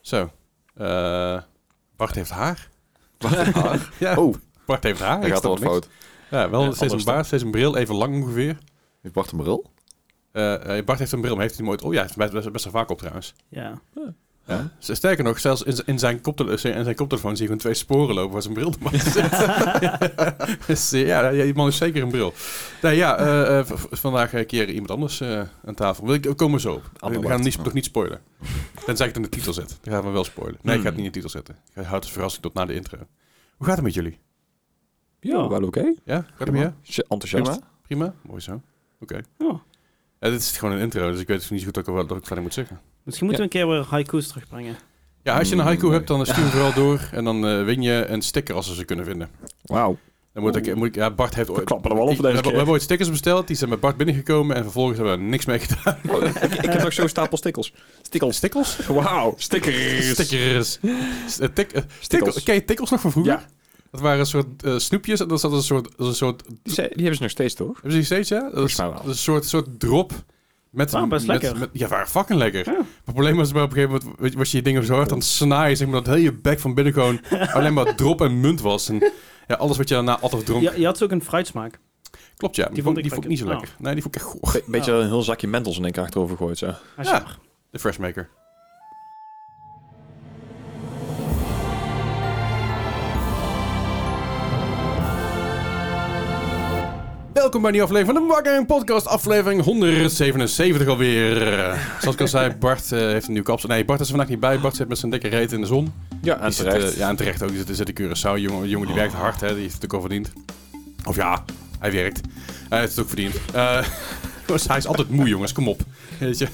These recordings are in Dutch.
Zo. Eh, Bart heeft haar. Ja, Oh, Bart heeft haar. hij Ik gaat er snap wat niks. fout. Ja, wel Ja, steeds een anders baard, steeds een bril, even lang ongeveer. Heeft Bart een bril? Eh, eh, Bart heeft een bril, maar heeft hij hem ooit... Oh ja, hij heeft hem best, best, best wel vaak op trouwens. Ja. Ja. Sterker nog, zelfs in, z- in, zijn koptele- eh, in zijn koptelefoon zie je gewoon twee sporen lopen waar zijn bril erbij zit. dus, eh, ja, ja, die man heeft zeker een bril. Nou ja, eh, eh, v- v- vandaag een keer iemand anders eh, aan tafel. We we komen zo op. Ander we gaan Bart. niet, nog niet spoilen. Tenzij ik het in de titel zet. Dan gaan we wel spoilen. Nee, ik ga het niet in de titel zetten. Ik houd het verrassing tot na de intro. Hoe gaat het met jullie? Ja. wel oké. Ja? Gaat het met je? Sh- Enthousiast. Prima? Mooi zo. Oké. Ja. Ja, dit is gewoon een intro, dus ik weet dus niet zo goed ook wat wat ik verder moet zeggen. Misschien moeten we een keer weer haiku's terugbrengen. Ja, als je een Mm, haiku nee. hebt, dan stuur hem vooral door. En dan eh, win je een sticker als ze ze kunnen vinden. Wauw. Dan moet ik, moet ik, ja, Bart heeft We ooit... klappen er wel we, over deze hebben, we hebben keer. ooit stickers besteld, die zijn bij Bart binnengekomen en vervolgens hebben we er niks mee gedaan. Ik heb nog zo'n stapel stikkels. Stikkels. Stickels? Wauw. Stickers. Stickers. S- eh, tik- eh, Stickels. Tikkels. Ken je tikkels nog van vroeger? Ja, Dat waren een soort eh, snoepjes en dat zat een soort... Dat is een soort die, zijn- die hebben ze nog steeds toch? hebben ze die steeds, ja? Dat is, Volgens mij wel. dat is een soort, soort drop. Met, Wauw, best met, lekker. met- ja, waren fucking lekker. Ja. Maar het probleem was, maar op een gegeven moment weet je, was je die dingen zo hard aan het snijden. Zeg maar, dat hele bek van binnen gewoon alleen maar drop en munt was. En ja, alles wat je daarna at of dronk. Ja, je had ook een fruitsmaak. Klopt, ja. Die, vond, ik, die vond ik niet zo lekker. lekker. Nee, die vond ik echt goor. Be- beetje een heel zakje mentels in één keer achterover gooit zo. Als Ja. je mag. De Freshmaker. Welkom bij een nieuwe aflevering van de Wakker Podcast, aflevering 177 alweer. Zoals ik al zei, Bart eh, heeft een nieuw kapsel. Nee, Bart is er vandaag niet bij. Bart zit met zijn dikke reet in de zon. Ja, en Die zit, terecht. eh, ja, en terecht ook. Die zit, die zit in Curaçao. Jongen, die jongen die werkt hard, hè. Die heeft het ook al verdiend. Of ja, hij werkt. Hij heeft het ook verdiend. Eh, jongens, hij is altijd moe, jongens. Kom op. Weet je.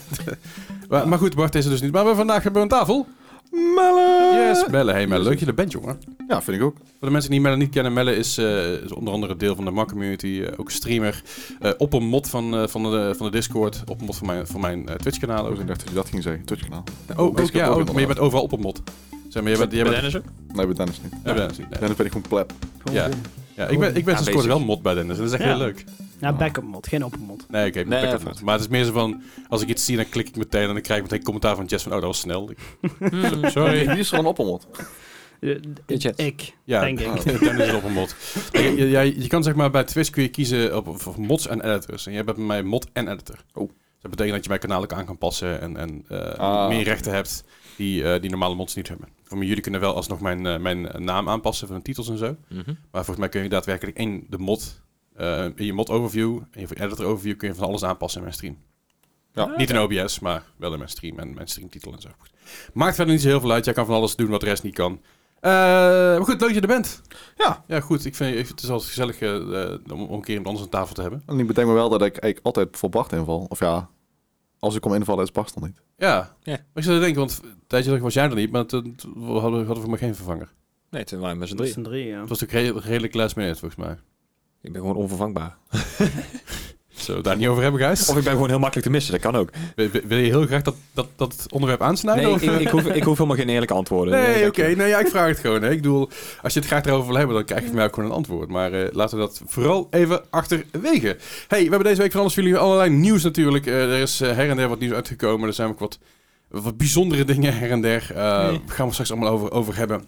maar, maar goed, Bart is er dus niet. Maar we vandaag hebben we een tafel. Melle! Yes, Melle. Hey, Melle. Leuk dat je er bent, jongen. Ja, vind ik ook. Voor de mensen die Melle niet kennen, Melle is, eh, is onder andere deel van de Man Community. eh, ook streamer. Eh, op een mod van, eh, van, de, van de Discord. Op een mod van mijn, van mijn eh, Twitch-kanaal Oh, ook. Ik dacht dat je dat ging zeggen. Twitch-kanaal. Oh, ook, Discord ja, ook ook, maar je inderdaad. bent overal op een mod. Zeg maar, je bent... Je bent Dennis ook? Nee, bij Dennis niet. Nee, Dennis niet, nee. Dennis ben ik gewoon pleb. Ja. ja, ik ben, ik ben sinds kort Aanwezig. wel mod bij Dennis. en Dat is echt Ja. heel leuk. Ja, backup mod, geen open mod. Nee, oké, Nee, backup dat mod. is- Maar het is meer zo van, als ik iets zie, dan klik ik meteen en dan krijg ik meteen commentaar van Jess van, oh, dat was snel. Ik- Sorry. Wie is er een oppermot? Eh, Je chat. Ik, Ja, Oh. denk ik. Dennis is op een mod. Kijk, je, je, je kan zeg maar bij Twitch kun je kiezen op, op- op mods en editors. En jij bent bij mij mod en editor. Oh. Dus dat betekent dat je mijn kanaal ook aan kan passen en, en eh, Ah. meer rechten hebt die, eh, die normale mods niet hebben. Voor mij, jullie kunnen wel alsnog mijn, eh, mijn naam aanpassen van de titels en zo. Mhm. Maar volgens mij kun je daadwerkelijk in de mod, eh, in je mod overview, in je editor overview, kun je van alles aanpassen in mijn stream. Ja. Niet in OBS, maar wel in mijn stream en mijn streamtitel en zo. Goed. Maakt verder niet zo heel veel uit. Jij kan van alles doen wat de rest niet kan. Eh, maar goed, leuk dat je er bent. Ja. Ja, goed. Ik vind, ik- het is altijd gezellig eh, eh, om, om een keer iemand anders aan tafel te hebben. En ik bedenk me wel dat ik eigenlijk altijd voor Bart inval. Of ja, als ik kom invallen is Bart dan niet. Ja. Ja. Maar ik zat te denken, want een tijdje terug was jij er niet, maar toen toen hadden we hadden we voor mij geen vervanger. Nee, toen waren we met z'n Dat drieën. zijn drie, ja. Het was natuurlijk redelijk- redelijk last minute, volgens mij. Ik ben gewoon onvervangbaar. Zullen we het daar niet over hebben, guys? Of ik ben gewoon heel makkelijk te missen, dat kan ook. Wil, wil- wil je heel graag dat, dat, dat onderwerp aansnijden? Nee, ik, of, ik, hoef, ik hoef helemaal geen eerlijke antwoorden. Nee, oké. dank je. Nee, ja, ik vraag het gewoon. Hè. Ik bedoel, als je het graag erover wil hebben, dan krijg je van mij ook gewoon een antwoord. Maar eh, laten we dat vooral even achterwege. hey, we hebben deze week van alles voor jullie allerlei nieuws natuurlijk. Eh, er is eh, her en der wat nieuws uitgekomen. Er zijn ook wat, wat bijzondere dingen her en der. Eh, Nee. Gaan we straks allemaal over, over hebben.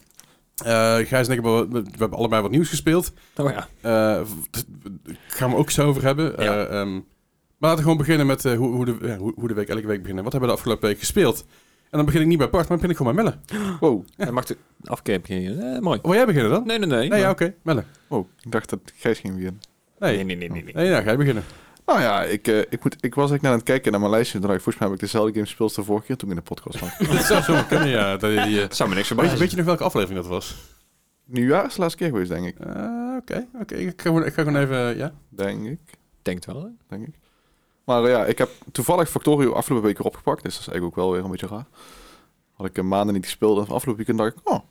Eh Gijs en ik hebben, we, we hebben allebei wat nieuws gespeeld. Oh ja. Eh, v- t- gaan we ook zo over hebben. Eh, Ja. ehm, maar laten we gewoon beginnen met eh, hoe, hoe, de, ja, hoe, hoe de week elke week beginnen. Wat hebben we de afgelopen week gespeeld? En dan begin ik niet bij Bart, maar begin ik gewoon bij Melle. Wow. En mag de afkeer beginnen. Eh, mooi. Wil jij beginnen dan? Nee, nee, nee. Nee, ja, maar- oké. Melle. Wow. Ik dacht dat Gijs ging beginnen. Nee. nee, Nee, nee, nee, nee, nee. ja, ga je beginnen. Nou ja, ik, eh, ik, moet, ik was eigenlijk naar aan het kijken naar mijn lijstje. En dacht ik, volgens mij heb ik dezelfde games gespeeld als de vorige keer toen ik in de podcast was. dat zou zo kunnen, ja. Dat, je die, eh, Dat zou me niks weet, je, verbazen. weet je nog welke aflevering dat was? Nieuwjaar is de laatste keer geweest, denk ik. Eh, Oké, oké. Ik, ga gewoon- ik ga gewoon even, ja. Denk ik. Denkt wel, hè? denk ik. Maar eh, ja, ik heb toevallig Factorio afgelopen week weer opgepakt. Dus dat is eigenlijk ook wel weer een beetje raar. Had ik een maanden niet gespeeld en van afgelopen weekend dacht ik, oh,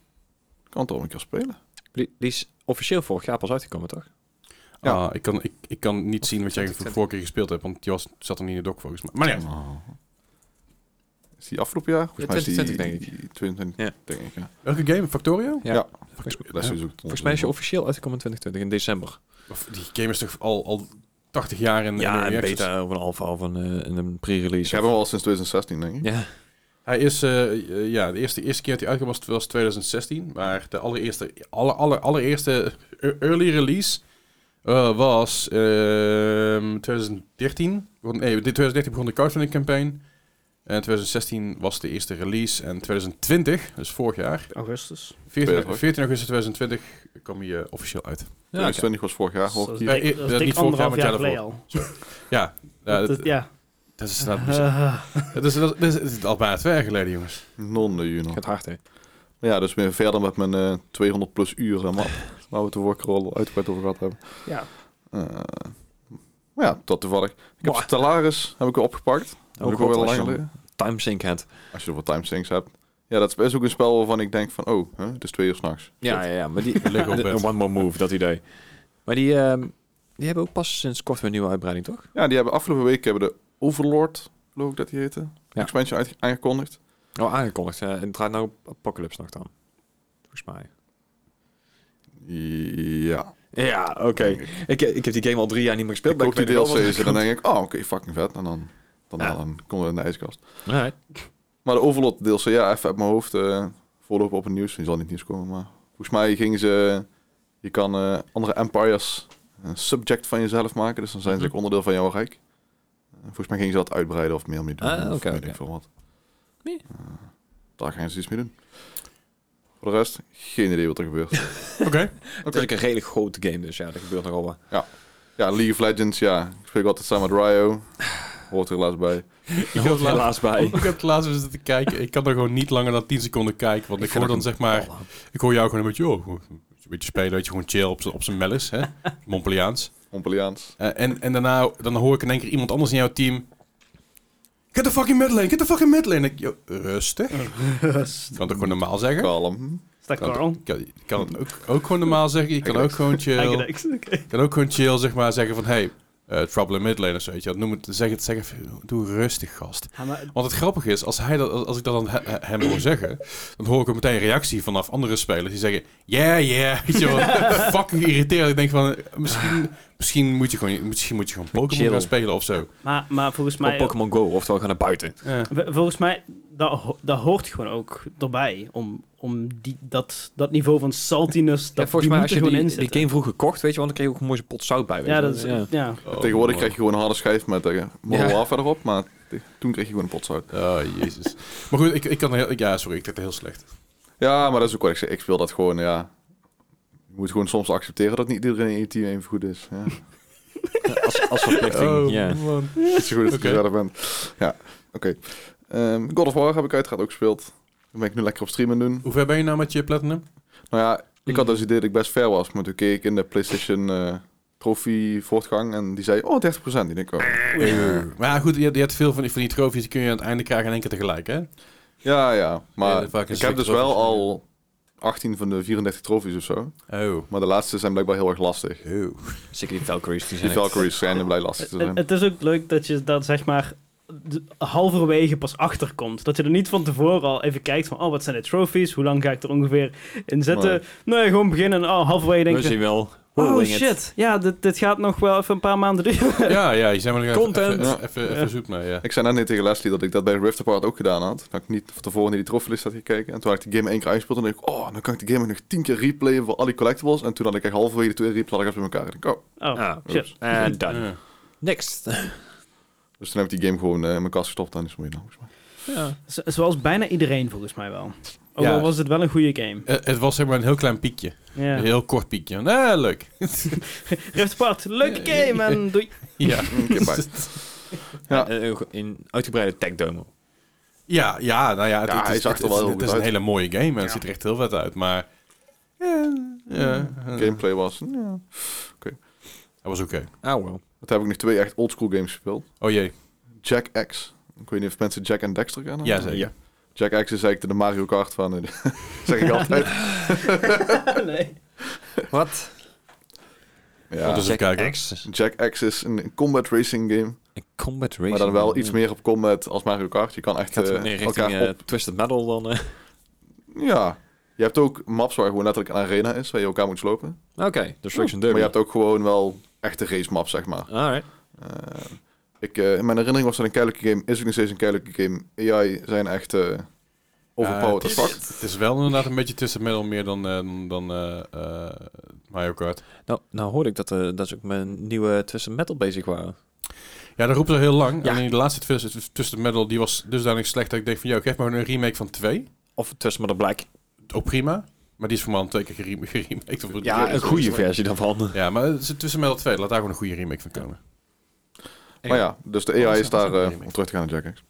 ik kan toch een keer spelen. Die, die is officieel vorig jaar pas uitgekomen, toch? Ja. Ja. ik, kan, ik, ik kan niet zien wat jij voor de vorige keer gespeeld hebt, want Jos zat er niet in de doc volgens mij. Maar nee, Oh. Is die afgelopen jaar? Volgens mij is die 2020 denk 2020, Ja. denk ik. Ja. welke game? Factorio? Ja. Ja. Dat is dus Ja. sowieso Volgens mij is je officieel uitgekomen in 2020, in december. Of die game is toch al, al 80 jaar in in Ja, early een access? beta of een alpha of een, eh, een pre-release. Ik heb hem al sinds 2016, denk ik. Ja. Hij is, eh, eh, ja, de eerste, eerste keer dat hij uitkwam was, was 2016. Maar de allereerste, aller, aller, allereerste e- early release eh, was ehm 2013. Begon- Nee, dit 2013 begon de crowdfunding campaign. En 2016 was de eerste release. En 2020, dus vorig jaar, Augustus. 14, 14 augustus 2020, kwam hij eh, officieel uit. Ja, oké. 2020 was vorig jaar. Dat hoor is ik hier. Nee, dik- eh, dat dat is niet dik vorig jaar, anderhalf maar het jaar jaar geleden al. Ja, eh, Dat- dat- Ja. dat is inderdaad bizar. Eh, Dat is, dat, is, dat is al bijna twee jaar geleden, jongens. Non, you know. Gaat hard, hè? Ja, dus weer verder met mijn eh, 200 plus uur eh, map. Waar we het de vorige keer al uitgebreid over gehad hebben. Ja. Eh, maar ja, dat toevallig. Ik heb Mwah. Oh, Stellaris heb ik weer opgepakt. Dat heb Ook ik alweer wel lang lang geleden. Time sync hand. Als je zoveel timesinks hebt. Ja, dat is best ook een spel waarvan ik denk van, oh, hè, het is twee uur s'nachts. Ja, ja, ja. Maar die... Liggen op de- bed. one more move, dat idee. Maar die, ehm, die hebben ook pas sinds kort weer een nieuwe uitbreiding, toch? Ja, die hebben afgelopen week hebben de Overlord, geloof ik dat die heette, expansion uitge- aangekondigd. Oh, aangekondigd. eh, het draait nou op Apocalypse nog dan. Volgens mij. Ja. Ja, oké. Ik, ik heb die game al drie jaar niet meer gespeeld. Ik koop die weet wel wat DLC's en er dan komt. denk ik, oh, oké, fucking vet. En dan, dan, Ja. dan komt het in de ijskast. Alright. Maar de Overlord DLC, ja, even uit mijn hoofd. eh voorlopen op het nieuws. Die zal niet nieuws komen, maar volgens mij gingen ze... Je kan eh, andere empires een subject van jezelf maken. Dus dan zijn ze ook Mhm. onderdeel van jouw rijk. En volgens mij gingen ze dat uitbreiden of meer mee doen. Ah, of oké, weet oké. ik veel wat. Nee. Eh, daar gaan ze iets mee doen. Voor de rest, geen idee wat er gebeurt. Oké. Het is ook een redelijk grote game, dus ja, dat gebeurt nogal wat. ja, League of Legends, ja. Ik spreek altijd samen met Ryo. Hoort er helaas bij. Ik heb, laatst, helaas bij. ik heb het laatst eens zitten kijken. Ik kan er gewoon niet langer dan 10 seconden kijken. Want ik, hoor dan zeg maar... Ik hoor jou gewoon een beetje... Oh, gewoon een beetje spelen, weet je, gewoon chill op z'n- op zijn mellis, hè? Montpelliaans. Montpelliaans. Eh, en, en daarna dan hoor ik in één keer iemand anders in jouw team... Get the fucking midlane, get the fucking midlane. En Ik, "Yo, rustig. Ik kan het ook gewoon normaal zeggen. Kalm. Is dat Kan- Carl? Ik kan, ik kan het ook, ook gewoon normaal zeggen. Je kan ook gewoon chill... Eigenlijk. oké. Je kan ook gewoon chill zeg maar zeggen van... Hey, eh, trouble in midlane of zo, weet je. wel. Noem het, zeg het, zeg even, doe rustig, gast. Ja, maar Want het grappige is, als, hij dat, als ik dat aan he- he- hem hoor zeggen, dan hoor ik ook meteen een reactie vanaf andere spelers die zeggen: Yeah, yeah. Weet je wel, fucking irriterend. Ik denk van, eh, misschien, misschien moet je gewoon, misschien moet je gewoon Pokémon Chill. gaan spelen of zo. Maar, maar volgens Op mij, Pokémon Go, oftewel gaan naar buiten. Ja. v- volgens mij dat, ho- dat hoort gewoon ook erbij. Om, om die, dat, dat niveau van saltiness, dat, ja, volgens die mij moet als er je gewoon in die, die zitten. game vroeger kocht, weet je, want dan kreeg je ook een mooie pot zout bij. weet ja, je dat wel. is, ja. Oh, Tegenwoordig krijg je gewoon een harde schijf met eh, Modern Ja. Warfare erop. Maar te- toen kreeg je gewoon een pot zout. Oh, jezus. Maar goed, ik, ik kan heel, ja, sorry, ik deed het heel slecht. Ja, maar dat is ook wat ik zeg. Ik speel dat gewoon, ja. Je moet gewoon soms accepteren dat niet iedereen in je team even goed is. Ja. Als, als verplichting, ja. Oh, man. Het is zo goed dat Oké. je verder bent. Ja, oké. Ehm, God of War heb ik uiteraard ook gespeeld. Daar ben ik nu lekker op stream aan het doen. Hoe ver ben je nou met je platinum? Nou ja, ik Mhm. had dus het idee dat ik best ver was. Maar toen keek ik in de PlayStation eh trofee voortgang en die zei, oh, 30%. Die denk ik, oh. Maar ja, goed, je, je hebt veel van die, van die trofies, die kun je aan het einde krijgen in één keer tegelijk, hè? Ja, ja. Maar Ja, vaak is ik heb het dus trofies. wel al 18 van de 34 trofies of zo. Oh. Maar de laatste zijn blijkbaar heel erg lastig. Oh. Zeker die Valkyries, die Die zijn Valkyries schijnen blij lastig te Het, zijn. het is ook leuk dat je dat zeg maar d- halverwege pas achterkomt. Dat je er niet van tevoren al even kijkt van, oh, wat zijn de trophies? Hoe lang ga ik er ongeveer in zitten? Nee. Nee, gewoon beginnen en oh, halverwege denk We je, zien wel. oh Rolling it. shit, ja, dit, dit gaat nog wel even een paar maanden duren. Ja, ja, je zijn maar even- Content. Even, even, even, Ja. zoek naar, ja. Ik zei net niet tegen Leslie dat ik dat bij Rift Apart ook gedaan had. Dat ik niet van tevoren naar die troffelist had gekeken. En toen had ik de game één keer uitgespeeld. En dacht ik, oh, dan kan ik de game nog tien keer replayen voor al die collectibles. En toen had ik echt halverwege de twee replays achter elkaar. En ik, oh. Oh, Ah, shit. En done. Ja. Next. Dus toen heb ik die game gewoon eh, in mijn kast gestopt. En is het mooi nou, volgens mij. Ja. Zo- zoals bijna iedereen volgens mij wel. Ook Ja. al was het wel een goede game. Eh, Het was zeg maar een heel klein piekje. Ja. Een heel kort piekje. Nou, leuk. Rift Apart, leuke Ja, ja, game en doei. ja. Een keer bij. Ja. Eh, In uitgebreide tech demo. ja, ja, nou ja. Het, Ja, het hij is, zag er het, wel is- heel het goed is een uit. hele mooie game en het Ja. ziet er echt heel vet uit. Maar ja, ja, eh, Gameplay was. ja. dat was oké. Ah, wel. Dat heb ik nog twee echt oldschool games gespeeld. Oh jee. Jack X. Ik weet niet of mensen Jack en Dexter kennen. Ja, zeker. Ja. Jack X is eigenlijk de Mario Kart van. eh, zeg ik altijd. nee. Wat? Wat Ja. is- Dus even kijken. X. Jack X is een combat racing game. Een combat racing. Maar dan wel iets Ja. meer op combat als Mario Kart. Je kan echt Gaat eh, meer richting elkaar eh, Twisted Metal dan... eh. Ja. Je hebt ook maps waar gewoon letterlijk een arena is, waar je elkaar moet slopen. Oké, de Destruction Maar Derby. je hebt ook gewoon wel echte race maps, zeg maar. Alright. Eh, Ik, eh, in mijn herinnering was dat een keilelijke game. Is ook nog steeds een keilelijke game. AI zijn echt eh overpowered Ja, as het, fuck. is, het is wel inderdaad een beetje tussen middel meer dan, eh, dan, dan eh, eh, Mario Kart. Nou, nou hoorde ik dat, eh dat ze ook met een nieuwe Twisted Metal bezig waren. Ja, dat roepen ze heel lang. Ja. En de laatste twist, tussen middel die was dusdanig slecht dat ik denk van... ...joh, geef maar een remake van twee. Of Twisted Metal Black. Ook prima. Maar die is voor mij al twee keer gerem- geremaked. Of- Ja, een goede versie daarvan. Ja, maar het is tussen middel twee. Laat daar gewoon een goede remake van komen. Maar ja, dus de dat AI is- is dat is ook daar, een eh, remake. om terug te gaan naar Jack X.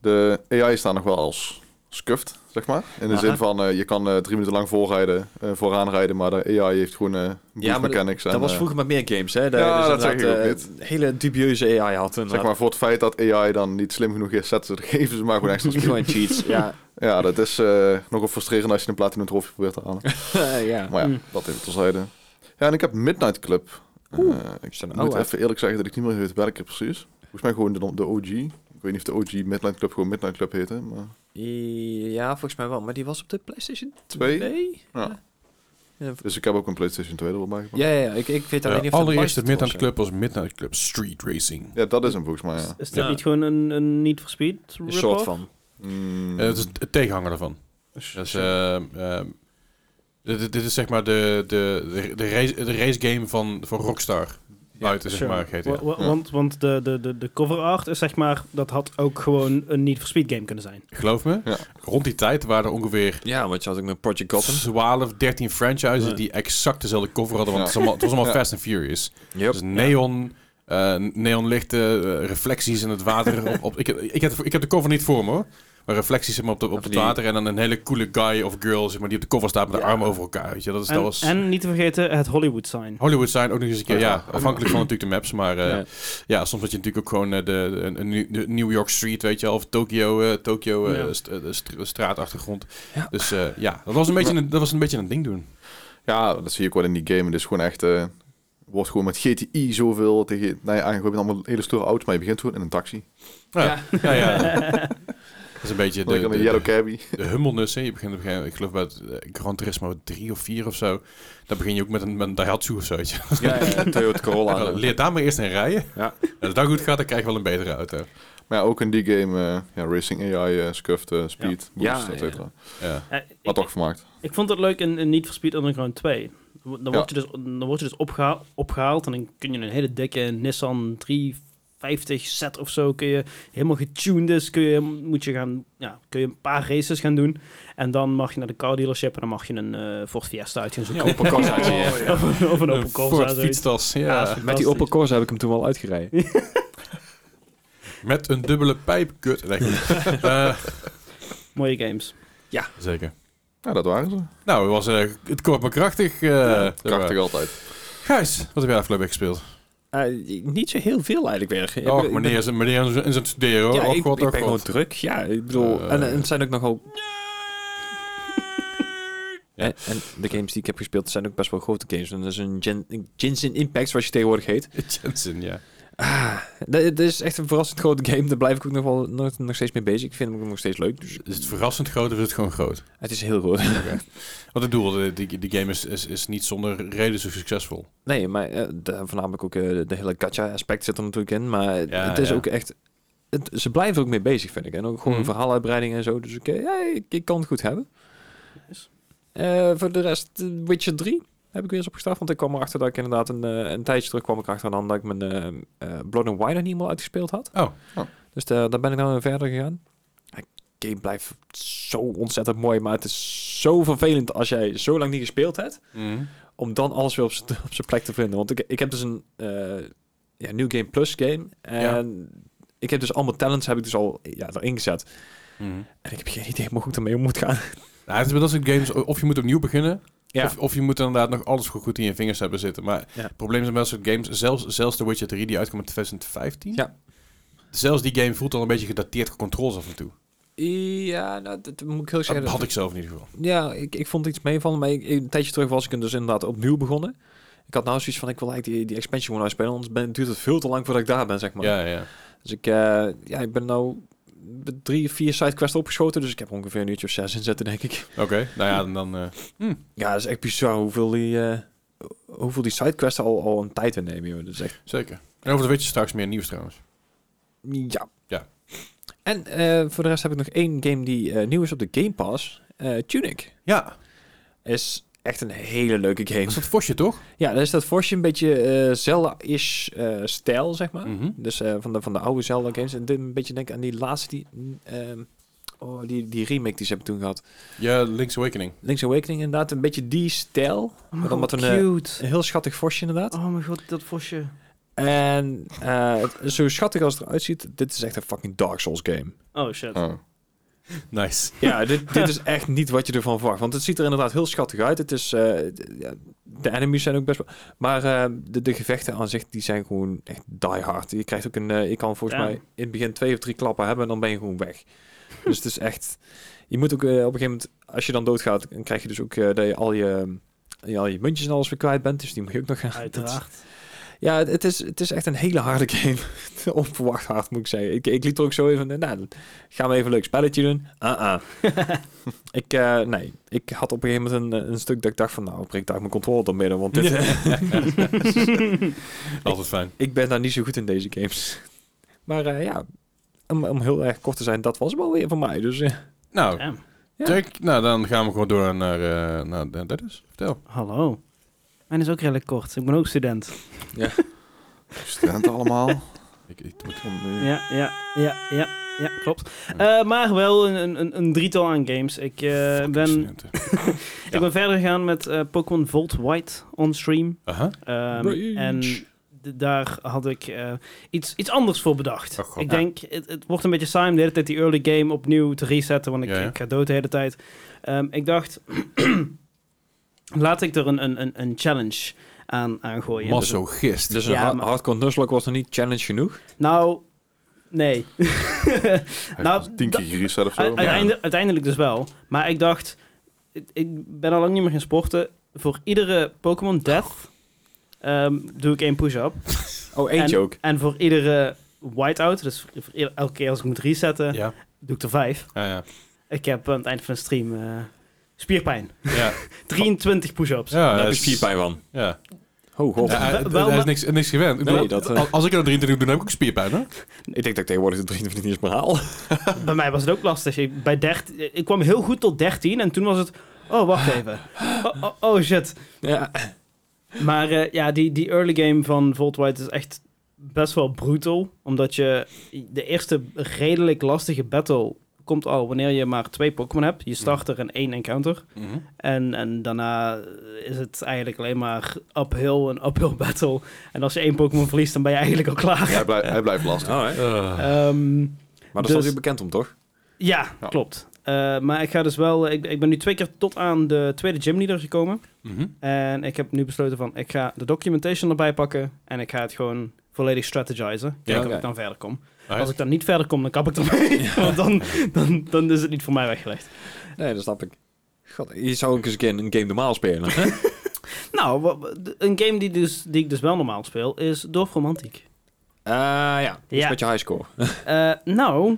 De AI is daar nog wel als scuffed, zeg maar. In de Aha. zin van, eh, je kan eh, drie minuten lang voorrijden, eh, vooraan rijden, maar de AI heeft gewoon eh boost maar mechanics. en, Dat was eh, vroeger met meer games, hè? Daar- Ja, dus dat zeg inderdaad, ik ook eh, Hele dubieuze AI had. zeg maar, voor het feit dat AI dan niet slim genoeg is, zetten ze, geven ze maar gewoon extra speed. Gewoon cheats, ja. ja, dat is eh, nogal frustrerend als je een platinum trofee probeert te halen. ja. Maar ja, Mm. dat even terzijde. Ja, en ik heb Midnight Club. Eh, ik Is dat een moet oude? even eerlijk zeggen dat ik niet meer weet welke precies. Volgens mij gewoon de, de OG. Ik weet niet of de OG Midnight Club gewoon Midnight Club heette, maar... Ja, volgens mij wel. Maar die was op de PlayStation Twee? 2? Ja. Ja, Dus ik heb ook een PlayStation 2 erbij gemaakt. ja, ja, ik, ik weet alleen Ja, niet of dat allereerste Bioshock was, Midnight Club was Midnight Club Street Racing. Ja, dat is hem volgens mij, ja. Is dat Ja. niet gewoon een, een Need for Speed Een rip-off? soort van. Mm. Eh, het is het tegenhanger daarvan. Dus, eh, ehm, ehm, dit, dit- dit is zeg maar de, de, de, de, race, de race game van, van Rockstar. Buiten zeg Sure. maar GTA. Wa- wa- Ja. Want, want de, de, de, de cover art is zeg maar, dat had ook gewoon een Need for Speed game kunnen zijn. Geloof me, Ja. rond die tijd waren er ongeveer Ja, want je had ook een Project Gotham. 12, 13 franchises Ja. die exact dezelfde cover hadden. Want Ja. het was allemaal, het was allemaal Ja. Fast and Furious. Yep. Dus neon, eh, neonlichten, eh, reflecties in het water. op, op, ik, ik, heb, ik heb de cover niet voor me hoor. Maar reflecties zeg maar, op, de, op Of het die- water. En dan een hele coole guy of girl zeg maar, die op de cover staat met de Ja. armen over elkaar. Weet je? Dus Dat, is, dat En, was... en niet te vergeten het Hollywood sign. Hollywood zijn ook nog eens een keer, Ja. ja, afhankelijk van natuurlijk de maps, maar eh, Ja. ja. soms had je natuurlijk ook gewoon eh, de, de, een- een New- de New York Street, weet je wel, of Tokyo, eh, Tokyo eh, Ja. st- eh, de stra- straatachtergrond. Ja. Dus eh, ja, dat was, een beetje een, dat was een beetje een ding doen. Ja, dat zie ik wel in die game. Het is gewoon echt... eh, wordt gewoon met GTI zoveel tegen... Nou ja, eigenlijk met allemaal hele stoere auto's, maar je begint gewoon in een taxi. Ja, ja, ja. dat is een beetje de, Dan kan de, een yellow de, cabby. de hummelness, hè. Je begint op een gegeven moment, ik geloof bij het, eh, Gran Turismo 3 of 4 of zo, daar begin je ook met een, met een Daihatsu of zo, weet je. Ja, ja, Toyota Corolla. Leer daar maar eerst in rijden. Ja. En als dat goed gaat, dan krijg je wel een betere auto. Maar ja, ook in die game, eh, ja, Racing AI, eh scuffed, eh, speed, Ja. boost, Ja, et cetera. Ja. Eh, Maar ik, toch vermaakt. ik vond het leuk in, in Need for Speed Underground 2. Dan Ja. word, je dus, dan word je dus opgeha- opgehaald en dan kun je een hele dikke Nissan 350 set of zo, kun je helemaal getuned is, kun je, moet je gaan, ja, kun je een paar races gaan doen. En dan mag je naar de car dealership en dan mag je een eh Ford Fiesta uit gaan zoeken. Open Corsa. ja. Of, een- of een Opel Een Corsa. Ford zoiets. fietstas, Ja, dat ja. Met is die Opel fantastisch. Corsa heb ik hem toen wel uitgereden. Met een dubbele pijp, kut. Nee, goed. Eh, Mooie games. Zeker. Ja, dat waren ze. Nou, het was eh, het kort maar krachtig. eh, Krachtig eh, altijd. Gijs, wat heb jij afgelopen week gespeeld? Eh, niet zo heel veel eigenlijk weer. Ik Och, ben- meneer, is- meneer is in zijn studeren hoor. Ja, oh Och, ik, god, ik och, ben gewoon god. druk. Ja, ik bedoel, Eh. en, en het zijn ook nogal... En, en de games die ik heb gespeeld zijn ook best wel grote games. En dat is een Gen- Genshin Impact, zoals je tegenwoordig heet. Jensen, ja. Ah, dat, dat is echt een verrassend grote game. Daar blijf ik ook nog, wel, nog, nog steeds mee bezig. Ik vind hem ook nog steeds leuk. Dus Is het verrassend groot of is het gewoon groot? het is heel groot. Want ik bedoel, eh, die, die game is, is, is niet zonder reden zo succesvol. Nee, maar eh, de- voornamelijk ook eh, de hele gacha aspect zit er natuurlijk in. Maar Ja, het is ja. ook echt... het- ze blijven ook mee bezig, vind ik. En ook gewoon Mhm. verhaaluitbreiding en zo. Dus ik, eh, ja, ik, ik kan het goed hebben. Nice. Eh, voor de rest, eh, Witcher 3 heb ik weer eens opgestart. Want ik kwam erachter dat ik inderdaad een, eh, een tijdje terug kwam ik erachter aan dat ik mijn eh, eh, Blood and Wine nog niet helemaal uitgespeeld had. Oh. Oh. Dus eh, daar ben ik nou weer verder gegaan. De game blijft zo ontzettend mooi, maar het is zo vervelend als jij zo lang niet gespeeld hebt Mhm. om dan alles weer op z'n- op zijn plek te vinden. Want ik, ik heb dus een eh, ja, New Game Plus game. En ik heb dus allemaal talents heb ik dus al ja, erin gezet. Mhm. En ik heb geen idee hoe goed ermee om moet gaan. Nou, het is bij dat soort games, of je moet opnieuw beginnen, Ja. of, of je moet inderdaad nog alles goed- goed in je vingers hebben zitten. Maar Ja. het probleem is met dat soort games, zelfs, zelfs The Witcher 3 die uitkwam in 2015, Ja. zelfs die game voelt al een beetje gedateerd qua controls af en toe. Ja, nou, dat moet ik heel zeggen. Dat had ik zelf in ieder geval. Ja, ik, ik vond iets meevallen. Maar ik, ik- een tijdje terug was ik hem dus inderdaad opnieuw begonnen. Ik had nou zoiets van, ik wil eigenlijk die, die expansion gewoon uitspelen. Anders ben, duurt het veel te lang voordat ik daar ben, zeg maar. Ja, ja. Dus ik, eh, ja, ik ben nou met drie, vier sidequests opgeschoten. Dus ik heb ongeveer een uurtje of zes inzetten, denk ik. Oké, nou ja, dan... dan eh, Ja, dat is echt bizar hoeveel die, eh, hoeveel die sidequests al, al een tijd in nemen, joh. Dat is echt... Zeker. En over de Witcher straks meer nieuws trouwens. Ja. Ja. En eh, voor de rest heb ik nog één game die eh, nieuw is op de Game Pass. Eh, Tunic Ja, is echt een hele leuke dat game. is dat Vosje, toch? Ja, daar is dat Forsje een beetje eh, Zelda-ish eh, stijl, zeg maar. Mhm. Dus eh, van, de, van de oude Zelda games. En dit een beetje denk aan die laatste, die, mm, ehm, oh, die, die remake die ze hebben toen gehad. Ja, Link's Awakening. Link's Awakening inderdaad, een beetje die stijl. Oh Maar mijn dan god, wat een, eh, cute. Een heel schattig Forsje inderdaad. Oh mijn god, dat vosje. En eh, het- zo schattig als het eruit ziet, dit is echt een fucking Dark Souls game. Oh shit. Oh. Nice. Ja, dit, dit is echt niet wat je ervan verwacht. Want het ziet er inderdaad heel schattig uit. Het is, eh, d- ja, de enemies zijn ook best wel... Maar eh, de, de gevechten aan zich, die zijn gewoon echt die hard. Je krijgt ook een... eh, je kan volgens Ja. mij in het begin twee of drie klappen hebben en dan ben je gewoon weg. dus het is echt... Je moet ook eh, op een gegeven moment, als je dan doodgaat, dan krijg je dus ook eh, dat je al je, je, al je muntjes en alles weer kwijt bent. Dus die moet je ook nog gaan. Uiteraard. Ja, het- het is, het is echt een hele harde game. Onverwacht hard, moet ik zeggen. Ik, ik liet er ook zo even... eh, Nou, gaan we even een leuk spelletje doen? Ah, ah. ik, eh, nee. Ik had op een gegeven moment een, eh, een stuk dat ik dacht van... Nou, breek daar mijn controle door midden, want dit, Altijd fijn. ik ben daar niet zo goed in deze games. Maar eh, ja, om, om heel erg kort te zijn, dat was wel weer voor mij. Dus eh, Nou, Damn. Ja. check. Nou, dan gaan we gewoon door naar... eh nou, dat- dat is. Vertel. Hallo. Mijn is ook redelijk kort. Ik ben ook student. Studenten allemaal. Ik, ik, ik- Ja, ja, ja, ja, ja klopt. Eh, maar wel een, een, een drietal aan games. Ik, eh, ben, studenten. ik ben verder gegaan met eh, Pokémon Volt White on stream. Aha. Ehm, Rage. en d- daar had ik eh, iets, iets anders voor bedacht. Oh, god. ik Ja. denk, het, het wordt een beetje saai om de hele tijd die early game opnieuw te resetten, want ik, Ja, ja. ik ga dood de hele tijd. Ehm, ik dacht, laat ik er een, een, een, een challenge aan, aan gooien. Masochist. dus een Ja, ha- maar- hardcore nuzlocke was nog niet challenge genoeg. Nou, nee. Nou, nou, tien keer gereset of zo. U- uiteinde- uiteindelijk dus wel. Maar ik dacht, ik, ik ben al lang niet meer gaan sporten. Voor iedere Pokémon Death ehm, doe ik één push-up. Oh, eentje ook. En voor iedere whiteout, dus voor ieder- elke keer als ik moet resetten, Ja. doe ik er vijf. Ja, ja. Ik heb aan het eind van de stream eh, spierpijn. Ja, 23 push-ups. Oh. ja Daar dat heb je is- spierpijn van. Ja. Ho, ho. Ja, hij- wel- hij is niks, niks gewend. Ik Nee, bedoel, dat, eh. al- Als ik er 23 doe, dan heb ik ook spierpijn, hè? Ik denk dat ik tegenwoordig de 23 niet eens meer haal. Bij mij was het ook lastig. Ik, bij 13 ik kwam heel goed tot 13 en toen was het, oh wacht even. Oh, oh, oh shit. Ja. Maar eh, ja, die, die early game van Volt White is echt best wel brutal. Omdat je de eerste redelijk lastige battle komt al wanneer je maar twee Pokémon hebt. Je starter en één encounter. Mhm. En, en daarna is het eigenlijk alleen maar uphill en uphill battle. En als je één Pokémon verliest, dan ben je eigenlijk al klaar. hij, blijft, hij blijft lastig. Oh, hè. Eh, Ehm, Maar daar Dus- staat u bekend om, toch? ja, Ja. klopt. Eh, maar ik ga dus wel... Ik, ik ben nu twee keer tot aan de tweede gymleader gekomen. mhm. En ik heb nu besloten van, ik ga de documentation erbij pakken en ik ga het gewoon volledig strategizen. Kijken of oké. ik dan verder kom. Alright. Als ik dan niet verder kom, dan kap ik ermee. Want dan, dan, dan is het niet voor mij weggelegd. Nee, dat snap ik. God, je zou ook eens een keer een game normaal spelen. hè? Nou, wa- wa- de- een game die, dus, die ik dus wel normaal speel is Dorf Romantiek. Eh, ja, dus Ja. met je highscore. Eh, nou,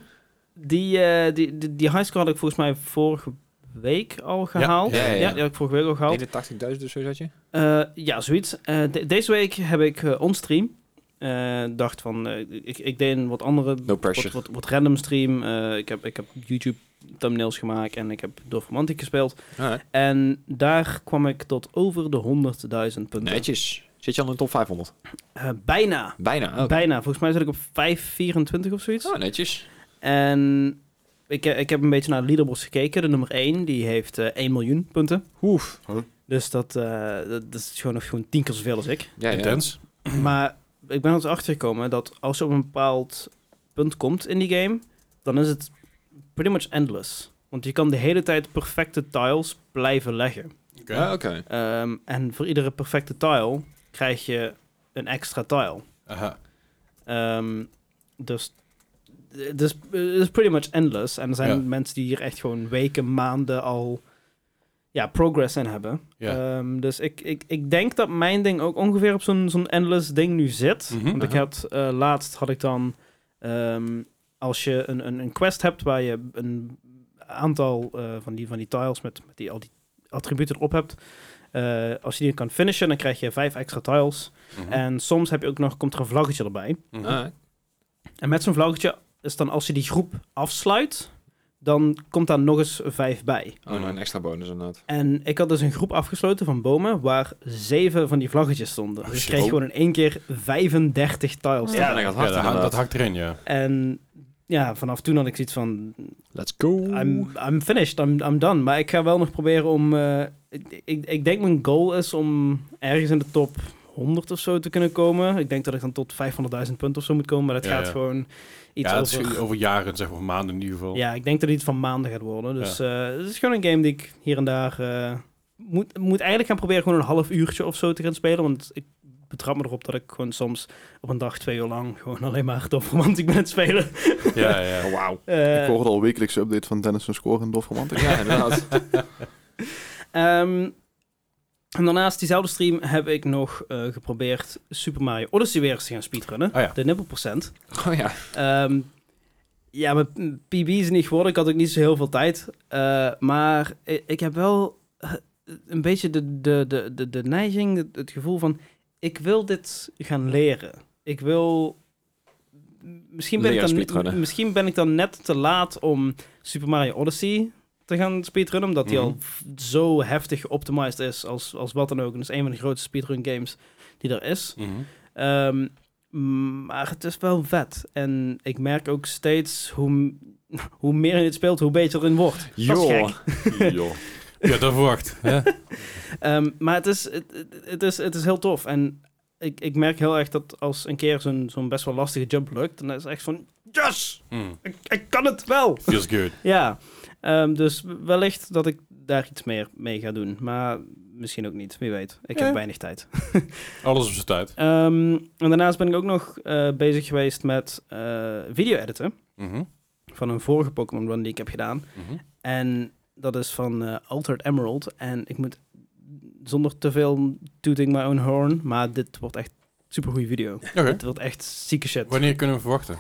die, eh, die, die, die highscore had ik volgens mij vorige week al gehaald. ja, ja, ja. die had ik vorige week al gehaald. 81.000 dus, zo zat je? Eh, ja, zoiets. Eh, de- deze week heb ik eh, onstream. Eh, dacht van, eh, ik, ik deed een wat andere No pressure. Wat, wat, wat random stream. Eh, ik, heb, ik heb YouTube thumbnails gemaakt en ik heb Dorf Romantic gespeeld. En daar kwam ik tot over de 100.000 punten. Netjes. Zit je al in de top 500? Eh, bijna. Bijna. Oh, Bijna. Volgens mij zat ik op 524 of zoiets. Oh, netjes. En ik, eh, ik heb een beetje naar de leaderboards gekeken. De nummer 1, die heeft eh 1 miljoen punten. Oef. Dus dat, eh, dat, dat is gewoon nog gewoon tien keer zoveel als ik. Ja, ja. Intens. Maar ik ben er dus achter gekomen dat als je op een bepaald punt komt in die game, dan is het pretty much endless. Want je kan de hele tijd perfecte tiles blijven leggen. Oké. Ja, Ah, Oké. Ehm, en voor iedere perfecte tile krijg je een extra tile. Aha. Ehm, dus het is, het is pretty much endless. En er zijn Ja. mensen die hier echt gewoon weken, maanden al ja, progress in hebben. Ja. Ehm, dus ik, ik, ik denk dat mijn ding ook ongeveer op zo'n zo'n endless ding nu zit. Mhm, Want ik aha. had eh, laatst had ik dan ehm, als je een, een, een quest hebt waar je een aantal eh, van, die, van die tiles met, met die, al die attributen erop hebt. eh, als je die kan finishen, dan krijg je vijf extra tiles. Mhm. En soms heb je ook nog, komt er een vlaggetje erbij. Mhm. Ah, En met zo'n vlaggetje is dan als je die groep afsluit, dan komt daar nog eens vijf bij. Oh, nou, een extra bonus inderdaad. En ik had dus een groep afgesloten van bomen waar zeven van die vlaggetjes stonden. Oh, dus shit. ik kreeg gewoon in één keer 35 tiles. Ja, dat dat, gaat hard hangt- inderdaad. dat hakt erin, ja. En ja, vanaf toen had ik zoiets van, Let's go. I'm, I'm finished, I'm, I'm done. Maar ik ga wel nog proberen om, eh, ik, ik, ik denk mijn goal is om ergens in de top 100 of zo te kunnen komen. Ik denk dat ik dan tot 500.000 punten of zo moet komen, maar dat Ja, gaat ja. gewoon iets ja, dat over... is over jaren, zeg maar, maanden in ieder geval. Ja, ik denk dat het iets van maanden gaat worden. Dus eh, het is gewoon een game die ik hier en daar... eh, moet, moet eigenlijk gaan proberen gewoon een half uurtje of zo te gaan spelen. Want ik betrap me erop dat ik gewoon soms op een dag twee uur lang... gewoon alleen maar Dof Romantic ben aan het spelen. ja, ja. Oh, wauw. Eh, Ik hoorde al wekelijkse update van Dennis' zijn score in Dof Romantic. Ja, inderdaad. ehm, en daarnaast diezelfde stream heb ik nog eh, geprobeerd Super Mario Odyssey weer eens te gaan speedrunnen. Oh ja. De nippelprocent. oh ja. Ehm, ja, mijn PB is niet geworden. Ik had ook niet zo heel veel tijd. Eh, maar i- ik heb wel eh, een beetje de, de, de, de, de neiging, het, het gevoel van... Ik wil dit gaan leren. Ik wil... Misschien ben, Leren ik dan, speedrunnen. misschien ben ik dan net te laat om Super Mario Odyssey te gaan speedrunnen. Omdat die Mhm. al f- zo heftig geoptimized is als, als wat dan ook. En dat is een van de grootste speedrun games die er is. Mhm. Ehm, mm, maar het is wel vet. En ik merk ook steeds hoe, m- hoe meer je het speelt, hoe beter het wordt. Dat is Joh. gek. Joh. Ja, dat verwacht. hè? Ehm, maar het is, het, het- het, is, het is heel tof. En ik, ik merk heel erg dat als een keer zo'n zo'n best wel lastige jump lukt, dan is het echt van, yes, Mm. ik, ik kan het wel. Feels good. Ja, Ehm, dus wellicht dat ik daar iets meer mee ga doen. Maar misschien ook niet, wie weet. Ik Ja. heb weinig tijd. Alles op zijn tijd. Ehm, en daarnaast ben ik ook nog eh, bezig geweest met eh, video editen. Mhm. van een vorige Pokémon Run die ik heb gedaan. Mhm. En dat is van eh, Altered Emerald. En ik moet zonder te veel tooting my own horn, maar dit wordt echt super goede video. Oké. Het wordt echt zieke shit. Wanneer kunnen we verwachten?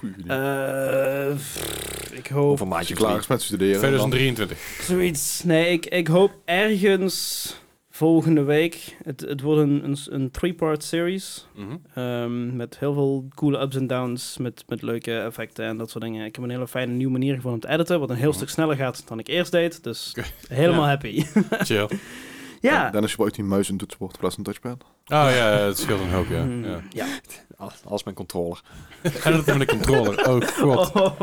Eh, pff, ik hoop Over Als je maatje klaar is met studeren. 2023. zoiets. Nee, ik, ik hoop ergens volgende week. Het, het wordt een, een, een three-part series. Mhm. Ehm, met heel veel coole ups en downs, met, met leuke effecten en dat soort dingen. Ik heb een hele fijne nieuwe manier gevonden om te editen, wat een heel Mhm. stuk sneller gaat dan ik eerst deed. Dus Oké. helemaal Ja. happy. Chill. Oh ja. Dennis gebruikt die muis en toetsenbord in plaats van touchpad. Oh, ja, het scheelt een hoop, ja. Hmm, ja. ja. Als, als mijn controller. En dat met een controller. Oh god.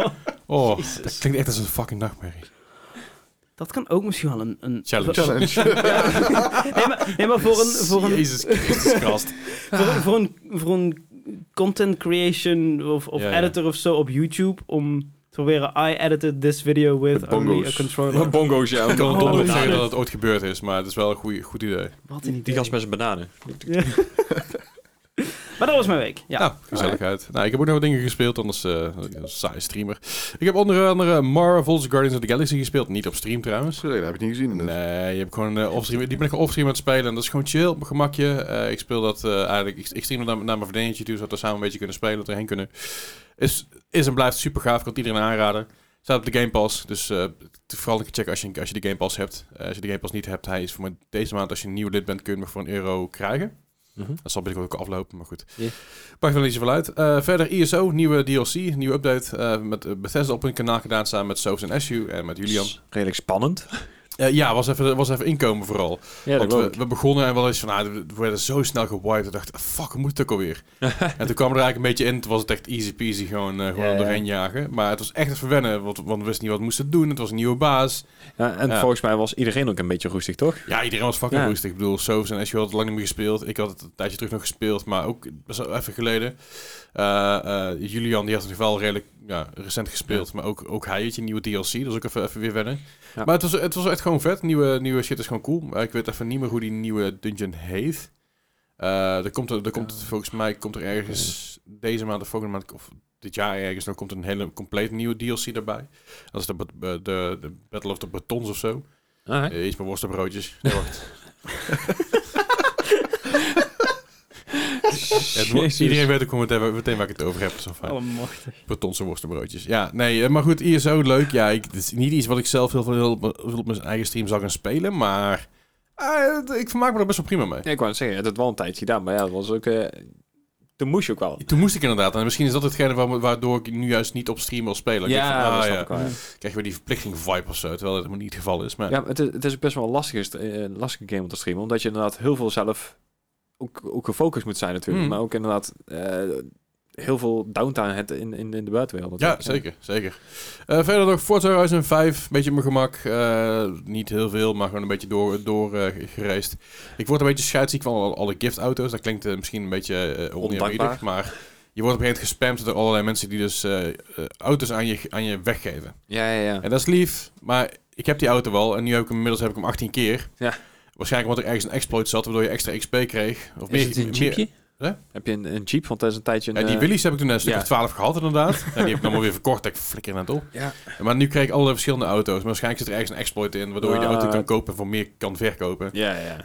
Oh, Oh, Jezus. dat klinkt echt als een fucking nachtmerrie. dat kan ook misschien wel een... een Challenge. Challenge. Nee, maar, nee, maar voor een, voor een, Jezus Christus Christ. voor een, voor een, voor een content creation of, of Ja, ja. editor of zo op YouTube om te proberen I edited this video with Met only a bongo's. controller. bongo's, ja. Ik kan het donder Oh, zeggen shit. dat het ooit gebeurd is, maar het is wel een goeie, goed idee. Wat een idee. Die gast met zijn bananen. Ja. maar dat was mijn week, ja. Nou, gezelligheid. Nou, ik heb ook nog wat dingen gespeeld, anders eh, een saaie streamer. Ik heb onder andere Marvel's Guardians of the Galaxy gespeeld. Niet op stream trouwens. Sorry, dat heb ik niet gezien. inderdaad. Nee, je hebt gewoon eh offstream. Die ben ik gewoon offstream aan het spelen. En dat is gewoon chill, op mijn gemakje. Eh, ik speel dat eh, eigenlijk. Ik, ik stream dat naar, naar mijn vriendinnetje toe, zodat we samen een beetje kunnen spelen. Dat we heen kunnen. Is, is en blijft super gaaf. Ik kan het iedereen aanraden. Staat op de Game Pass. Dus eh, vooral een keer checken als je, als je de Game Pass hebt. Eh, als je de Game Pass niet hebt, hij is voor mij deze maand. Als je een nieuw lid bent, kun je hem voor een euro krijgen. Mhm. Dat zal binnenkort ook aflopen, maar goed. Ja. Maakt wel niet zoveel uit. Eh, verder ISO, nieuwe DLC, nieuwe update. eh, met eh, Bethesda op hun kanaal gedaan samen met Soaps en Ashu en met Julian. Redelijk spannend. Eh, ja, was even, was even inkomen vooral. Ja, Want we, we begonnen en wel eens van, ah, we werden zo snel gewiped. Ik dacht, fuck, hoe moet het ook alweer? en toen kwam er eigenlijk een beetje in. Toen was het echt easy peasy, gewoon, eh, gewoon Ja, ja. doorheen jagen. Maar het was echt het verwennen, want, want we wisten niet wat we moesten doen. Het was een nieuwe baas. Ja, en Ja. volgens mij was iedereen ook een beetje roestig, toch? Ja, iedereen was fucking Ja. roestig. Ik bedoel, Soos en Ashu hadden het lang niet meer gespeeld. Ik had het een tijdje terug nog gespeeld, maar ook best wel even geleden. Eh, eh, Julian, die had het wel redelijk ja, recent gespeeld. Maar ook, ook hij had je nieuwe DLC, dus ook even, even weer wennen. Ja. Maar het was, het was echt gewoon vet. Nieuwe, nieuwe shit is gewoon cool. Maar ik weet even niet meer hoe die nieuwe dungeon heet. Eh er komt, er, er komt, volgens mij komt er ergens deze maand of volgende maand... Of, dit jaar ergens nog komt een hele compleet nieuwe DLC daarbij. Dat is de, bat- de, de Battle of the Batons of zo. Alright. Eh, Iets met worst en broodjes. Nee, wacht. Het wo- Jezus. Oh. iedereen weet ook gewoon meteen, waar- meteen waar ik het over heb. Dus fijn. Allemachtig. Bretonse worstenbroodjes. Ja, nee, eh, maar goed, ISO, leuk. Ja, ik, het is niet iets wat ik zelf heel veel heel op, mijn- op mijn eigen stream zou gaan spelen, maar eh, het- ik vermaak me er best wel prima mee. Ja, ik wou het zeggen, het had wel een tijdje gedaan, maar ja, dat was ook... eh, Toen moest je ook wel. Toen moest ik inderdaad. En misschien is dat hetgene waar- waardoor ik nu juist niet op stream wil spelen. Ik denk van, ah, dat snap ja. ik wel, ja. krijg je weer die verplichting vibe of zo. Terwijl dat helemaal niet het geval is. Maar Ja, maar het is, het is ook best wel een lastige, st- eh, een lastige game om te streamen. Omdat je inderdaad heel veel zelf ook, ook gefocust moet zijn natuurlijk. Mm. Maar ook inderdaad eh, heel veel downtime hebt in, in, in de buitenwereld. Ja, natuurlijk. zeker, zeker. Eh, verder nog Forza Horizon 5, een beetje op mijn gemak. Eh, niet heel veel, maar gewoon een beetje door, door eh, gereisd. Ik word een beetje scheidsziek van alle, alle giftauto's. Dat klinkt eh, misschien een beetje eh oneerbiedig, Ondankbaar. maar je wordt op een gegeven moment gespamd door allerlei mensen die dus eh, eh, auto's aan je, aan je weggeven. Ja, ja, ja. En dat is lief, maar ik heb die auto wel en nu heb ik hem inmiddels heb ik hem 18 keer. Ja. Waarschijnlijk omdat er ergens een exploit zat, waardoor je extra XP kreeg. Of Is het een meer- jeepje? Hè? Heb je een, een jeep? Want dat is een tijdje een... Ja, die eh, Willys heb ik toen een stuk ja. of 12 gehad inderdaad. En die heb ik dan maar weer verkocht. Dat ik flikker net op. Ja. Maar nu krijg ik allerlei verschillende auto's. Maar waarschijnlijk zit er ergens een exploit in, waardoor je de Ah. auto kan kopen en voor meer kan verkopen. Ja, ja.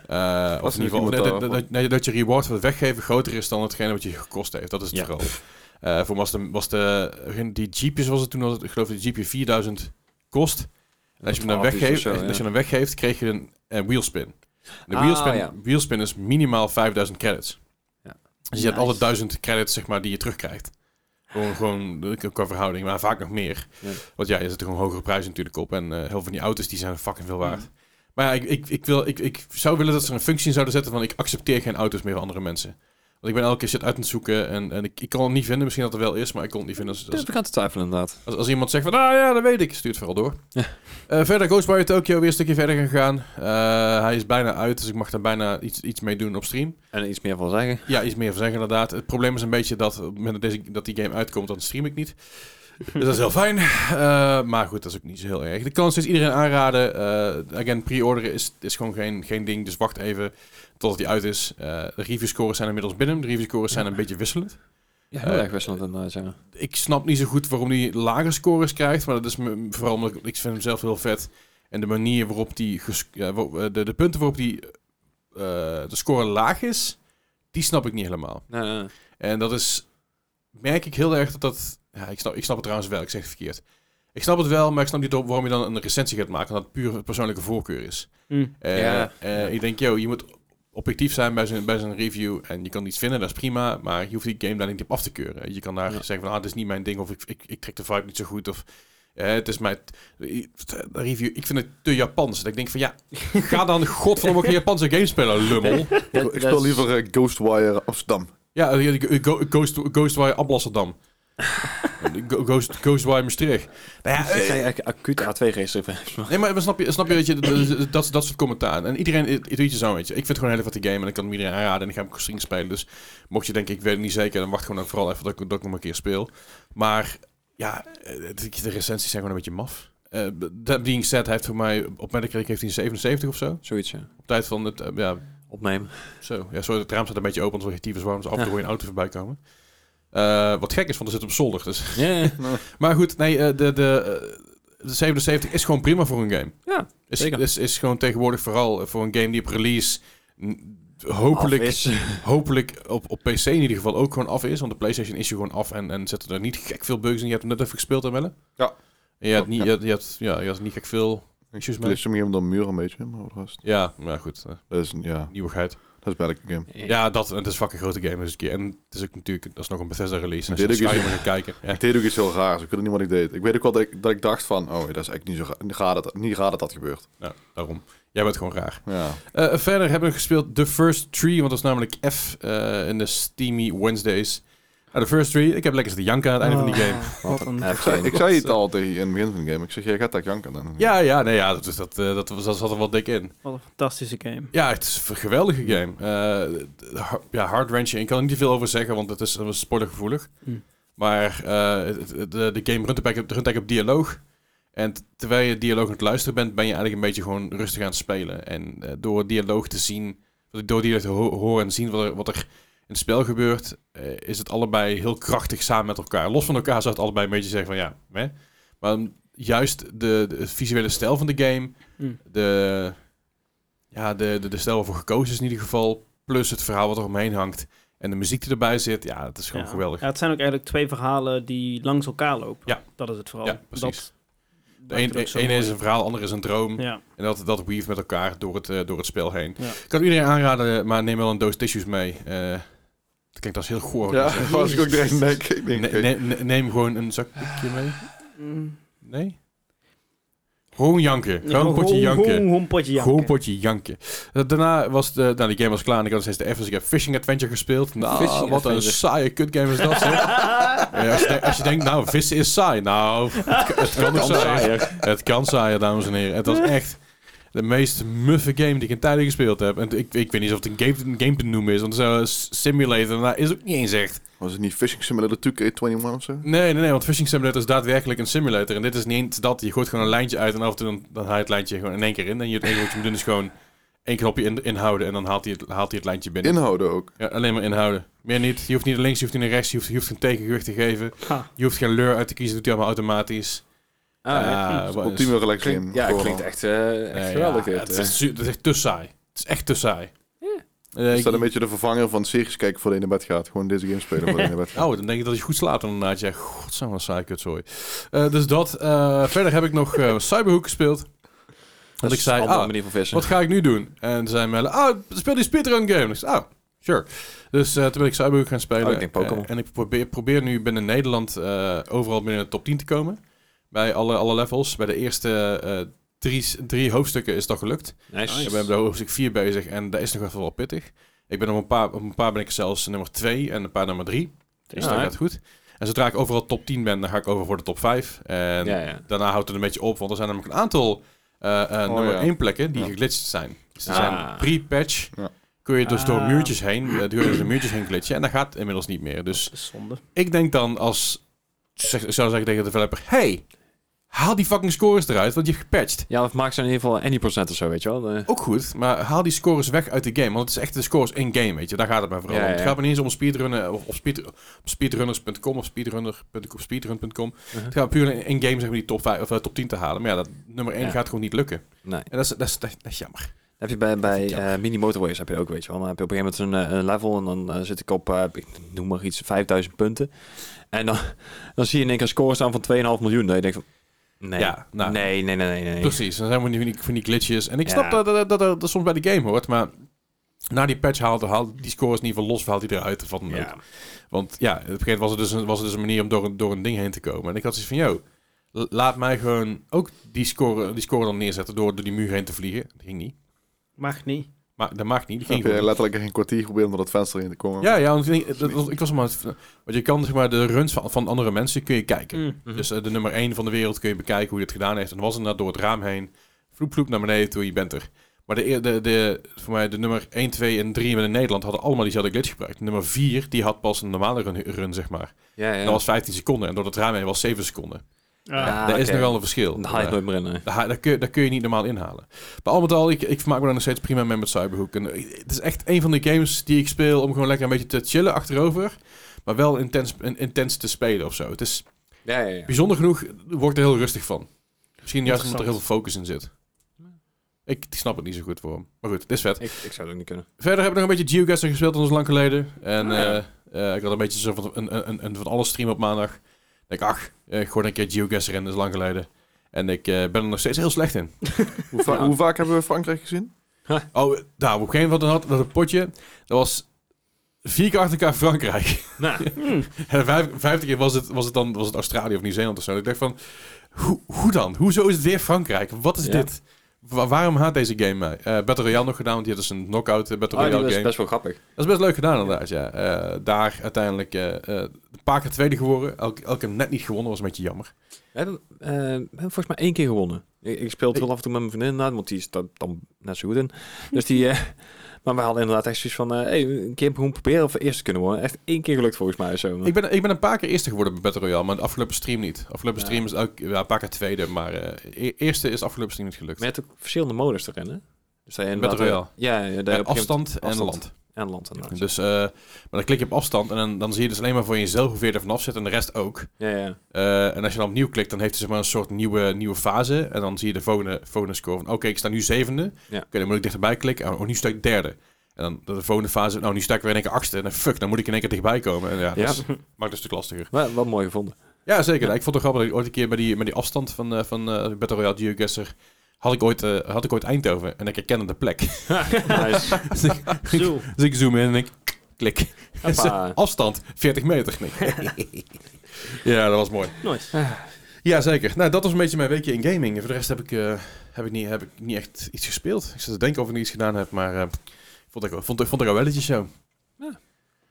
Eh, of in niet ieder geval iemand dat, dat, daarvoor. dat- dat- dat je reward voor het weggeven groter is dan hetgene wat je gekost heeft. Dat is het Ja. vooral. Eh, voor was de, was de, die Jeepjes was het toen, dat het, ik geloof dat de Jeepje 4000 kost. En als je, hem dan Twaalf is of weggeeft, zo, als, ja. je hem weggeeft, kreeg je een, eh, wheelspin. En de Ah, wheelspin, ja. wheelspin is minimaal 5000 credits. Ja. Dus je hebt Nice. altijd 1000 credits zeg maar, die je terugkrijgt. Gewoon, gewoon eh, qua verhouding, maar vaak nog meer. Ja. Want ja, je zit er gewoon hogere prijzen natuurlijk op. En eh, heel veel van die auto's die zijn fucking veel waard. Maar ja, ik, ik, ik, wil, ik, ik zou willen dat ze er een functie in zouden zetten van ik accepteer geen auto's meer van andere mensen. Want ik ben elke keer shit uit aan het zoeken en, en ik, ik kon hem niet vinden. Misschien dat er wel is, maar ik kon het niet vinden. Als, Dat is als, bekend te twijfelen inderdaad. als, als iemand zegt van, ah ja, dat weet ik, stuurt vooral door. Ja. Eh, verder, Ghostwire Tokyo weer een stukje verder gegaan. Eh, hij is bijna uit, dus ik mag daar bijna iets, iets mee doen op stream. En er iets meer van zeggen. Ja, iets meer van zeggen inderdaad. Het probleem is een beetje dat op het moment dat, deze, dat die game uitkomt, dan stream ik niet. Dus dat is heel fijn. Eh, maar goed, dat is ook niet zo heel erg. Ik kan het steeds iedereen aanraden. Eh again, pre-orderen is, is gewoon geen, geen ding. Dus wacht even totdat die uit is. Eh, de review scores zijn inmiddels binnen. De review scores zijn een beetje wisselend. Ja, Eh, heel erg wisselend inderdaad, ja. Ik snap niet zo goed waarom die lage scores krijgt. Maar dat is me- vooral omdat ik, ik vind hem zelf heel vet. En de manier waarop die... ges- ja, wa- de, de punten waarop die, eh, de score laag is, die snap ik niet helemaal. Nee, nee, nee. En dat is, merk ik heel erg dat dat, ja, ik snap, ik snap het trouwens wel, ik zeg het verkeerd. Ik snap het wel, maar ik snap niet waarom je dan een recensie gaat maken, omdat het puur persoonlijke voorkeur is. Mm. Eh, Ja. eh, Ik denk, yo, je moet objectief zijn bij zijn, bij zijn review en je kan iets vinden, dat is prima, maar je hoeft die game daar niet op af te keuren. Je kan daar Ja. zeggen van, ah, dit is niet mijn ding, of ik, ik, ik trek de vibe niet zo goed, of eh, het is mijn de review. Ik vind het te Japans. Dat ik denk van, ja, ga dan godverdomme ook een Japanse game spelen, lummel. Ik, ik speel liever eh, Ghostwire Amsterdam. Ja, eh, eh, Go- Ghost, Ghostwire Amsterdam. Go- Ghost, Ghostwire Maastricht. Nou ja, Ik eh, ga je eigenlijk acuut A2-geest nee, maar snap je, snap je, weet je dat, dat, dat soort commentaar. En iedereen, iedereen zo, weet je. Ik vind het gewoon een hele vette game en ik kan hem iedereen aanraden en ik ga hem misschien spelen. Dus mocht je denken, ik weet het niet zeker, dan wacht gewoon ook vooral even dat ik, dat ik hem een keer speel. Maar ja, eh, de de recensies zijn gewoon een beetje maf. Eh, that being said, hij heeft voor mij op Metacritic heeft hij een 77 of zo. Zoiets, ja. Op tijd van het, eh, ja, Opnemen. zo. Ja, sorry, het raam staat een beetje open, want het is warm. Dus af en toe hoor je een auto voorbij komen. Eh, wat gek is, want er zit op zolder. Dus. Ja, Maar goed, nee, eh, de, de, eh, de 77 is gewoon prima voor een game. ja. Is, Zeker. is, is gewoon tegenwoordig vooral voor een game die op release n- hopelijk, Af is. hopelijk op, op PC in ieder geval ook gewoon af is. Want de PlayStation is je gewoon af en, en zetten er niet gek veel bugs in. Je hebt hem net even gespeeld, hè, Melle? Ja. En je had, niet, Ja. je, had, je, had, ja, je had niet gek veel... Ik Excuse speel me. sommige game door een muur een beetje, maar voor de rest. Ja, maar goed, eh, Dat is, een- ja, nieuwigheid. dat is bij elke game. Ja, dat, en het is fucking grote game. Dus een keer. En het is ook natuurlijk, dat is nog een Bethesda release. En als je Dit naar ook is- Skyrim gaat kijken. Ja. Ik deed ook iets heel raars. Ik weet ook niet wat ik deed. Ik weet ook wel dat ik, dat ik dacht van, oh, dat is eigenlijk niet zo ga- raar dat niet raar dat, dat gebeurt. Nou, daarom. Jij bent gewoon raar. Ja. Eh, verder hebben we gespeeld The First Tree, want dat is namelijk F eh, in de Steamy Wednesdays. Nou, The First Tree, ik heb lekker zitten janken aan het einde van die game. Oh, Wat een... F Ik zei, game. ik zei het al tegen je in het begin van de game. Ik zeg, jij gaat dat janken dan. Ja, ja, nee, ja, dat, is- dat, eh, dat, was- dat zat er wel dik in. Wat een fantastische game. Ja, het is een geweldige game. Eh, d- ha- ja, hard wrenching. Ik kan er niet veel over zeggen, want het is, dat was spoilergevoelig. Hm. Maar eh, het- het- de, de game runt op, runt eigenlijk op dialoog. En t- terwijl je dialoog aan het luisteren bent, ben je eigenlijk een beetje gewoon rustig aan het spelen. En eh, door dialoog te zien, door dialoog te ho- horen en zien wat er, wat er in het spel gebeurt, eh, is het allebei heel krachtig samen met elkaar. Los van elkaar zou het allebei een beetje zeggen van ja, hè? Maar mm, juist de, de visuele stijl van de game, Mm. de, ja, de, de, de stijl waarvoor gekozen is in ieder geval, plus het verhaal wat er omheen hangt en de muziek die erbij zit, ja, het is gewoon Ja. geweldig. Ja, het zijn ook eigenlijk twee verhalen die langs elkaar lopen. Ja. Dat is het vooral. Ja, precies. Dat De een, maakt het ook zo een is mooi. een verhaal, de ander is een droom. Ja. En dat, dat weave met elkaar door het, eh, door het spel heen. Ja. Ik kan iedereen aanraden, maar neem wel een doos tissues mee. Eh, Kijk, dat is heel goor. Ja, Dus, was ik ook direct denk. Ik eh, denk, ne- oké. ne- ne- neem gewoon een zakje mee. Nee? Gewoon janken. Gewoon een potje janken. Gewoon, gewoon een potje janken. Gewoon potje janken. Eh, Daarna was de, nou, die game was klaar en ik had steeds de F, ik heb Fishing Adventure gespeeld. Nou, Fishing wat Adventure. een saaie kutgame is dat, zeg. Eh, als, je, de- als je denkt, nou, vissen is saai. Nou, het, kan- het kan ook saai. Het kan saaier, dames en heren. Het was echt de meest muffe game die ik in tijden gespeeld heb. En ik, ik weet niet of het een game, een game te noemen is, want zo'n simulator daarna is ook niet eens echt. Was het niet Fishing Simulator 2K21 of zo? Nee, nee, nee, want Fishing Simulator is daadwerkelijk een simulator. En dit is niet eens dat. Je gooit gewoon een lijntje uit en af en toe dan, dan haal je het lijntje gewoon in één keer in. En je het enige wat je moet doen is gewoon één knopje in, inhouden en dan haalt hij het, haalt hij het lijntje binnen. Inhouden ook. Ja, alleen maar inhouden. Meer niet. Je hoeft niet naar links, je hoeft niet naar rechts, je hoeft, je hoeft geen tegengewicht te geven. Ha. Je hoeft geen leur uit te kiezen, doet hij allemaal automatisch. Ah, wat is- Ultieme relax game. Klinkt, ja, Gewoon. klinkt echt, eh, echt Nee, ja, geweldig dit. het, is, su- het is echt te saai. Het is echt te saai. Eh, Is ik- dat een beetje de vervanger van series kijken voor de in naar bed gaat? Gewoon deze game spelen voor de in naar bed gaat. Oh, dan denk ik dat je goed slaapt inderdaad. Ja, godsamme saai kutzooi. Eh dus dat. eh, verder heb ik nog eh, Cyberhook gespeeld. Want ik zei, een andere ah, manier van vissen. Wat ga ik nu doen? En toen zei Melle, ah, speel die speedrun game. Ik zei, ah, sure. Dus eh, toen ben ik Cyberhook gaan spelen. Oh, ik denk Pokémon. Eh, en ik probeer, probeer nu binnen Nederland eh, overal binnen de top 10 te komen. Bij alle, alle levels. Bij de eerste eh, drie, drie hoofdstukken is dat gelukt. nice. Ik ben bij hoofdstuk 4 bezig en daar is nog even wel pittig. Ik ben op een paar, op een paar ben ik zelfs nummer 2 en een paar nummer 3. Dus dat Ah, Ja, gaat goed. En zodra ik overal top 10 ben, dan ga ik over voor de top 5. En ja, ja. daarna houdt het een beetje op, want er zijn namelijk een aantal eh, eh, Oh, nummer ja. 1 plekken die Ja. geglitcht zijn. Dus die Ah. zijn pre-patch. Ja. Kun je dus door Ah. muurtjes heen, eh, door de muurtjes heen glitchen. En dat gaat inmiddels niet meer. Dus Dat is zonde. ik denk dan als, zeg, ik zou zeggen tegen de developer, hey, haal die fucking scores eruit, want je hebt gepatcht. ja, of maak ze in ieder geval any procent of zo, weet je wel. Eh, Ook goed, maar haal die scores weg uit de game. Want het is echt de scores in-game, weet je. Daar gaat het mij vooral Ja, om. ja. Het gaat me niet eens om speedrunnen of, of speed, op speedrunners.com of speedrunner.com, speedrun.com. Uh-huh. Het gaat puur in- in-game zeg maar, die top, 5, of, eh, top 10 te halen. Maar ja, dat, nummer 1 Ja. gaat gewoon niet lukken. nee. En dat is, dat is, dat is jammer. Heb je bij, bij Ja. eh, mini motorways heb je ook, weet je wel. Dan heb je op een gegeven moment een, eh, een level en dan eh, zit ik op, eh, ik noem maar iets, 5000 punten. En dan, dan zie je in één keer een score staan van 2,5 miljoen. Dan je denkt van, nee, Ja, nou. nee, nee, nee, nee. nee. Precies, dan zijn we niet van die, van die glitches. En ik Ja. snap dat dat, dat, dat dat soms bij de game hoort, maar... Na die patch haalt, haalt die scores in ieder geval los, of haalt hij eruit. Van, Ja. Want ja, op een gegeven moment was het dus een, was het dus een manier om door een, door een ding heen te komen. En ik had zoiets van, yo, la- laat mij gewoon ook die score, die score dan neerzetten door, door die muur heen te vliegen. Dat ging niet. Mag niet. Maar dat maakt niet. Die ging Heb je gewoon. letterlijk geen kwartier geprobeerd om door dat venster in te komen? Ja, ja, want ik, denk- dat was- ik was maar... Want je kan zeg maar de runs van, van andere mensen kun je kijken. Mm. Mhm. Dus eh, de nummer 1 van de wereld kun je bekijken hoe je het gedaan heeft. En dan was inderdaad door het raam heen. Vloep, vloep naar beneden toe, je bent er. Maar de, eer- de, de, voor mij de nummer 1, 2 en 3 in Nederland hadden allemaal diezelfde glitch gebruikt. Nummer 4, die had pas een normale run, run, zeg maar. ja, ja. Dat was 15 seconden en door het raam heen was 7 seconden. Ah, Daar is oké. nog wel een verschil. Dan haal je het Maar nooit meer in. eh. daar, daar kun je, daar kun je niet normaal inhalen. Maar al met al, ik, ik vermaak me daar nog steeds prima mee met Cyberhook. En eh, het is echt een van de games die ik speel om gewoon lekker een beetje te chillen achterover. Maar wel intens, in- intens te spelen of zo. Het is Ja, ja, ja. bijzonder genoeg, word ik er heel rustig van. Misschien juist omdat er heel Interessant. veel focus in zit. Ik, ik snap het niet zo goed waarom. Maar goed, het is vet. Ik, ik zou het ook niet kunnen. Verder heb ik nog een beetje Geocaster gespeeld, dat was lang geleden. En Ah, ja. eh, eh, ik had een beetje zo van een, een, een, een van alles stream op maandag. denk ik, ach, eh, gewoon een keer Geocaster in, dat is lang geleden. En ik eh, ben er nog steeds heel slecht in. Hoe, va- Ja. hoe vaak hebben we Frankrijk gezien? Oh, eh, nou, op een gegeven moment had dat een potje. Dat was vier keer achter elkaar Frankrijk. Nou, En de vijf, vijfde keer was het, was het dan was het Australië of Nieuw-Zeeland of zo. Ik dacht van, hoe, hoe dan? Hoezo is het weer Frankrijk? Wat is Ja. dit? Wa- waarom haat deze game mij? Eh, Battle Royale nog gedaan, want die had dus een knockout eh, Battle oh, Royale dat is game. best wel grappig. Dat is best leuk gedaan inderdaad, ja. Eh, daar uiteindelijk eh, eh, een paar keer tweede geworden. Elke, elke keer net niet gewonnen, was een beetje jammer. We hebben, eh, we hebben volgens mij één keer gewonnen. Ik, ik speel het heel af en toe met mijn vriendin inderdaad, want die is daar dan net zo goed in. Dus die, eh, maar we hadden inderdaad echt zoiets van, eh, hey, een keer gewoon proberen of we eerst te kunnen worden. Echt één keer gelukt volgens mij. Zo. Ik ben, ik ben een paar keer eerste geworden bij Battle Royale, maar de afgelopen stream niet. Afgelopen Ja. stream is elke, ja, een paar keer tweede, maar eh, e- eerste is afgelopen stream niet gelukt. Maar je hebt ook verschillende modus te rennen. Dus dat je inderdaad- Battle Royale. Ja, ja, dat je op een Eh, gegeven moment- afstand en afstand. land. en land inderdaad. Dus, eh, maar dan klik je op afstand en dan, dan zie je dus alleen maar voor jezelf hoeveel je er vanaf zit en de rest ook. Ja, ja. Eh, en als je dan opnieuw klikt, dan heeft hij zeg maar een soort nieuwe, nieuwe fase. En dan zie je de volgende, volgende score van, oké, ik sta nu zevende. Ja. Oké, dan moet ik dichterbij klikken. Oh, nu sta ik derde. En dan de volgende fase, nou, nu sta ik weer in één keer achtste. En dan fuck, dan moet ik in één keer dichtbij komen. En ja, Ja. dat is- maakt het een stuk lastiger. Wel, wel mooi gevonden. Ja, zeker. Ik vond het grappig dat ik ooit een keer bij die, met die afstand van, eh, van eh, Battle Royale Geoguessr... Had ik, ooit, eh, had ik ooit Eindhoven en ik herkende de plek. nice. dus, ik, Zo. dus ik zoom in en ik... Klik. Hoppa. Afstand, 40 meter. Nee. ja, dat was mooi. Nice. Ja, zeker. Nou, dat was een beetje mijn weekje in gaming. En Voor de rest heb ik, eh, heb ik, niet, heb ik niet echt iets gespeeld. Ik zat te denken of ik niet iets gedaan heb, maar eh, vond, ik, vond, ik- vond ik al wel iets zo.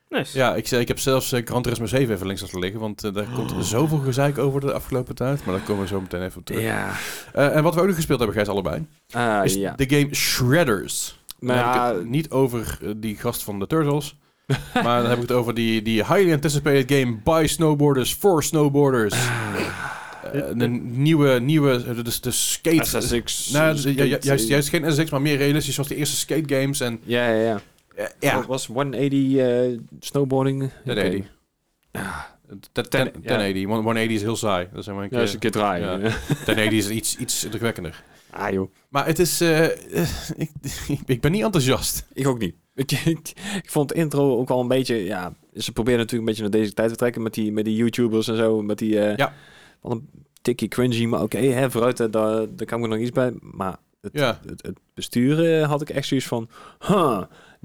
Nice. Ja, ik, zei- ik heb zelfs eh, Gran Turismo 7 even links laten liggen, want eh, daar Oh. komt zoveel gezeik over de afgelopen tijd. Maar daar komen we zo meteen even op terug. Ja. Eh, en wat we ook nog gespeeld hebben, Gijs, allebei, Ah, is ja. de game Shredders. Dan heb ik Maar het niet over eh, die gast van de Turtles. maar dan heb ik het over die, die highly anticipated game by snowboarders for snowboarders. Ah. Eh, een nieuwe, nieuwe, eh, dus de skate... SSX. nou, ju- ju- juist, juist geen SSX, maar meer realistisch zoals de eerste skate games. En, Ja, ja, ja. eh, Dat was 180 eh, snowboarding. 180. Ten- ten- 1080. 180 is heel saai. Dat is helemaal een Ja, eens een keer. keer draaien. Ja. 1080 is iets, iets indrukwekkender. ah, joh. Maar het is... eh, ik, ik ben niet enthousiast. Ik ook niet. Ik, ik, ik vond het intro ook al een beetje, ja, ze proberen natuurlijk een beetje naar deze tijd te trekken met die, met die YouTubers en zo, met die, eh, Ja. wat een tikkie cringy, maar oké, hè, vooruit, hè, daar, daar kan ik nog iets bij, maar het, Ja. het, het besturen had ik echt zoiets van, huh,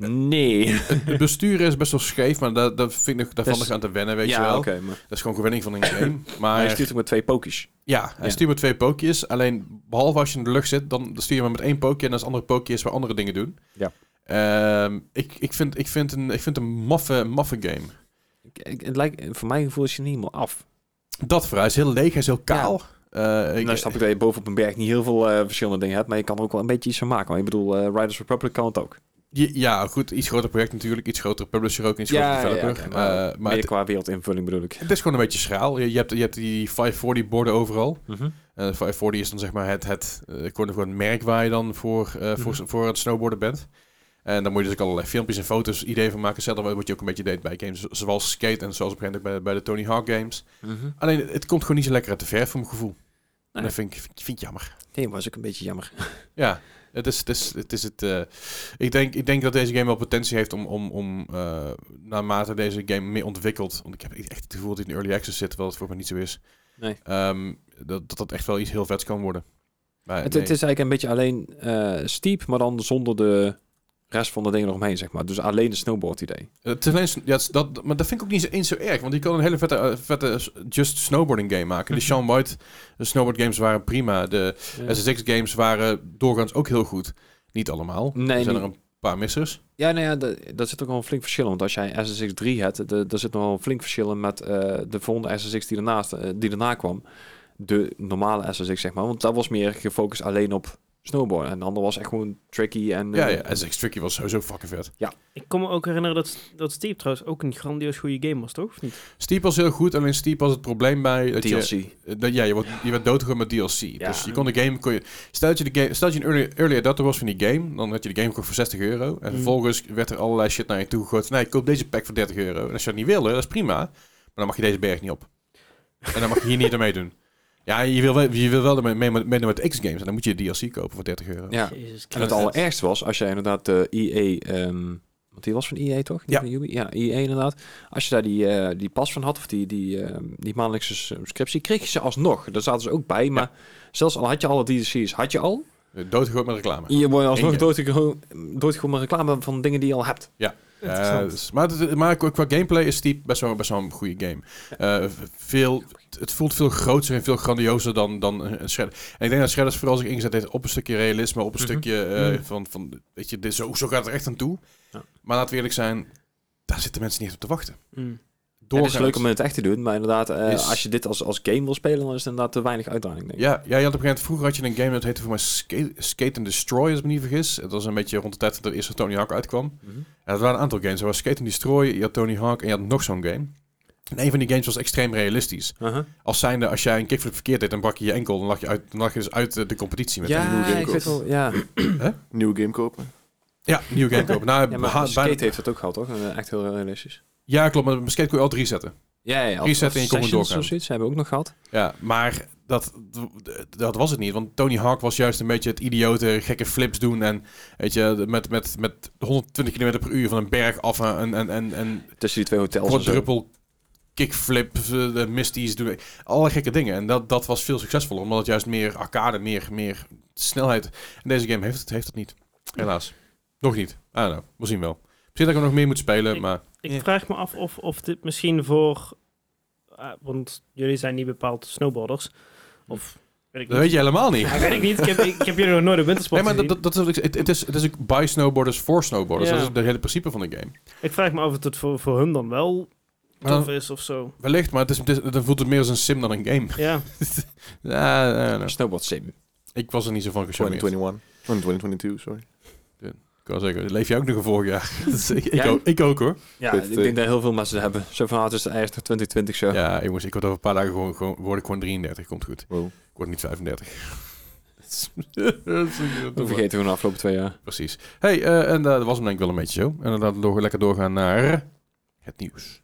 nee. Het besturen is best wel scheef, maar daar, daar vind ik nog, daar Dat valt is- nog aan te wennen, weet Dus- ja, je wel. oké, maar Dat is gewoon gewenning van een game. Maar hij stuurt ook met twee pokies. ja, hij Ja. stuurt met twee pookjes. Alleen, behalve als je in de lucht zit, dan stuur je maar met één pookje. En dat is andere pookjes waar andere dingen doen. Ja. Ehm, ik, ik, vind, ik, vind een, ik vind een maffe, maffe game. Ik, ik- het lijkt, voor mijn gevoel is je niet helemaal af. Dat vooruit is heel leeg, hij is heel kaal. Eh, Ik, ik- nou snap ik dat je bovenop een berg niet heel veel eh, verschillende dingen hebt, maar je kan er ook wel een beetje iets van maken. Maar ik bedoel, eh, Riders Republic kan het ook. je- ja, goed, iets groter project natuurlijk. Iets grotere publisher ook, iets grotere developer. oké, Eh, maar, maar meer het, qua wereldinvulling bedoel ik. het is gewoon een beetje schraal. Je, je, hebt, je hebt die 540-borden overal. Mhm. Eh, 540 is dan zeg maar het, het eh, gewoon gewoon het merk waar je dan voor, eh, voor, voor het snowboarden bent. En dan moet je dus ook allerlei filmpjes en foto's, ideeën van maken. Zelf wat je ook een beetje deed bij games zo- zoals Skate en zoals op een gegeven moment ook bij, bij de Tony Hawk games. Alleen het komt gewoon niet zo lekker uit de verf voor mijn gevoel. En Nee. dat vind ik, vind, ik- vind ik jammer. Nee, was ook een beetje jammer. Ja, het is het. Is, het, is het eh, ik, denk, ik denk dat deze game wel potentie heeft om, om, om eh, naarmate deze game meer ontwikkelt. Want ik heb echt het gevoel dat hij in early access zit, terwijl het voor mij niet zo is. Nee. Ehm, dat, dat dat echt wel iets heel vets kan worden. Maar het, nee. het is eigenlijk een beetje alleen eh, steep, maar dan zonder de rest van de dingen eromheen, zeg maar. Dus alleen het snowboard idee. Het is alleen, Eh, ja, het is dat, maar dat vind ik ook niet zo, eens zo erg. Want je kan een hele vette, eh, vette s- just snowboarding game maken. De Sean White snowboard games waren prima. De SSX games waren doorgaans ook heel goed. Niet allemaal. Nee, er zijn niet. er een paar missers. Ja, nou ja, da- daar zit ook wel een flink verschil in. Want als jij SSX 3 hebt, da- daar zit nog wel een flink verschil in met eh, de volgende SSX die, ernaast, eh, die daarna kwam. De normale SSX, zeg maar. Want dat was meer gefocust alleen op snowboarden. En de ander was echt gewoon tricky en... ja, eh, ja, SSX Tricky was sowieso fucking vet. Ik kon me ook herinneren dat, dat Steve trouwens ook een grandioos goede game was, toch? Of niet? Steep was heel goed. Alleen Steep was het probleem bij... Dat DLC. Je, dat, ja, je, wordt, je werd doodgegooid met DLC. Ja. Dus je kon de game... Kon je, stel, dat je de game stel dat je een early, early adapter was van die game. Dan had je de game gekocht voor 60 euro. En Mm. vervolgens werd er allerlei shit naar je toe gegooid. Nee, ik koop deze pack voor 30 euro. En als je dat niet wilde, dat is prima. Maar dan mag je deze berg niet op. En dan mag je hier niet aan meedoen. Ja, je wil wel, je wil wel ermee- mee- meedoen met X-games. En dan moet je DLC kopen voor 30 euro. Ja. Jezus En het Eh, Christus. allerergste was, als jij inderdaad de EA... ehm want die was van EA, toch? Niet Ja. van Ubi? Ja, EA inderdaad. Als je daar die, eh, die pas van had, of die, die, ehm, die maandelijkse subscriptie, kreeg je ze alsnog. Daar zaten ze ook bij, maar zelfs al had je alle DLC's, had je al. Doodgegooid met reclame. Je wordt alsnog Eén doodgego- doodgegoten met reclame van dingen die je al hebt. Ja, dus- maar, het- maar qua qua gameplay is Steep best wel, best wel een goede game. Eh, veel, het voelt veel groter en veel grandiozer dan, dan een Shredder. En ik denk dat Shredders vooral zich ingezet heeft op een stukje realisme, op een Mhm. stukje eh, van, van, weet je, dit, zo, zo gaat het er echt aan toe. Ja. Maar laten we eerlijk zijn, daar zitten mensen niet echt op te wachten. Mm. Het Doorgaans. is leuk om in het echt te doen, maar inderdaad, eh, Is- als je dit als, als game wil spelen, dan is het inderdaad te weinig uitdaging, denk ik. Ja, ja, je had op een gegeven moment, vroeger had je een game dat heette voor mij Skate, Skate and Destroy, als ik me niet vergis. Het was een beetje rond de tijd dat de eerste Tony Hawk uitkwam. Mhm. Ja, er waren een aantal games. Er was Skate and Destroy, je had Tony Hawk en je had nog zo'n game. En een van die games was extreem realistisch. Uh-huh. Als zijnde, als jij een kickflip verkeerd deed, dan brak je je enkel. Dan lag je, uit, dan lag je dus uit eh, de competitie met een nieuwe Ja, game ik kopen. weet wel, ja. Nieuwe game kopen. Ja, nieuwe game kopen. Nou, ja, beha- maar bijna- Skate heeft dat ook gehad, toch? Eh, Echt heel realistisch. ja, klopt. Maar met skate kon je altijd resetten. Ja, ja. of- Reset of en je kon weer Sessions doorgaan. of zoiets hebben we ook nog gehad. Ja, maar dat, dat was het niet. Want Tony Hawk was juist een beetje het idiote, gekke flips doen. En weet je, met, met, met 120 km per uur van een berg af en, en, en, en Tussen die twee hotels en zo. quadruple kickflip, eh, de misties, doen. alle gekke dingen. En dat, dat was veel succesvoller, omdat het juist meer arcade, meer, meer snelheid. En deze game heeft het, heeft het niet, helaas. Nog niet. I don't know. We zien wel. Misschien dat ik hem nog meer moet spelen, Ik- maar... Ik Ja. vraag me af of, of dit misschien voor... eh, want jullie zijn niet bepaald snowboarders. Of weet Dat ik niet. weet je helemaal niet. Ja, weet ik niet. Ik heb, ik, heb jullie nog nooit een Nee, wintersport maar dat, gezien. dat, dat is wat ik- het, het is, het is ook by snowboarders voor snowboarders. Ja. Dat is het hele principe van de game. Ik vraag me af of het voor, voor hun dan wel Maar dan- tof is of zo. wellicht, maar het is, het is- dan voelt het meer als een sim dan een game. Ja, Ja, I don't know. Snowboard sim. Ik was er niet zo van gecharmeerd. 2021. 2022, Oh, sorry. Ik wou zeggen, leef jij ook nog een vorig jaar? Dus ik, ik, Jij? ook, ik ook hoor. Ja, Dit, ik eh, denk dat heel veel mensen dat hebben. Zo van, ah, het is de eerste 2020 show. Ja, jongens, ik word over een paar dagen gewoon, gewoon, word ik gewoon 33. Komt goed. Wow. Ik word niet 35. We vergeten gewoon de afgelopen twee jaar. Precies. hey, eh, en eh, dat was hem denk ik wel een beetje zo. En dan laten we door, lekker doorgaan naar het nieuws.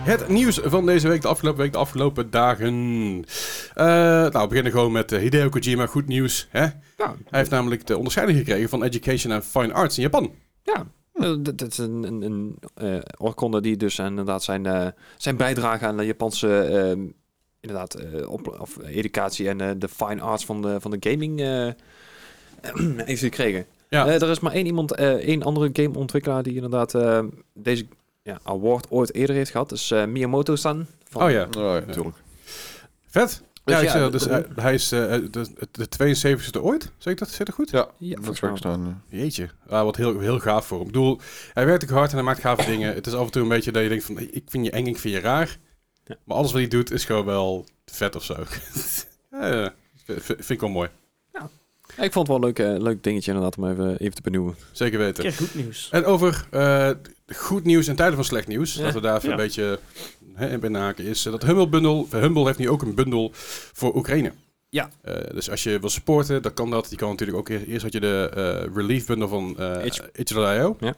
Het nieuws van deze week, de afgelopen week, de afgelopen dagen. Eh, nou, we beginnen gewoon met eh, Hideo Kojima. Goed nieuws, hè? Hij heeft namelijk de onderscheiding gekregen van Education and Fine Arts in Japan. Ja, eh, dat dat is een, een, een eh, oorkonde die dus inderdaad zijn, eh, zijn bijdrage aan de Japanse ehm, inderdaad, eh, op, of educatie en eh, de fine arts van de, van de gaming eh, heeft gekregen. Ja. Eh, er is maar één iemand, eh, één andere gameontwikkelaar die inderdaad eh, deze ja, award ooit eerder heeft gehad. Dus eh, Miyamoto-san. van- Oh ja, Oh, ja, natuurlijk. vet. Dus ja, ik ja, zei, al, de- dus, de- eh, hij is eh, de, de 72e ooit. Zeg ik dat? Zit dat goed? Ja, Ja, dat volgens zou ik mij. staan. eh. ja. Jeetje, ah, wat heel, heel gaaf voor hem. Ik bedoel, hij werkt ook hard en hij maakt gave dingen. Het is af en toe een beetje dat je denkt van, ik vind je eng, ik vind je raar. Ja. Maar alles wat hij doet is gewoon wel vet of zo. ja, ja. V- v- vind ik wel mooi. Ja, ik vond het wel een leuk, eh, leuk dingetje inderdaad om even, even te benoemen. Zeker weten. kijk, goed nieuws. En over eh, goed nieuws en tijden van slecht nieuws. Ja. Laten we daar even Ja. een beetje hè, in binnenhaken. Is eh, dat Humble Bundle. Humble heeft nu ook een bundel voor Oekraïne. Ja. Eh, dus als je wil supporten, dan kan dat. Je kan natuurlijk ook e- eerst had je de eh, relief bundle van eh Itch. Itch.io. Ja.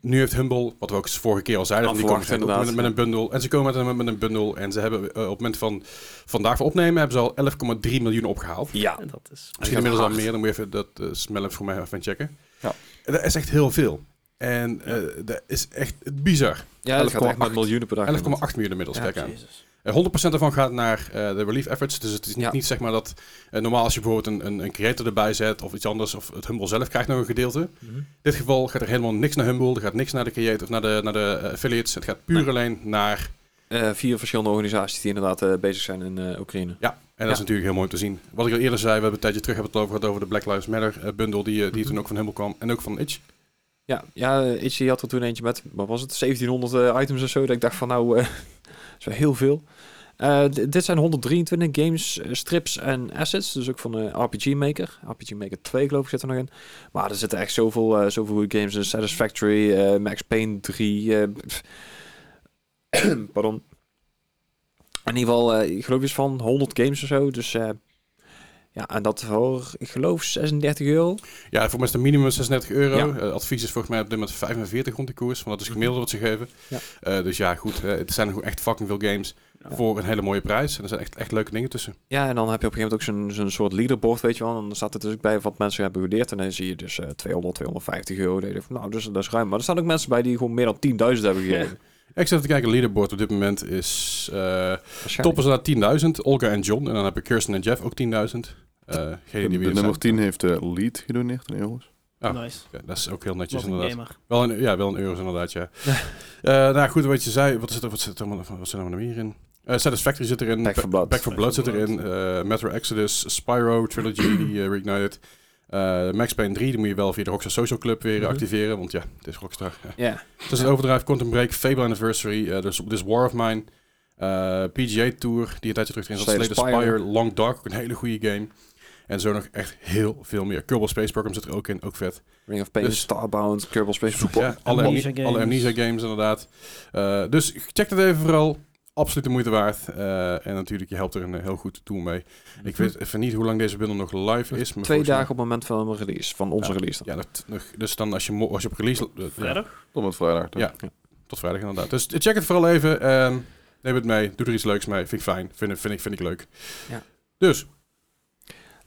Nu heeft Humble, wat we ook vorige keer al zeiden, van die Afwacht, komen met, een- met een bundel. En ze komen met een, met een bundel. En ze hebben eh, op het moment van vandaag van opnemen, hebben ze al 11,3 miljoen opgehaald. Ja. En dat is... Misschien Hij gaat inmiddels al hard. meer, dan moet je even dat eh, smell even voor mij even checken. Ja. Dat is echt heel veel. En eh, dat is echt bizar. 11,8 Ja, dat gaat echt met miljoenen per dag. miljoen inmiddels, Ja, kijk aan. Jezus. Eh, 100% daarvan gaat naar eh, de relief efforts. Dus het is niet, Ja. niet zeg maar dat... eh, normaal als je bijvoorbeeld een, een, een creator erbij zet of iets anders... of het Humble zelf krijgt nog een gedeelte. Mhm. In dit geval gaat er helemaal niks naar Humble. Er gaat niks naar de creator of naar de, naar de eh, affiliates. Het gaat puur Nee. alleen naar... Eh, vier verschillende organisaties die inderdaad eh, bezig zijn in eh, Oekraïne. Ja, en dat Ja. is natuurlijk heel mooi om te zien. Wat ik al eerder zei, we hebben een tijdje terug hebben het over gehad... over de Black Lives Matter eh, bundle die, eh, die Mhm. toen ook van Humble kwam. En ook van Itch. Ja, ja eh, Itchy had er toen eentje met, wat was het, 1700 eh, items of zo. Dat ik dacht van nou, eh dat is wel heel veel. Eh, d- dit zijn 123 games, eh, strips en assets. Dus ook van eh, RPG Maker. RPG Maker 2 geloof ik zit er nog in. Maar er zitten echt zoveel, eh, zoveel goede games in. Satisfactory, eh, Max Payne 3. eh, pff. pardon. In ieder geval, eh, ik geloof iets van 100 games of zo. Dus eh, ja, en dat voor, ik geloof 36 euro. Ja, voor mij is het minimum 36 euro. Ja. Eh, advies is volgens mij op dit moment 45 rond de koers. Want dat is het gemiddelde wat ze geven. Ja. Eh, dus ja, goed. eh, het zijn gewoon echt fucking veel games Ja. voor een hele mooie prijs. En er zijn echt, echt leuke dingen tussen. Ja, en dan heb je op een gegeven moment ook zo'n zo'n soort leaderboard, weet je wel. En dan staat er dus ook bij wat mensen hebben gewaardeerd. En dan zie je dus eh 200, 250 euro. Dan denk je van, nou, dus, dat is ruim. Maar er staan ook mensen bij die gewoon meer dan 10.000 hebben gegeven. Ik zat te kijken, leaderboard op dit moment is... eh Waarschijnlijk. toppen ze naar 10.000. Olga en John. En dan heb ik Kirsten en Jeff ook 10.000. Eh geen De, idee wie de dat nummer zijn. 10 heeft eh lead gedoneerd in euro's. Ja. Nice. Ja, dat is ook heel netjes Wat een inderdaad. gamer. Wel een, ja, wel een euro's inderdaad, ja. Ja. Eh, nou goed, wat je zei, wat zit er, wat zit er, allemaal- wat zit er allemaal nog meer in? Eh, Satisfactory zit erin. Back for Blood. Back for Blood zit erin. eh Metro Exodus, Spyro Trilogy, die eh, Reignited. Eh, Max Payne 3, die moet je wel via de Rockstar Social Club weer eh, Mhm. activeren, want ja, het is Rockstar. Ja. Ja. Tussen het Overdrive, Quantum Break, Fable Anniversary, eh, dus This War of Mine, eh, PGA Tour, die een tijdje terug erin zat, Slay Slay the the Spire, Spire, Long Dark, ook een hele goede game. En zo nog echt heel veel meer. Kerbal Space Program zit er ook in, ook vet. Ring of Pain, Dus- Starbound, Kerbal Space Ja, alle, Amnesia Amnesia alle games. Amnesia games inderdaad. Eh, dus check dat even vooral. Absoluut de moeite waard. Eh, en natuurlijk, je helpt er een eh, heel goed toe mee. Ik weet even niet hoe lang deze bundel nog live is. Maar Twee volgens mij- dagen op het moment van mijn release, van onze release. dan. Ja, dat, nog- dus dan als je, mo- als je op release... eh, ja, Verder? Tot met vrijdag. toch? Ja. tot vrijdag inderdaad. Dus check het vooral even. ehm, neem het mee. Doe er iets leuks mee. Vind ik fijn. Vind, ik- vind, ik, vind ik leuk. Ja. Dus,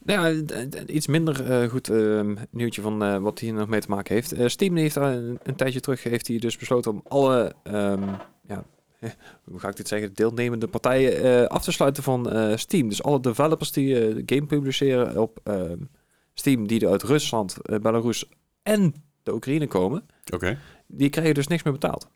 Nou Ja, d- d- iets minder eh, goed ehm, nieuwtje van eh, wat hier nog mee te maken heeft. Eh, Steam heeft eh, een, een tijdje terug heeft hij dus besloten om alle, ehm, ja, eh, hoe ga ik dit zeggen, deelnemende partijen eh, af te sluiten van eh, Steam. Dus alle developers die eh, game publiceren op ehm, Steam die er uit Rusland, eh, Belarus en de Oekraïne komen, Oké. die krijgen dus niks meer betaald.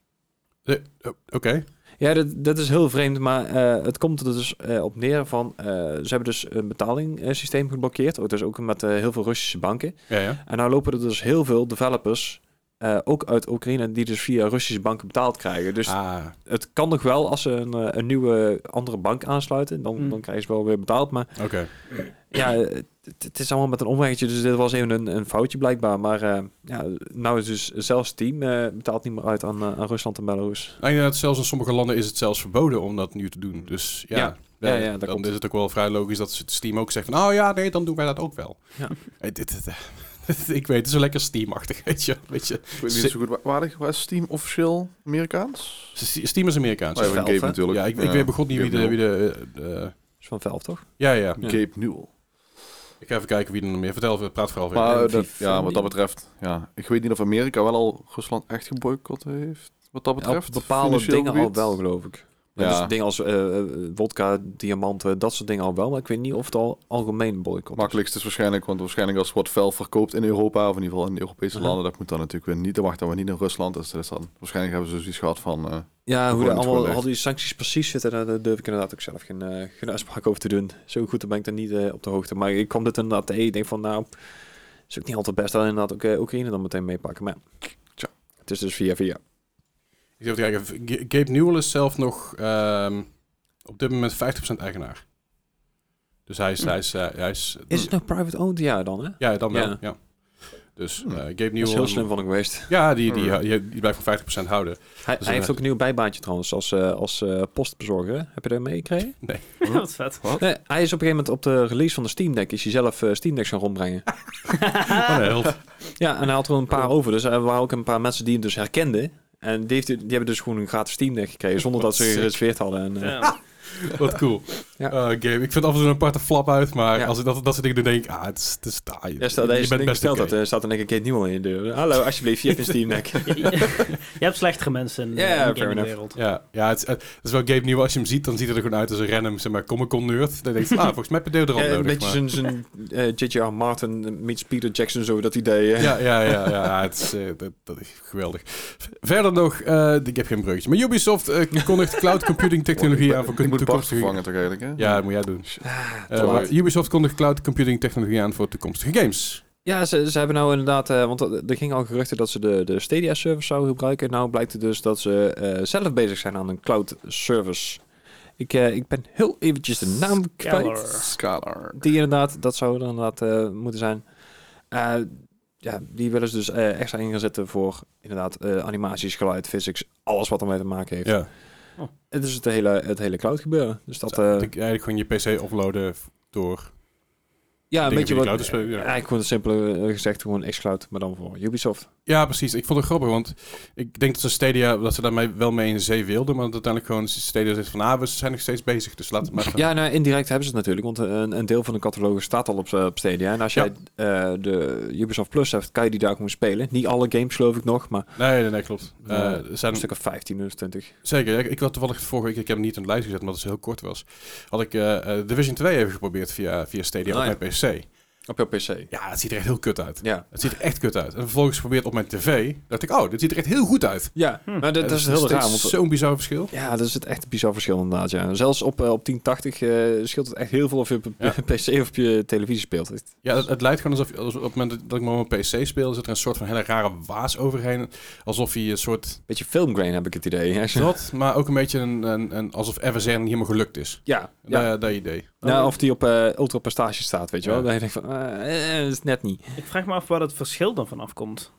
Nee, oh, Oké. Ja, dat, dat is heel vreemd, maar eh, het komt er dus eh, op neer van... eh, ze hebben dus een betalingssysteem geblokkeerd, ook- dus ook met eh, heel veel Russische banken. Ja, ja. En nou lopen er dus heel veel developers, eh, ook uit Oekraïne, die dus via Russische banken betaald krijgen. Dus Ah, het kan nog wel, als ze een, eh, een nieuwe andere bank aansluiten, dan, Mm. dan krijgen ze wel weer betaald. Maar oké. ja, eh, het, het is allemaal met een omweggetje, dus dit was even een, een foutje blijkbaar. Maar eh, ja, nou is dus zelfs Steam eh, betaalt niet meer uit aan, eh, aan Rusland en Belarus. Nou, inderdaad, zelfs in sommige landen is het zelfs verboden om dat nu te doen. Dus ja, Mm. Ja. ja, Ja, ja, dat dan komt. is het ook wel vrij logisch dat Steam ook zegt van... Oh ja, nee, dan doen wij dat ook wel. Ja. Eh, dit, dit, eh, ik weet, het is zo lekker Steam-achtig, weet je. Weet je. Ik weet niet zo goed waar, waar waar is Steam officieel Amerikaans? Steam is Amerikaans. Oh, ja, Ja, Velf, Gabe hè? natuurlijk. ik, ik weet begot niet wie de... Wie de, eh, eh, Is van Valve, toch? ja, ja. Ja. Gabe Newell. Ik ga even kijken wie er nog meer... Vertel, praat vooral weer. Maar en eh, dat, FIFA ja, wat dat niet. betreft, ja. Ik weet niet of Amerika wel al Rusland echt geboycott heeft. Wat dat Ja, op betreft. bepaalde financieel dingen al gebied. wel, geloof ik. Ja. Ja. Dus dingen als eh, eh, wodka, diamanten, dat soort dingen al wel. Maar ik weet niet of het al algemeen boycott is. Makkelijkst is waarschijnlijk, want waarschijnlijk als wat vel verkoopt in Europa, of in ieder geval in de Europese Aha. landen, dat moet dan natuurlijk weer niet, dan wachten we niet in Rusland. Dus dat is dan, waarschijnlijk hebben ze zoiets gehad van, eh, Ja, hoe Gewoon de het allemaal, gewoon al die sancties precies zitten, daar daar durf ik inderdaad ook zelf geen, eh, geen uitspraak over te doen. Zo goed ben ik er niet eh, op de hoogte. Maar ik kwam dit inderdaad tegen. Ik denk van, nou, is ook niet altijd best. Dan inderdaad ook eh, Oekraïne dan meteen meepakken. Maar ja, tja, het is dus via via. Ik zit even te kijken. G- Gabe Newell is zelf nog ehm, op dit moment 50% eigenaar. Dus hij is... Hm. Hij is, eh, hij is, Is het nog private owned? Ja, dan hè? Ja, dan wel. Ja. Ja. Hmm. Dus Hm. eh, Gabe Dat Newell... is heel slim van hem geweest. Ja, die, Oh. die, die, die blijft van 50% houden. Hij, Dus hij heeft inderdaad- ook een nieuw bijbaantje trouwens, als, eh, als eh, postbezorger. hè? Heb je dat meegekregen? Wat vet. Nee, hij is op een gegeven moment op de release van de Steam Deck, is hij zelf eh, Steam Decks gaan rondbrengen. Ah. Wat een held. Ja, en hij had er een paar over. Dus er waren ook een paar mensen die hem dus herkenden. En die, heeft, die hebben dus gewoon een gratis Steam Deck gekregen, zonder dat ze Sick. gereserveerd hadden. En, eh, Ja. Wat cool. Ja. Eh, game. Ik vind af en toe een aparte flap uit, maar Ja. als ik dat, dat soort dingen doe, denk ik, ah, het is, het is taai. ja, stel dat je bent besteld oké. dat, er staat in één keer Kate Newell in je deur. Hallo, alsjeblieft, je hebt een Steam Deck. Je hebt slechtere mensen in Ja, eh, in de fair enough. gamingwereld. Ja, ja het, is- het is wel Gabe Newell. Als je hem ziet, dan ziet hij er gewoon uit als een random zeg maar, Comic-Con-nerd. Dan denk je, ah, volgens mij heb je Ja, deodorant een nodig. beetje Maar. zo'n- zo'n eh, J.J.R. Martin meets Peter Jackson, zo dat idee. eh. Ja, ja, ja, ja, het is, eh, dat, dat is geweldig. Verder nog, eh, ik heb geen breukjes, maar Ubisoft eh, kondigt cloud computing ik technologie ben- aan voor ik moet Bart toekomstige... vervangen toch eigenlijk, hè? Ja, dat moet jij doen. Eh, Ah, te maar laat. Ubisoft kondigt cloud computing technologie aan voor toekomstige games. Ja, ze, ze hebben nou inderdaad, eh, want er er gingen al geruchten dat ze de, de Stadia service zouden gebruiken. Nou blijkt het dus dat ze eh, zelf bezig zijn aan een cloud service. Ik, eh, ik ben heel eventjes de naam kwijt. Scalar. Scalar. Die inderdaad, dat zou er inderdaad eh, moeten zijn. Eh, ja, die willen ze dus eh, extra in gaan zetten voor inderdaad eh, animaties, geluid, physics, alles wat ermee te maken heeft. Ja. Het is het hele, het hele cloud gebeuren. Dus dat, Dat, eh, eigenlijk gewoon je PC uploaden f- door. ja, dingen een beetje die wat, cloud te spelen, ja. eigenlijk gewoon het simpele eh, gezegd, gewoon xCloud, maar dan voor Ubisoft. Ja, precies. Ik vond het grappig, want ik denk dat ze Stadia, dat ze daarmee wel mee in de zee wilden, maar dat uiteindelijk gewoon Stadia zegt van, ah, we zijn nog steeds bezig, dus laat het maar gaan. Ja, nou, indirect hebben ze het natuurlijk, want eh, een, een deel van de catalogus staat al op, eh, op Stadia. En als Ja. jij eh, de Ubisoft Plus hebt, kan je die daar gewoon spelen. Niet alle games geloof ik nog, maar Nee, nee, nee, klopt. Eh, Ja. er zijn, een stuk of 15 minuten, 20. zeker, ik, ik had toevallig vorige week, ik heb hem niet in de lijst gezet, omdat het heel kort was, had ik eh, eh, Division 2 even geprobeerd via, via Stadia Oh, op mijn PC. Op jouw PC. Ja, het ziet er echt heel kut uit. Ja. Het ziet er echt kut uit. En vervolgens geprobeerd op mijn tv, dacht ik, oh, dit ziet er echt heel goed uit. Ja, Hm. maar dat, dat is heel steeds raar. Want, Zo'n bizar verschil. ja, dat is het echt een bizar verschil inderdaad. Ja. Zelfs op, eh, op 1080 eh, scheelt het echt heel veel of je op je Ja. PC of op je televisie speelt. Het- Ja, het, het lijkt gewoon alsof alsof op het moment dat ik maar op mijn PC speel, zit er een soort van hele rare waas overheen. Alsof je een soort Beetje filmgrain heb ik het idee. Als je- dat, maar ook een beetje een, een, een- alsof FSR niet helemaal gelukt is. Ja, ja. Ja. dat idee. Nou, of die op eh, ultra prestage staat, weet je wel. eh, Ja. Dan denk ik van, eh, eh, dat is net niet. Ik vraag me af waar dat verschil dan vanaf komt.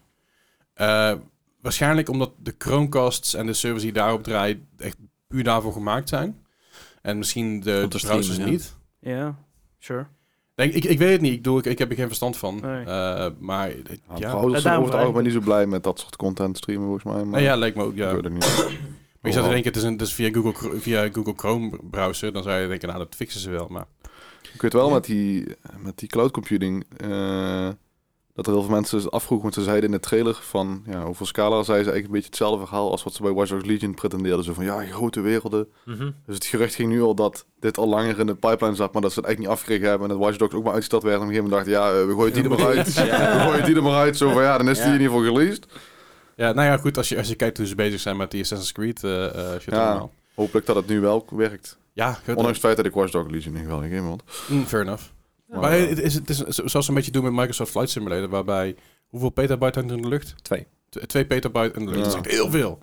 Eh, waarschijnlijk omdat de Chromecasts en de servers die daarop draaien echt puur daarvoor gemaakt zijn. En misschien de Om te streamen, browsers ja. niet. Ja, sure. Denk, ik, ik weet het niet. Ik, doe, ik, ik heb er geen verstand van. Nee. Eh, maar eh, Ja, ja. daarom Ouders zijn over het vraag ik algemeen niet zo blij met dat soort content streamen, volgens mij. Maar Nou ja, lijkt me ook. ik Ja. weet het niet. Maar je zou denken, het is, een, het is via, Google, Chr- via Google Chrome browser. Dan zou je denken, nou dat fixen ze wel. Maar Ik weet wel met die, met die cloud computing. eh, dat er heel veel mensen zich afvroegen, want ze zeiden in de trailer van, ja, over Scala zeiden ze eigenlijk een beetje hetzelfde verhaal als wat ze bij Watch Dogs Legion pretendeerden. Zo van, ja, grote werelden. Dus het gerucht ging nu al dat dit al langer in de pipeline zat, maar dat ze het eigenlijk niet afgekregen hebben en dat Watch Dogs ook maar uitgesteld werd. En op een gegeven moment dachten, ja, eh, we gooien die er maar uit. We gooien die er maar uit. Zo van, ja, dan is die Ja. in ieder geval released. Ja, nou ja, goed, als je, als je kijkt hoe ze bezig zijn met die Assassin's Creed eh, eh, shit Ja. allemaal. Hopelijk dat het nu wel werkt. Ja, goed. Ondanks het feit dat ik Watch Dogs Legion niet geweldig game had. Mm, fair enough. Maar, maar eh, het is, het is zoals ze een beetje doen met Microsoft Flight Simulator, waarbij hoeveel petabyte hangt er in de lucht? Twee. T- twee petabyte in de lucht. Ja. Dat is echt heel veel.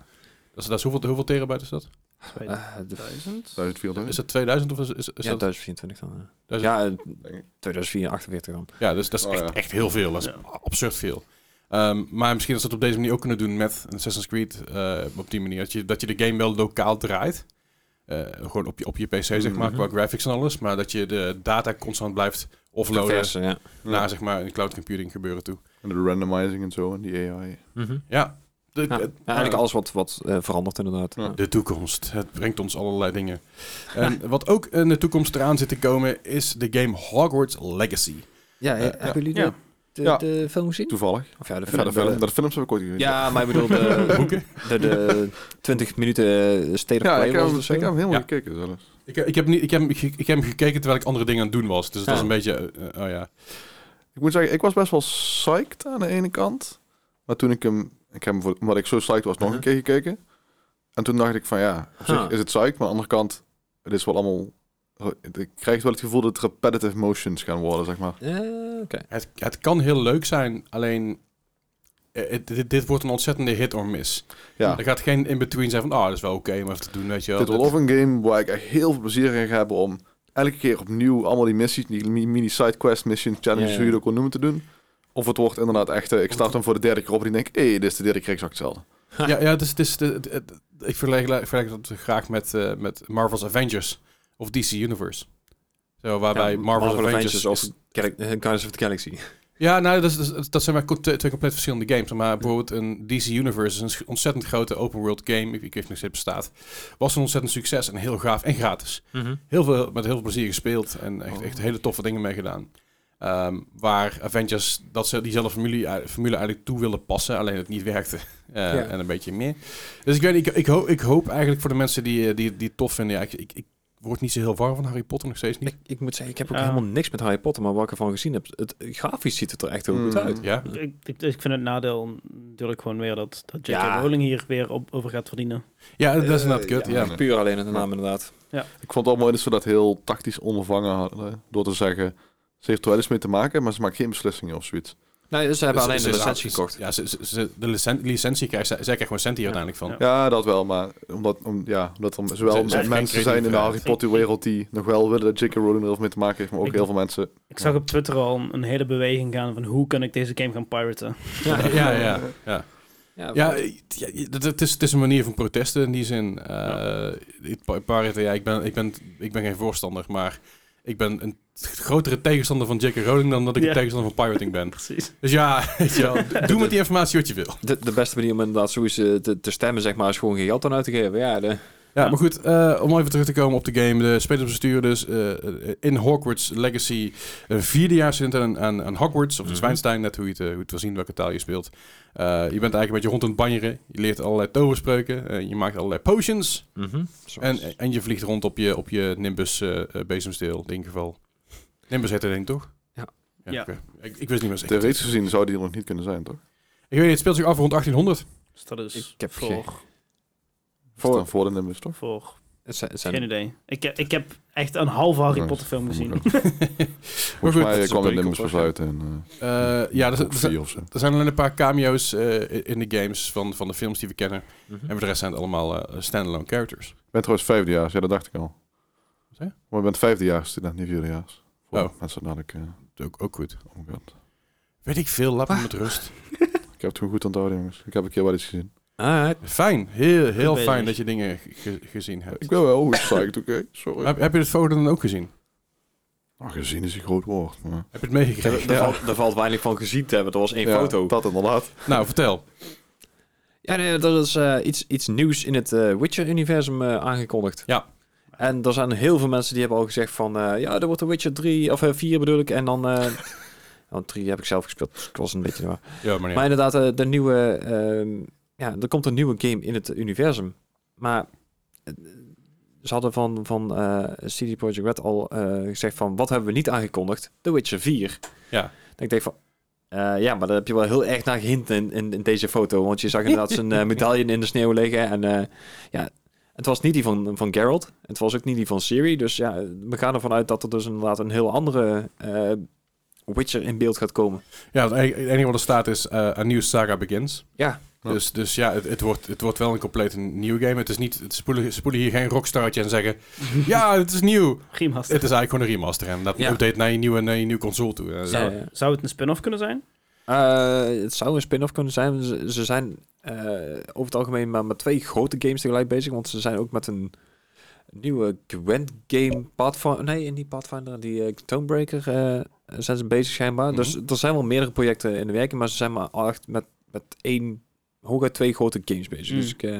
Dat is, dat is hoeveel, hoeveel terabyte is dat? Eh, de- Ah, 2000? 1400. Is dat 2000 of is, is, is ja, dat... 2024 dan. eh. 1000. Ja, eh, Denk ik. 2048 dan. Ja, dus dat is Oh, echt, ja. echt heel veel. Dat is Ja. absurd veel. Ehm, maar misschien dat ze het op deze manier ook kunnen doen met een Assassin's Creed eh, op die manier. Dat je, dat je de game wel lokaal draait. Eh, gewoon op je, op je PC, zeg maar, Mhm. qua graphics en alles. Maar dat je de data constant blijft offloaden Versen, ja. naar, Ja. zeg maar, een cloud computing gebeuren toe. En de randomizing en zo en die AI. Ja, de, Ja. Ja, eigenlijk alles wat, wat eh, verandert inderdaad. Ja. Ja. De toekomst. Het brengt ons allerlei dingen. En wat ook in de toekomst eraan zit te komen, is de game Hogwarts Legacy. Ja, eh, hebben jullie Ja. de, Ja. de film gezien? Toevallig. Of ja, de Ja, film. de, de- film, de films heb ik ooit gezien. ja, maar ik bedoel de, de, de 20 minuten eh, state of Ja, play ik heb, was hem, of ik zo. eh, heb hem helemaal Ja. gekeken zelfs. Ik, eh, ik, heb, niet, ik, heb, hem ge- ik, heb hem gekeken terwijl ik andere dingen aan het doen was. Dus dat Ja. was een beetje... eh, oh ja. Ik moet zeggen, ik was best wel psyched aan de ene kant. Maar toen ik hem, ik heb hem voor, omdat ik zo psyched was, nog Mhm. een keer gekeken. En toen dacht ik van ja, op zich Huh. is het psyched. Maar aan de andere kant, het is wel allemaal... Ik krijg wel het gevoel dat het repetitive motions gaan worden, zeg maar. Eh, Oké. Het, het kan heel leuk zijn, alleen... eh, het- dit, dit wordt een ontzettende hit or miss. Ja. Er gaat geen in-between zijn van... Ah, dat is wel oké om even te doen, weet je wel. Dit wordt of een game waar ik echt heel veel plezier in ga hebben om elke keer opnieuw allemaal die missies, die mi- mini sidequest missions, challenges, Ja, ja. hoe je het ook wil noemen, te doen. Of het wordt inderdaad echt, eh, ik start hem voor de derde keer op en ik denk, hé, dit is de derde keer exact hetzelfde. Ja, ja het is, het is, de- het- het- ik vergelijk, ik vergelijk dat graag met, eh, met Marvel's Avengers of DC Universe. Zo, waarbij Ja, Marvel's, Avengers, of is- Gal- eh, Guardians of the Galaxy. Ja, nou, dat, is- dat, is- dat zijn maar co- twee twee compleet verschillende games. Maar bijvoorbeeld een DC Universe is een sch- ontzettend grote open world game. Ik ik weet niet of het bestaat. Was een ontzettend succes en heel gaaf en gratis. Mhm. Heel veel, met heel veel plezier gespeeld en echt, echt hele toffe dingen mee gedaan. Ehm, waar Avengers dat ze diezelfde formule, eh, formule eigenlijk toe willen passen, alleen het niet werkte. Eh, Ja. En een beetje meer. Dus ik weet niet, ik, ik, hoop, ik hoop eigenlijk voor de mensen die, eh, die, die het tof vinden. Ja, ik, ik, ik word niet zo heel warm van Harry Potter, nog steeds niet. Ik, ik moet zeggen, ik heb ook Ja. helemaal niks met Harry Potter, maar wat ik ervan gezien heb, het, grafisch ziet het er echt heel goed Mm. uit. Ja? Ik, ik, dus ik vind het nadeel natuurlijk gewoon weer dat, dat J.K. Ja. Rowling hier weer op, over gaat verdienen. ja, dat is Eh, inderdaad kut. Ja. ja. Puur alleen in de naam inderdaad. Ik vond het wel mooi dat ze dat heel tactisch ondervangen hadden. eh, Door te zeggen, ze heeft er wel eens mee te maken, maar ze maakt geen beslissingen of zoiets. Nee, ze hebben Ze- alleen Dus ze- de ze- licentie ze- gekocht. Ja, ze, ze- ze- de licen- licentie krijgt, zij, zij krijgt gewoon centen hier uiteindelijk van. Ja, dat wel, maar omdat, om, ja, omdat er Ze- ze zowel heeft geen mensen zijn in de creatieve Harry Potter wereld die nog wel willen dat J.K. Rowling er heel veel mee te maken heeft, maar ook Ik- heel veel mensen. Ik zag op Twitter al een, een hele beweging gaan van hoe kan ik deze game gaan piraten. Ja, ja, ja. ja. Ja, Ja, ja, ja, dat- het is, het is een manier van protesten in die zin. Eh, ik- pa- Parity, ja, ik, ben, ik, ben, ik ben geen voorstander, maar ik ben een t- grotere tegenstander van J.K. Rowling dan dat ik Ja. een tegenstander van pirating ben. Precies. Dus ja, weet je wel, doe met die informatie wat je wil. de, de beste manier om inderdaad zoiets eh, te, te stemmen, zeg maar, is gewoon geen geld aan uit te geven. Ja, de, Ja, Ja. maar goed, eh, om even terug te komen op de game. De spelersbestuur dus eh, in Hogwarts Legacy. Een vierde jaar student aan, aan, aan Hogwarts, of Mhm. de Zwijnstein, net hoe je, het, eh, hoe je het wil zien, welke taal je speelt. Eh, je bent eigenlijk een beetje rond aan het banjeren. Je leert allerlei toverspreuken. eh, je maakt allerlei potions. Mhm. Zoals- En, en je vliegt rond op je, op je Nimbus eh eh, bezemsteel, in ieder geval. Nimbus heet dat ding, toch? Ja. Ja. oké. Ik, ik wist niet meer zeker. Theoretisch gezien zou die er nog niet kunnen zijn, toch? Ik weet niet, het speelt zich af rond 1800. Dus dat is Ik heb voor, geen- Voor, voor, dan voor de Nimbus, toch? voor het zijn, het zijn- geen idee. Ik, heb- ik heb echt een halve Harry Ja, Potter film gezien. vermoedelijk. Maar Volgens goed, mij dat is kwam een de Nimbus prequel, pas toch? uit en eh, ja, er, dat zijn- er, is zijn- of zo. er zijn alleen een paar cameo's eh, in de games van, van de films die we kennen. Mhm. En voor de rest zijn het allemaal eh, standalone characters. Ik ben trouwens vijfdejaars, ja, dat dacht ik al. Wat zei je? Maar ik ben vijfdejaars student, niet vierdejaars. Voor Oh. mensen dadelijk... eh Dat is Ook, ook goed. oh my god. Weet ik veel, laat me met rust. Ik heb het gewoon goed onthouden, jongens. Ik heb een keer wel iets gezien. Alright. Fijn, heel, heel Goed fijn bezig. dat je dingen ge- gezien hebt. Ik ben wel psyched, oké? Sorry. Heb, heb je het foto dan ook gezien? Nou, gezien is een groot woord, maar... Heb je het Er, meegekregen? er valt, er valt weinig van gezien te hebben. Er was één Ja, foto. Dat inderdaad. Nou, vertel. Ja, nee, er is eh, iets, iets nieuws in het eh, Witcher-universum eh, aangekondigd. Ja. En er zijn heel veel mensen die hebben al gezegd van... eh, ja, er wordt een Witcher 3, of eh, 4 bedoel ik. En dan... eh, Want 3 heb ik zelf gespeeld, dus ik was een beetje... Maar, Ja, maar, maar inderdaad, eh, de nieuwe... ehm, ja, er komt een nieuwe game in het universum. Maar eh, ze hadden van, van eh CD Projekt Red al eh, gezegd van... Wat hebben we niet aangekondigd? The Witcher 4. Ja. En ik denk van... eh, ja, maar daar heb je wel heel erg naar gehint in, in, in deze foto. Want je zag inderdaad zijn eh, medaille in de sneeuw liggen. En eh, ja, het was niet die van, van Geralt. Het was ook niet die van Siri. Dus ja, we gaan ervan uit dat er dus inderdaad een heel andere eh, Witcher in beeld gaat komen. Ja, het enige- het enige wat er staat is eh A New Saga Begins. Ja. Ja. Dus, dus ja, het, het, wordt, het wordt wel een compleet nieuw game. Het is niet, het spoelen, spoelen hier geen rockstartje en zeggen, ja, het is nieuw. Remaster. Het is eigenlijk gewoon een remaster en dat Ja. update naar je nieuwe, naar je nieuwe console toe. Eh, Ja, zo. ja. Zou het een spin-off kunnen zijn? Eh, het zou een spin-off kunnen zijn. Ze, ze zijn eh, over het algemeen maar met twee grote games tegelijk bezig. Want ze zijn ook met een nieuwe Gwent game Pathfinder. Nee, niet Pathfinder, die eh, Tonebreaker eh, zijn ze bezig schijnbaar. Mhm. Dus er zijn wel meerdere projecten in de werking, maar ze zijn maar echt met, met één, hooguit twee grote games bezig. Mm. Dus ik, eh,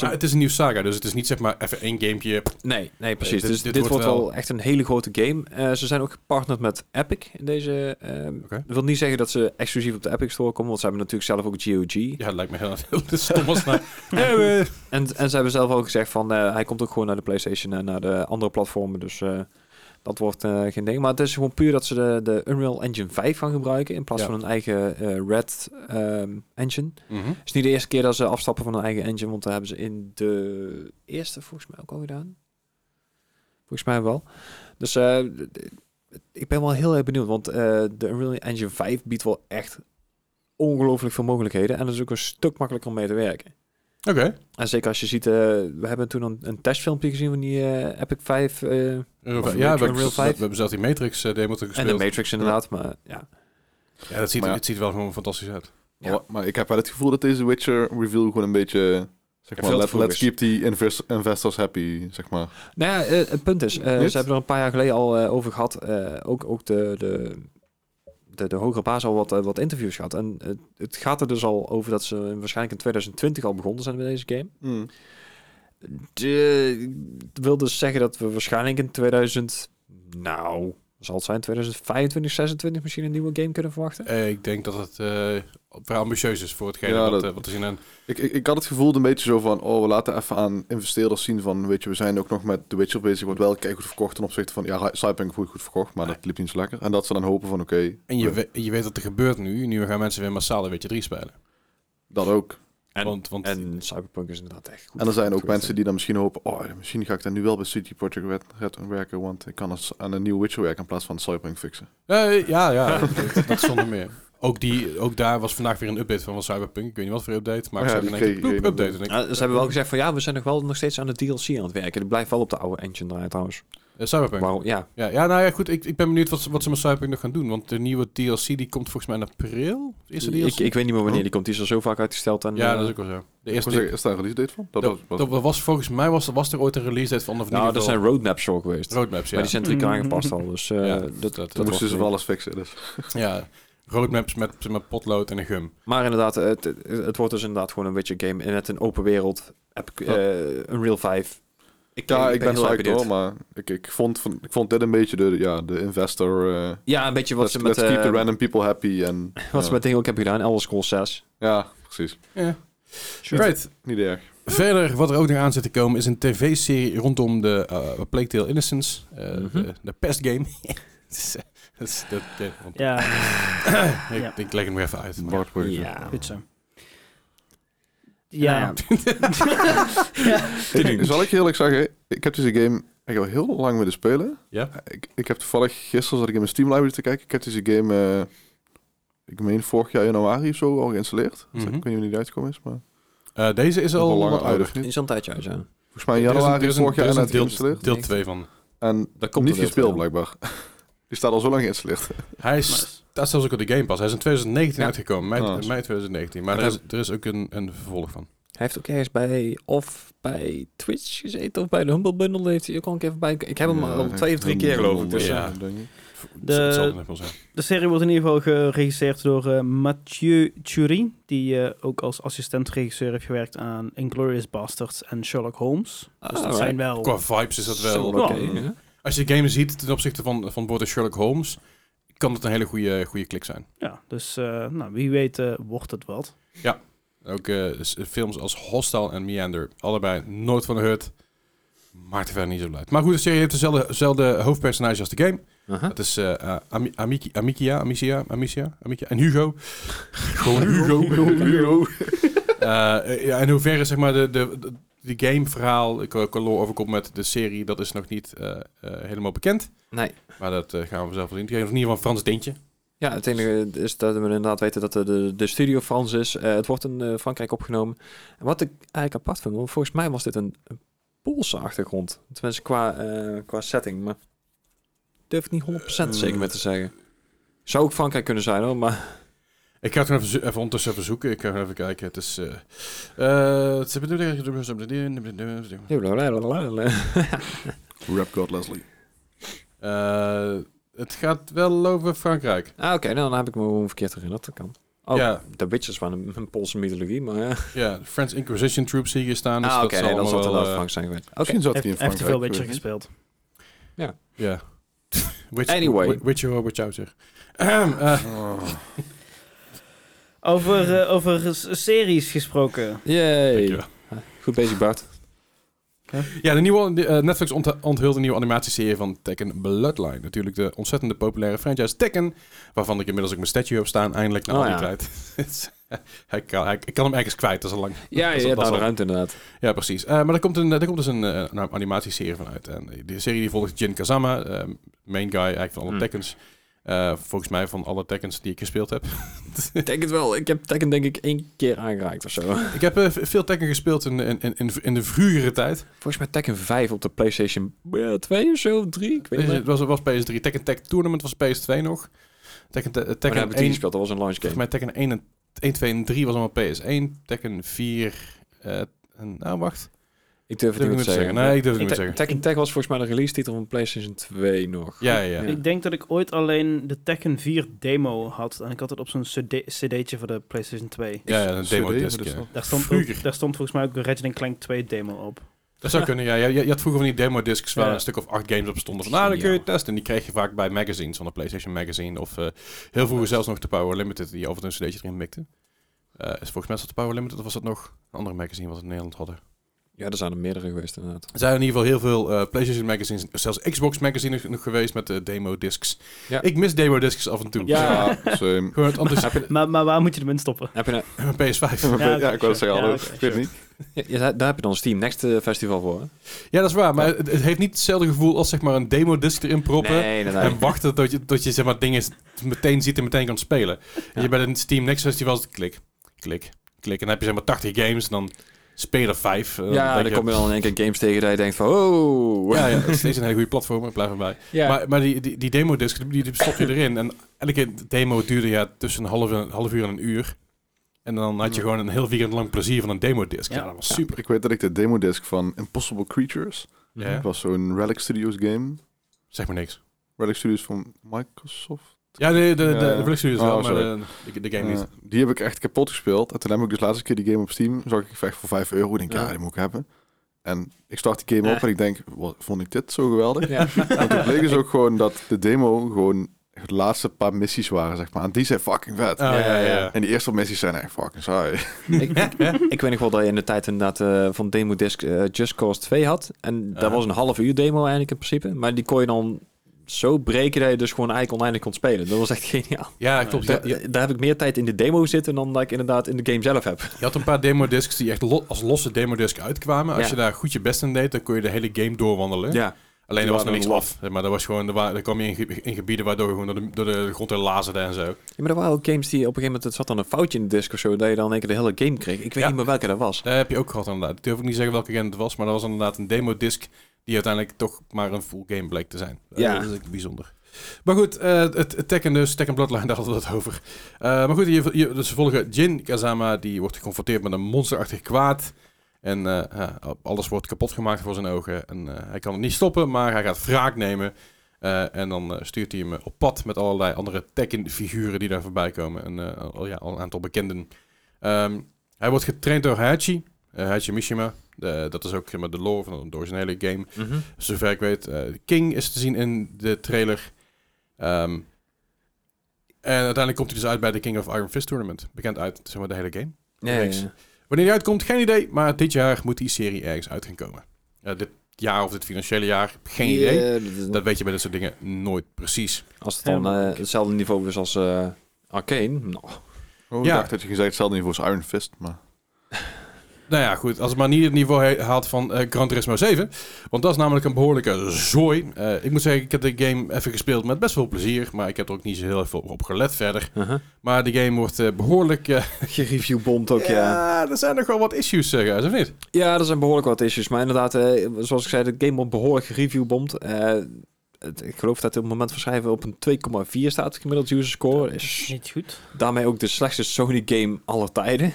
Maar het is een nieuw saga, dus het is niet zeg maar even één gamepje. Nee, nee, precies. Eh, dit- dus dit dit, wordt wordt, wel... wel echt een hele grote game. Eh, ze zijn ook gepartnerd met Epic in deze. ehm, Oké. Dat wil niet zeggen dat ze exclusief op de Epic Store komen, want ze hebben natuurlijk zelf ook GOG. Ja, dat lijkt me heel, heel stom als nou. En, en ze hebben zelf ook gezegd van eh, hij komt ook gewoon naar de PlayStation en naar de andere platformen. Dus eh, dat wordt eh, geen ding. Maar het is gewoon puur dat ze de, de Unreal Engine 5 gaan gebruiken in plaats Ja. van hun eigen eh, Red ehm, engine. Mhm. Het is niet de eerste keer dat ze afstappen van hun eigen engine, want dat hebben ze in de eerste volgens mij ook al gedaan. Volgens mij wel. Dus eh, ik ben wel heel erg benieuwd, want eh, de Unreal Engine 5 biedt wel echt ongelooflijk veel mogelijkheden. En dat is ook een stuk makkelijker om mee te werken. Oké. En zeker als je ziet, eh, we hebben toen een, een testfilmpje gezien van die eh, Epic 5 eh, Of ja, Matrix we, hebben- Unreal we 5. hebben zelfs die Matrix eh, demo en de gespeeld. Matrix inderdaad. Maar ja, ja, dat ziet, Maar ja. het ziet wel gewoon fantastisch uit. Ja. Maar, maar ik heb wel het gevoel dat deze Witcher reveal gewoon een beetje... Zeg veel maar, te let, vroeg let's is. keep the invest- investors happy, zeg maar. Nou ja, eh, het punt is, eh, Dit? ze hebben er een paar jaar geleden al eh, over gehad. eh, ook ook de, de, de, de hogere baas al wat, eh, wat interviews gehad. En het, het gaat er dus al over dat ze waarschijnlijk in 2020 al begonnen zijn met deze game. Mm. De, dat wil dus zeggen dat we waarschijnlijk in 2000, nou, zal het zijn 2025, 26 misschien een nieuwe game kunnen verwachten. Eh, ik denk dat het eh vrij ambitieus is voor hetgeen Ja, wat, dat- eh, wat is in een... Ik, ik, ik had het gevoel een beetje zo van, oh, we laten even aan investeerders zien van, weet je, we zijn ook nog met The Witcher bezig, wordt wel kijk goed verkocht ten opzichte van, ja, Cyberpunk goed, goed verkocht, maar dat liep niet zo lekker. En dat ze dan hopen van, oké, En je, we- we- je weet wat er gebeurt nu. Nu gaan mensen weer massaal de Witcher 3 spelen. dat ook. En- want, want En Cyberpunk is inderdaad echt goed. En er zijn ook goed. mensen die dan misschien hopen, oh, misschien ga ik dan nu wel bij City Project Red, Red aan werken, want ik kan als aan een nieuwe Witcher werken in plaats van Cyberpunk fixen. Eh, ja, ja, dat, dat zonder meer. Ook, die, ook daar was vandaag weer een update van, van Cyberpunk. Ik weet niet wat voor update, maar Oh ik ja, zag die in één keer, kreeg ik ploep, geen update. En ik, Ja, ze hebben wel gezegd van ja, we zijn nog wel nog steeds aan de DLC aan het werken. Die blijft wel op de oude engine draaien trouwens. eh, Cyberpunk. Waarom? Ja, Ja, ja, nou ja, goed. Ik, ik ben benieuwd wat, ze- wat ze met Cyberpunk nog gaan doen. Want de nieuwe DLC die komt volgens mij in april. De eerste DLC? Ik, ik weet niet meer wanneer die komt. Die is al zo vaak uitgesteld. En, ja, eh, dat is ook wel zo. De Is, eerste zeggen, is daar een release date van? Dat, dat, was, dat was volgens mij was, was er ooit een release date van of in Nou, ieder dat geval zijn roadmaps voor geweest. roadmaps. Ja, Maar die zijn drie keer Mhm. aangepast al. Dus eh, Ja, dat, dat, dan moesten was ze het. wel alles fixen, dus. ja roadmaps met, met potlood en een gum. Maar inderdaad, eh, het, het- het wordt dus inderdaad gewoon een Witcher game. En net een open wereld. Epic, Ja. eh, Unreal 5. Ik, Ja, ik ben heel erg psyched benieuwd. hoor, maar ik, ik, vond, van- ik vond dit een beetje de, ja, de investor... eh, Ja, een beetje wat let's ze let's met, keep the eh, random people happy en... wat ja. ze met dingen ook hebben gedaan. Elder Scrolls 6. Ja, precies. Ja. Sure. Right. Niet erg. Verder, wat er ook nog aan zit te komen, is een tv-serie rondom de eh Plague Tale Innocence. eh, Mhm. de, de pest game. Het is, eh, dat is- dat- dat- want- Ja, ik, ja. ik leg hem er even uit. maar- Bart Wilson. Ja. goed zo. Ja. Nou Ik- zal ik je eerlijk zeggen, ik heb deze game ik al heel lang willen spelen. Ja? Ik, ik heb toevallig, gisteren zat ik in mijn Steam library te kijken. Ik heb deze game, eh, ik meen vorig jaar januari of zo al geïnstalleerd. Mhm. Dus Ik weet niet wanneer die uitgekomen is, maar Eh, deze is al lang wat uit ouder. of niet? Is al een tijdje uit, ja. Volgens mij in Er is een- januari er is een- vorig jaar er is een inderdaad deel- geïnstalleerd. Deel 2 van. En Daar komt niet een deel gespeeld twee. blijkbaar. Die staat al zo lang geïnstalleerd. Hij Dus is- staat zelfs ook op de Game Pass. Hij is in 2019 Ja. uitgekomen, mei, Ah. mei 2019. Maar Dat er is, er is ook een, een vervolg van. Hij heeft ook ergens bij, of bij Twitch gezeten, of bij de Humble Bundle heeft hij ook al een keer voorbij. Ik heb hem Ja, al twee of drie keer geloof ik. Dus, ja. eh, denk ik. Het zal- het zal er nog wel zijn. De serie wordt in ieder geval geregisseerd door eh, Mathieu Thury, die eh, ook als assistent-regisseur heeft gewerkt aan Inglourious Basterds en Sherlock Holmes. ah, dus dat alright. zijn wel... Qua vibes is dat wel... Zo, Ja. oké, ja. Als je de game ziet ten opzichte van, van bijvoorbeeld Sherlock Holmes... kan het een hele goede, goede klik zijn. Ja, dus eh, nou, wie weet eh, wordt het wat. Ook eh, s- films als Hostile en Meander. Allebei nooit van de hut. Maakt er verder niet zo uit. Maar goed, de serie heeft dezelfde, dezelfde hoofdpersonage als de game. Dat is eh eh, Ami- Amiki, Amikia, Amicia, Amicia, Amikia en Hugo. Gewoon Hugo. Hugo. Eh, eh, ja, en hoe ver is zeg maar de, de, de, de gameverhaal eh, qua qua lore overkomt met de serie, dat is nog niet eh, eh, helemaal bekend. Nee. Maar dat eh, gaan we zelf wel zien. Het geeft in ieder geval een Frans tintje. Ja, het enige is dat we inderdaad weten dat de- de, de studio Frans is. Eh, het wordt in eh, Frankrijk opgenomen. En wat ik eigenlijk apart vind, want volgens mij was dit een, een Poolse achtergrond. Tenminste, qua, eh, qua setting. Maar durf ik niet 100% Hmm. zeker met te zeggen. Zou ook Frankrijk kunnen zijn hoor, maar... Ik ga het gewoon even, zo- even ondertussen even zoeken. Ik ga gewoon even kijken. Het is... eh, eh, het is- Rap God Leslie. Eh, het gaat wel over Frankrijk. Ah, oké, nou, dan heb ik me gewoon verkeerd herinnerd. Dat kan. Oh, Ja. de Witches waren een, een Poolse mythologie, maar ja. Ja, de French Inquisition Troops zie je hier staan. Dus ah, oké, dat zal nee, dan zal allemaal het wel, wel eh, Frank zijn geweest. Oké, Misschien zat hij in Heeft, heeft te Frankrijk. veel Witcher eh, gespeeld. Ja. Which, Anyway. wh- Which your watch out zeg. Ahem, eh, oh. Over, eh, over s- series gesproken. yay. dankjewel. Goed bezig, Bart. ja, de nieuwe, de, eh, Netflix ont- onthult een nieuwe animatieserie van Tekken Bloodline. Natuurlijk de ontzettende populaire franchise Tekken, waarvan ik inmiddels ook mijn statue heb staan, eindelijk na Oh, al die ja. tijd. hij kan, hij, ik kan hem ergens kwijt, dat is al lang. Ja, dat je is- dat hebt is daar de al- ruimte inderdaad. Ja, precies. Eh, maar er komt, een, er komt dus een, eh, een animatieserie van uit. En die serie die volgt Jin Kazama, eh, main guy eigenlijk van alle Hmm. Tekkens. Eh, volgens mij van alle Tekkens die ik gespeeld heb. Ik denk het wel. Ik heb Tekken denk ik één keer aangeraakt of zo. ik heb eh, veel Tekken gespeeld in, in, in, in de vroegere tijd. Volgens mij Tekken 5 op de PlayStation 2 of zo, 3. Ik weet niet Is meer. Dus het was, was PS3. Tekken Tag Tournament was PS2 nog. Tekken, Te- eh, Maar Oh, daar Tekken heb ik die 1, gespeeld. Dat was een launch volgens game. mij Tekken 1, en, 1, 2 en 3 was allemaal PS1. Tekken 4, eh en, nou wacht. Ik durf het Durf niet ik meer niet te te zeggen. zeggen. Nee, ik durf het Ik niet te- te Tekken Tech was volgens mij de release titel van PlayStation 2 nog. Ja, ja, ja. Ja. Ik denk dat ik ooit alleen de Tekken 4 demo had. En ik had het op zo'n cd cd'tje voor de PlayStation 2. Ja, ja, een CD, demo wat disc. is ja. dat? Daar stond, Vroeger. ook, daar stond volgens mij ook een Ratchet Clank 2 demo op. Dat zou kunnen, ja. Je, je je had vroeger van die demo discs waar Ja. een stuk of acht games op stonden. Van, nou, dan kun je Geniaal. testen. En die kreeg je vaak bij magazines, van de PlayStation Magazine. Of eh, heel vroeger zelfs nog de Power Limited, die over een cd'tje erin mikte. Eh, is volgens mij zat de Power Limited, of was dat nog een andere magazine wat we in Nederland hadden? Ja, er zijn er meerdere geweest inderdaad. Er zijn in ieder geval heel veel eh, PlayStation magazines, zelfs Xbox magazines nog geweest met eh, demo discs. Ja. Ik mis demo discs af en toe. Ja. Ja, same. Gewoon het enthousiasme Maar, maar waar moet je hem in stoppen? Heb je, nou- met PS5. Ja, oké, ik wou het sure. zeggen, hallo. Ja, Ik oké, weet sure. niet. ja, ja, daar, daar heb je dan Steam Next eh, Festival voor. hè? Ja, dat is waar. Maar het, het heeft niet hetzelfde gevoel als zeg maar een demo disc erin proppen. Nee, inderdaad. En wachten tot je, tot je zeg maar, dingen s- meteen ziet en meteen kan spelen. En je bij een Steam Next Festival is klik, klik, klik. En dan heb je zeg maar 80 games en dan speel je er 5. Ja, dan je, kom je dan in één keer games tegen dat je denkt van... Oh. Ja, ja, het is steeds een hele goede platform, ik blijf erbij. Maar, maar die, die, die demo-disc, die, die stop je erin. En elke demo duurde ja tussen een half, een half uur en een uur. En dan had je gewoon een heel weekend lang plezier van een demo-disc. Ja, Ja. dat was super. Ik weet dat ik de demodisc van Impossible Creatures... Ja. Dat was zo'n Relic Studios game. Zeg maar niks. Relic Studios van Microsoft. Ja, nee, de, de, Ja, de, ja. Black Studios Oh, wel, maar sorry. de, de, de game Eh, niet. die heb ik echt kapot gespeeld. En toen heb ik dus de laatste keer die game op Steam. Zag ik echt voor 5 euro. Ik denk, ja. Ja. die moet ik hebben. En ik start die game op Ja. en ik denk, wat, vond ik dit zo geweldig? Ja. Want het bleek dus ook gewoon dat de demo gewoon de laatste paar missies waren, zeg maar. En die zijn fucking vet. Oh, ja, ja, ja, ja. En die eerste missies zijn echt fucking saai. ik, ik, ik weet nog wel dat je in de tijd inderdaad eh, van Demo Disc eh, Just Cause 2 had. En dat Ja. was een half uur demo eigenlijk in principe. Maar die kon je dan zo breken dat je dus gewoon eigenlijk oneindig kon spelen. Dat was echt geniaal. Ja, klopt. Ja, Da- je, Daar heb ik meer tijd in de demo zitten dan dat ik inderdaad in de game zelf heb. je had een paar demo-discs die echt lo- als losse demo-disc uitkwamen. Als Ja. je daar goed je best in deed, dan kon je de hele game doorwandelen. Ja. Alleen er Die was nog waren niks een af. Maar dat was gewoon, er, wa- er kwam je in, ge- in gebieden waardoor je gewoon door de, door de grond heen lazerde en zo. Maar er waren ook games die op een gegeven moment... Het zat dan een foutje in de disc of zo, dat je dan in één keer de hele game kreeg. Ik weet Ja. niet meer welke dat was. Daar heb je ook gehad inderdaad. Ik durf ook niet zeggen welke game het was, maar dat was inderdaad een demo-disc die uiteindelijk toch maar een full game bleek te zijn. Eh, Ja. Dat is echt bijzonder. Maar goed, eh, het, het Tekken dus, Tekken Bloodline, daar hadden we het over. Eh, maar goed, je, je, dus we volgen Jin Kazama, die wordt geconfronteerd met een monsterachtig kwaad. En eh, ja, alles wordt kapot gemaakt voor zijn ogen. En eh, hij kan het niet stoppen, maar hij gaat wraak nemen. Eh, en dan eh, stuurt hij hem eh, op pad met allerlei andere Tekken-figuren die daar voorbij komen. En eh, al, ja, al een aantal bekenden. Ehm, hij wordt getraind door Hachi. eh Hachi Mishima. Eh, dat is ook zeg maar, de lore van de originele game. Zover ik weet. eh, King is te zien in de trailer. Ehm, En uiteindelijk komt hij dus uit bij de King of Iron Fist Tournament. Bekend uit, zeg maar, de hele game. Ja, Reeks. Wanneer die uitkomt, geen idee. Maar dit jaar moet die serie ergens uit gaan komen. Ja, dit jaar of dit financiële jaar, geen idee. Dat weet je bij dit soort dingen nooit precies. eh, Als het dan eh, hetzelfde niveau is als eh Arcane. Nou, Oh, ik Ja. dacht dat je gezegd hetzelfde niveau als Iron Fist, maar... Nou ja, goed. Als het maar niet het niveau he- haalt van eh Gran Turismo 7. Want dat is namelijk een behoorlijke zooi. Eh, ik moet zeggen, ik heb de game even gespeeld met best veel plezier. Maar ik heb er ook niet zo heel veel op gelet verder. uh-huh. Maar de game wordt eh, behoorlijk... eh, Gereviewbomd ook, ja. ja, er zijn nog wel wat issues, eh, guys, of niet? Ja, er zijn behoorlijk wat issues. Maar inderdaad, eh, zoals ik zei, de game wordt behoorlijk gereviewbomd. Eh, het- ik geloof dat het op het moment van schrijven op een 2,4 staat gemiddeld user score. Is Niet goed. Dus daarmee ook de slechtste Sony game aller tijden.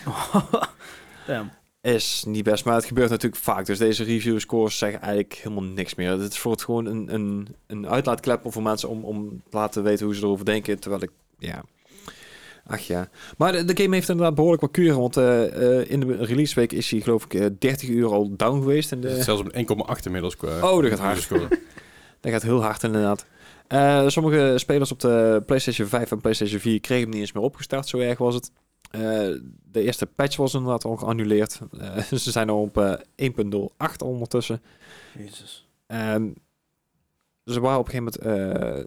Damn. Is niet best, maar het gebeurt natuurlijk vaak. Dus deze review scores zeggen eigenlijk helemaal niks meer. Het is voor het gewoon een, een, een uitlaatklep voor mensen om, om te laten weten hoe ze erover denken. Terwijl ik, ja. Ach ja. Maar de, de game heeft inderdaad behoorlijk wat kuren. Want eh, eh, in de release week is hij, geloof ik, eh, 30 uur al down geweest. In Er zit de... Zelfs op een 1,8 inmiddels qua... Oh, dat gaat hard. score. Dat gaat heel hard inderdaad. Eh, sommige spelers op de PlayStation 5 en PlayStation 4 kregen hem niet eens meer opgestart, zo erg was het. Eh, de eerste patch was inderdaad al geannuleerd. Eh, ze zijn al op eh, 1.08 ondertussen. Jezus. Ehm ze waren op een gegeven moment... eh,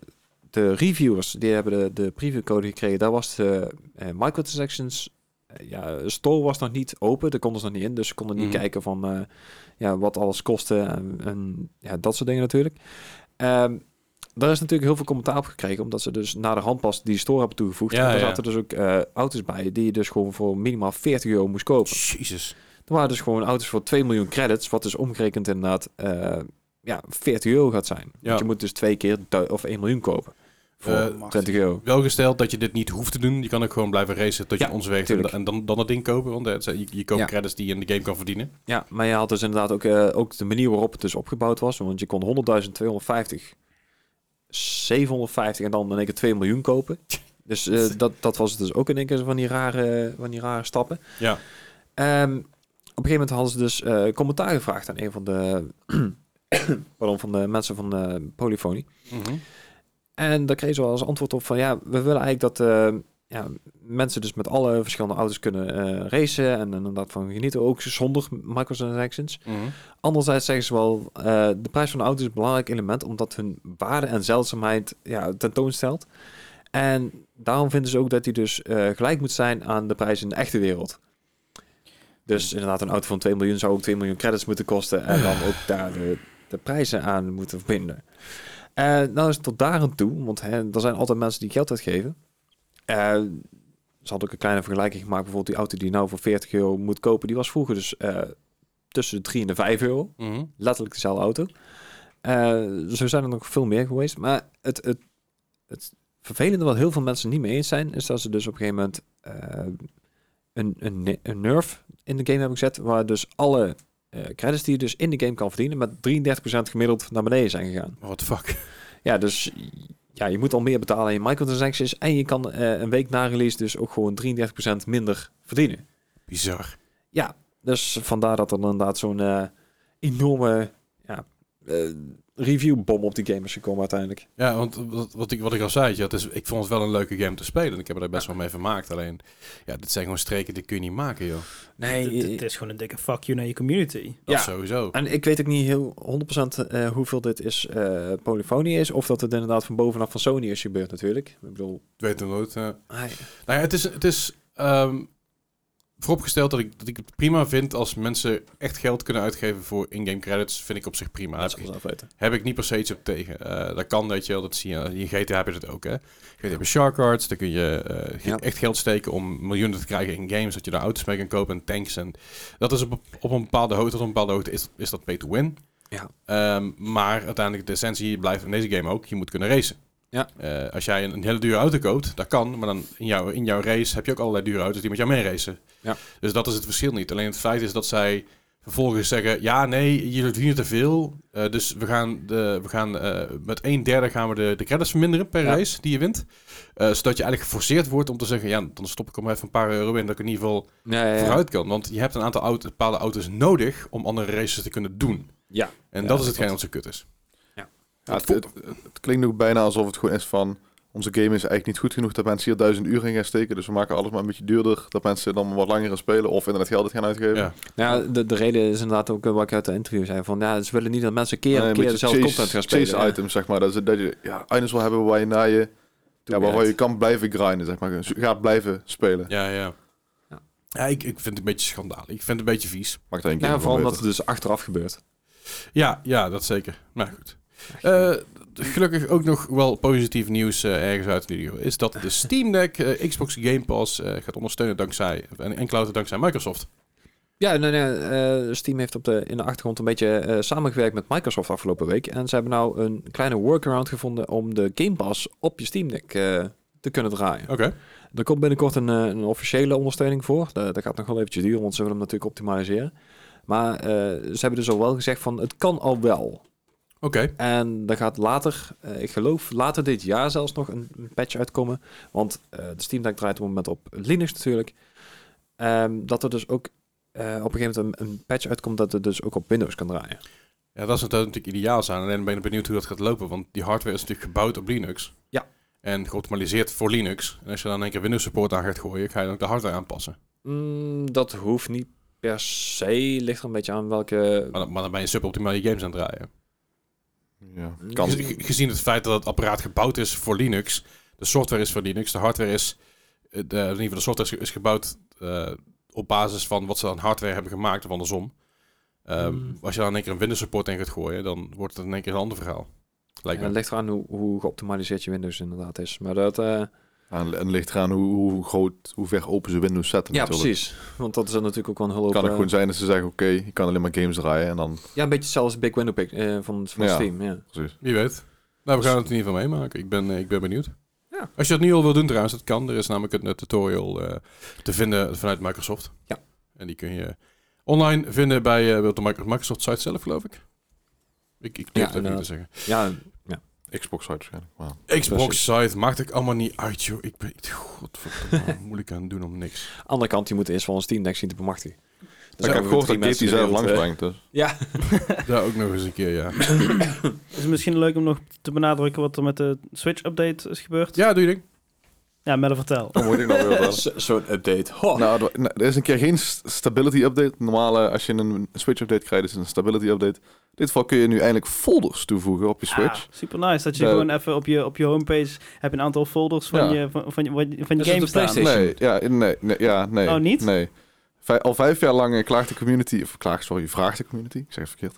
de reviewers, die hebben de, de previewcode gekregen. Daar was de eh, microtransactions... eh, ja, store was nog niet open. Daar konden ze nog niet in. Dus ze konden niet Mhm. kijken van... eh, ja, wat alles kostte en, en ja, dat soort dingen natuurlijk. Ehm, daar is natuurlijk heel veel commentaar op gekregen, omdat ze dus na de hand pas die store hebben toegevoegd. Ja, en daar ja. zaten dus ook eh, auto's bij die je dus gewoon voor minimaal 40 euro moest kopen. Jezus. Er waren dus gewoon auto's voor 2 miljoen credits, wat dus omgerekend inderdaad eh, ja, 40 euro gaat zijn. Ja. Want je moet dus twee keer du- of 1 miljoen kopen voor Eh, 20 euro. Wel gesteld dat je dit niet hoeft te doen. Je kan ook gewoon blijven racen tot je Ja, ons weegt en, tuurlijk. en dan, dan dat ding kopen. Want eh, het zijn- je, je koopt Ja. credits die je in de game kan verdienen. Ja, maar je had dus inderdaad ook, eh, ook de manier waarop het dus opgebouwd was. Want je kon 100.000, 250, 750 en dan in één keer 2 miljoen kopen. Dus eh, dat, dat was het dus ook in één keer zo van die rare, van die rare stappen. Ja. Ehm, op een gegeven moment hadden ze dus eh, commentaar gevraagd aan een van de, pardon, van de mensen van eh Polyphony. Mhm, En daar kregen ze wel als antwoord op van ja, we willen eigenlijk dat eh, ja, mensen dus met alle verschillende auto's kunnen eh, racen en inderdaad van genieten, ook zonder microtransactions. mhm, Anderzijds zeggen ze wel, eh, de prijs van de auto is een belangrijk element omdat hun waarde en zeldzaamheid ja, tentoonstelt. En daarom vinden ze ook dat die dus eh, gelijk moet zijn aan de prijs in de echte wereld. Dus inderdaad, een auto van 2 miljoen zou ook 2 miljoen credits moeten kosten. En dan ook daar de, de prijzen aan moeten verbinden. Eh nou is het tot daar aan toe, want hè, er zijn altijd mensen die geld uitgeven. Eh, ze hadden ook een kleine vergelijking gemaakt. Bijvoorbeeld die auto die je nou voor 40 euro moet kopen, die was vroeger dus eh, tussen de 3 en de 5 euro Mhm. letterlijk dezelfde auto. Eh, zo zijn er nog veel meer geweest. Maar het, het, het vervelende wat heel veel mensen niet mee eens zijn, is dat ze dus op een gegeven moment eh, een, een, ne- een nerf in de game hebben gezet, waar dus alle eh, credits die je dus in de game kan verdienen, met 33% gemiddeld naar beneden zijn gegaan. What the fuck. Ja, dus ja, je moet al meer betalen in je microtransactions en je kan eh, een week na release dus ook gewoon 33% minder verdienen. Bizar. Ja, dus vandaar dat er inderdaad zo'n eh, enorme ja, eh, reviewbom op die game is gekomen uiteindelijk. Ja, want wat, wat, ik, wat ik al zei, ja, het is, ik vond het wel een leuke game te spelen. Ik heb er best wel mee vermaakt. Alleen, ja, dit zijn gewoon streken die kun je niet maken, joh. Nee, Het- Het is gewoon een dikke fuck you naar je community. Dat Ja. sowieso. en ik weet ook niet heel 100% eh, hoeveel dit is eh polyfonie is, of dat het inderdaad van bovenaf van Sony is gebeurd natuurlijk. Ik bedoel, Ik weet het nooit. eh. hij- Nou ja, het is, het is ehm, vooropgesteld dat ik, dat ik het prima vind als mensen echt geld kunnen uitgeven voor in-game credits. Vind ik op zich prima. dat Heb zal ik- zelf weten. heb ik niet per se iets op tegen. Eh, dat kan, weet je wel. Dat zie je. eh, In GTA heb je dat ook, hè. Je hebt shark cards. Daar kun je eh, ge- Ja. echt geld steken om miljoenen te krijgen in games. Dat je daar auto's mee kan kopen en tanks. En dat is op, op een bepaalde hoogte. Tot een bepaalde hoogte is, is dat pay to win. Ja. Ehm, maar uiteindelijk de essentie blijft in deze game ook. Je moet kunnen racen. Ja. Eh, als jij een, een hele dure auto koopt, dat kan. Maar dan in, jouw in jouw race heb je ook allerlei dure auto's die met jou mee racen. Ja. Dus dat is het verschil niet. Alleen het feit is dat zij vervolgens zeggen, ja, nee, jullie verdienen te veel. eh, dus we gaan, de, we gaan eh, met een derde gaan we de, de credits verminderen per Ja. race die je wint. Eh, zodat je eigenlijk geforceerd wordt om te zeggen, ja, dan stop ik er maar even een paar euro in, dat ik in ieder geval Ja, ja, ja. vooruit kan. Want je hebt een aantal auto, bepaalde auto's nodig om andere races te kunnen doen. Ja. En dat Ja, dat is hetgeen klopt. wat zo kut is. Ja, het, het- het klinkt ook bijna alsof het gewoon is van... Onze game is eigenlijk niet goed genoeg dat mensen hier duizend uur in gaan steken. Dus we maken alles maar een beetje duurder. Dat mensen dan wat langer gaan spelen of inderdaad geld gaan uitgeven. Ja. Nou, ja, de, de reden is inderdaad ook eh, wat ik uit de interview zei. Van, ja, ze willen niet dat mensen Nee, keer en een keer beetje dezelfde content gaan spelen. chase items, zeg maar. Dat, ze- dat je ja, items wil hebben waar je, naar je, ja, weer waarvan je uit. kan blijven grinden, zeg maar. Dus je gaat blijven spelen. Ja, ja. Ja. Ja, ik, ik vind het een beetje schandalig. Ik vind het een beetje vies. Maakt dat een keer Ja, vooral beter. omdat het dus achteraf gebeurt. Ja, ja, dat zeker. Maar goed. Eh, gelukkig ook nog wel positief nieuws eh, ergens uit de video. Is dat de Steam Deck eh, Xbox Game Pass eh, gaat ondersteunen dankzij, en, en clouden dankzij Microsoft. Ja, nee, nee, eh, Steam heeft op de, in de achtergrond een beetje eh, samengewerkt met Microsoft afgelopen week. En ze hebben nou een kleine workaround gevonden om de Game Pass op je Steam Deck eh, te kunnen draaien. Oké. Er komt binnenkort een, eh, een officiële ondersteuning voor. Dat, dat gaat nog wel eventjes duren, want ze willen hem natuurlijk optimaliseren. Maar eh, ze hebben dus al wel gezegd van het kan al wel. Oké. En daar gaat later, eh, ik geloof later dit jaar zelfs nog een, een patch uitkomen. Want eh, de Steam Deck draait op het moment op Linux natuurlijk. Ehm, dat er dus ook eh, op een gegeven moment een, een patch uitkomt dat het dus ook op Windows kan draaien. Ja, dat zou natuurlijk ideaal zijn. Alleen ben ik benieuwd hoe dat gaat lopen. Want die hardware is natuurlijk gebouwd op Linux. Ja. En geoptimaliseerd voor Linux. En als je dan in één keer Windows support aan gaat gooien, ga je dan ook de hardware aanpassen. Mm, dat hoeft niet per se, ligt er een beetje aan welke... Maar dan, maar dan ben je suboptimale games aan het draaien. Ja. Kan. Gez- ge- Gezien het feit dat het apparaat gebouwd is voor Linux, de software is voor Linux, de hardware is, eh, de, in ieder geval de software is, is gebouwd eh, op basis van wat ze aan hardware hebben gemaakt of andersom. Ehm, Mm. Als je dan in één keer een Windows support in gaat gooien, dan wordt het in één keer een ander verhaal. Lijkt En het me. ligt eraan hoe, hoe geoptimaliseerd je Windows inderdaad is. Maar dat... eh, En, en ligt eraan hoe, hoe groot, hoe ver open ze Windows zetten ja, natuurlijk. precies. Want dat is dan natuurlijk ook wel een hulp. Het kan ook eh, gewoon zijn dat ze zeggen, oké, je kan alleen maar games draaien. En dan, ja, een beetje zelfs Big Window pick, eh, van, van Ja. Steam, ja. precies. Wie weet. Nou, we gaan het in ieder geval meemaken. Ik ben, eh, ik ben benieuwd. Dus- Ja. Als je dat nu al wil doen trouwens, dat kan. Er is namelijk een eh, tutorial eh, te vinden vanuit Microsoft. Ja. En die kun je online vinden bij eh, de Mic- Microsoft site zelf, geloof ik. Ik, ik durf Ja, dat niet te inderdaad. zeggen. Ja, Xbox site waarschijnlijk. Maar, Xbox site maakt ik allemaal niet uit, joh. Ik ben godverdomme moeilijk aan het doen om niks. andere kant, je moet eerst wel een Steam Deck zien te bemachtigen. Maar ik heb gehoord dat Gabe die zelf langs brengt. Dus. Ja, Daar ook nog eens een keer, ja. Het is misschien leuk om nog te benadrukken wat er met de Switch-update is gebeurd. Ja, doe je ding. Ja, Melle, vertel. Dan moet ik nog weer vertellen. eh, Zo- zo'n update. Ho. Nou, er- nou, er is een keer geen st- stability update. Normaal, eh, als je een Switch update krijgt, is het een stability update. In dit geval kun je nu eindelijk folders toevoegen op je Switch. Ah, super nice dat je Ja. gewoon even op je, op je homepage heb je een aantal folders van Ja. je, van, van, je- van je, van je Dat is op games de staan. PlayStation. Nee, ja, nee, nee, ja, nee. Oh, niet? Nee. Vij- al vijf jaar lang eh, klaagt de community, of klaagt, sorry, vraagt de community, ik zeg het verkeerd,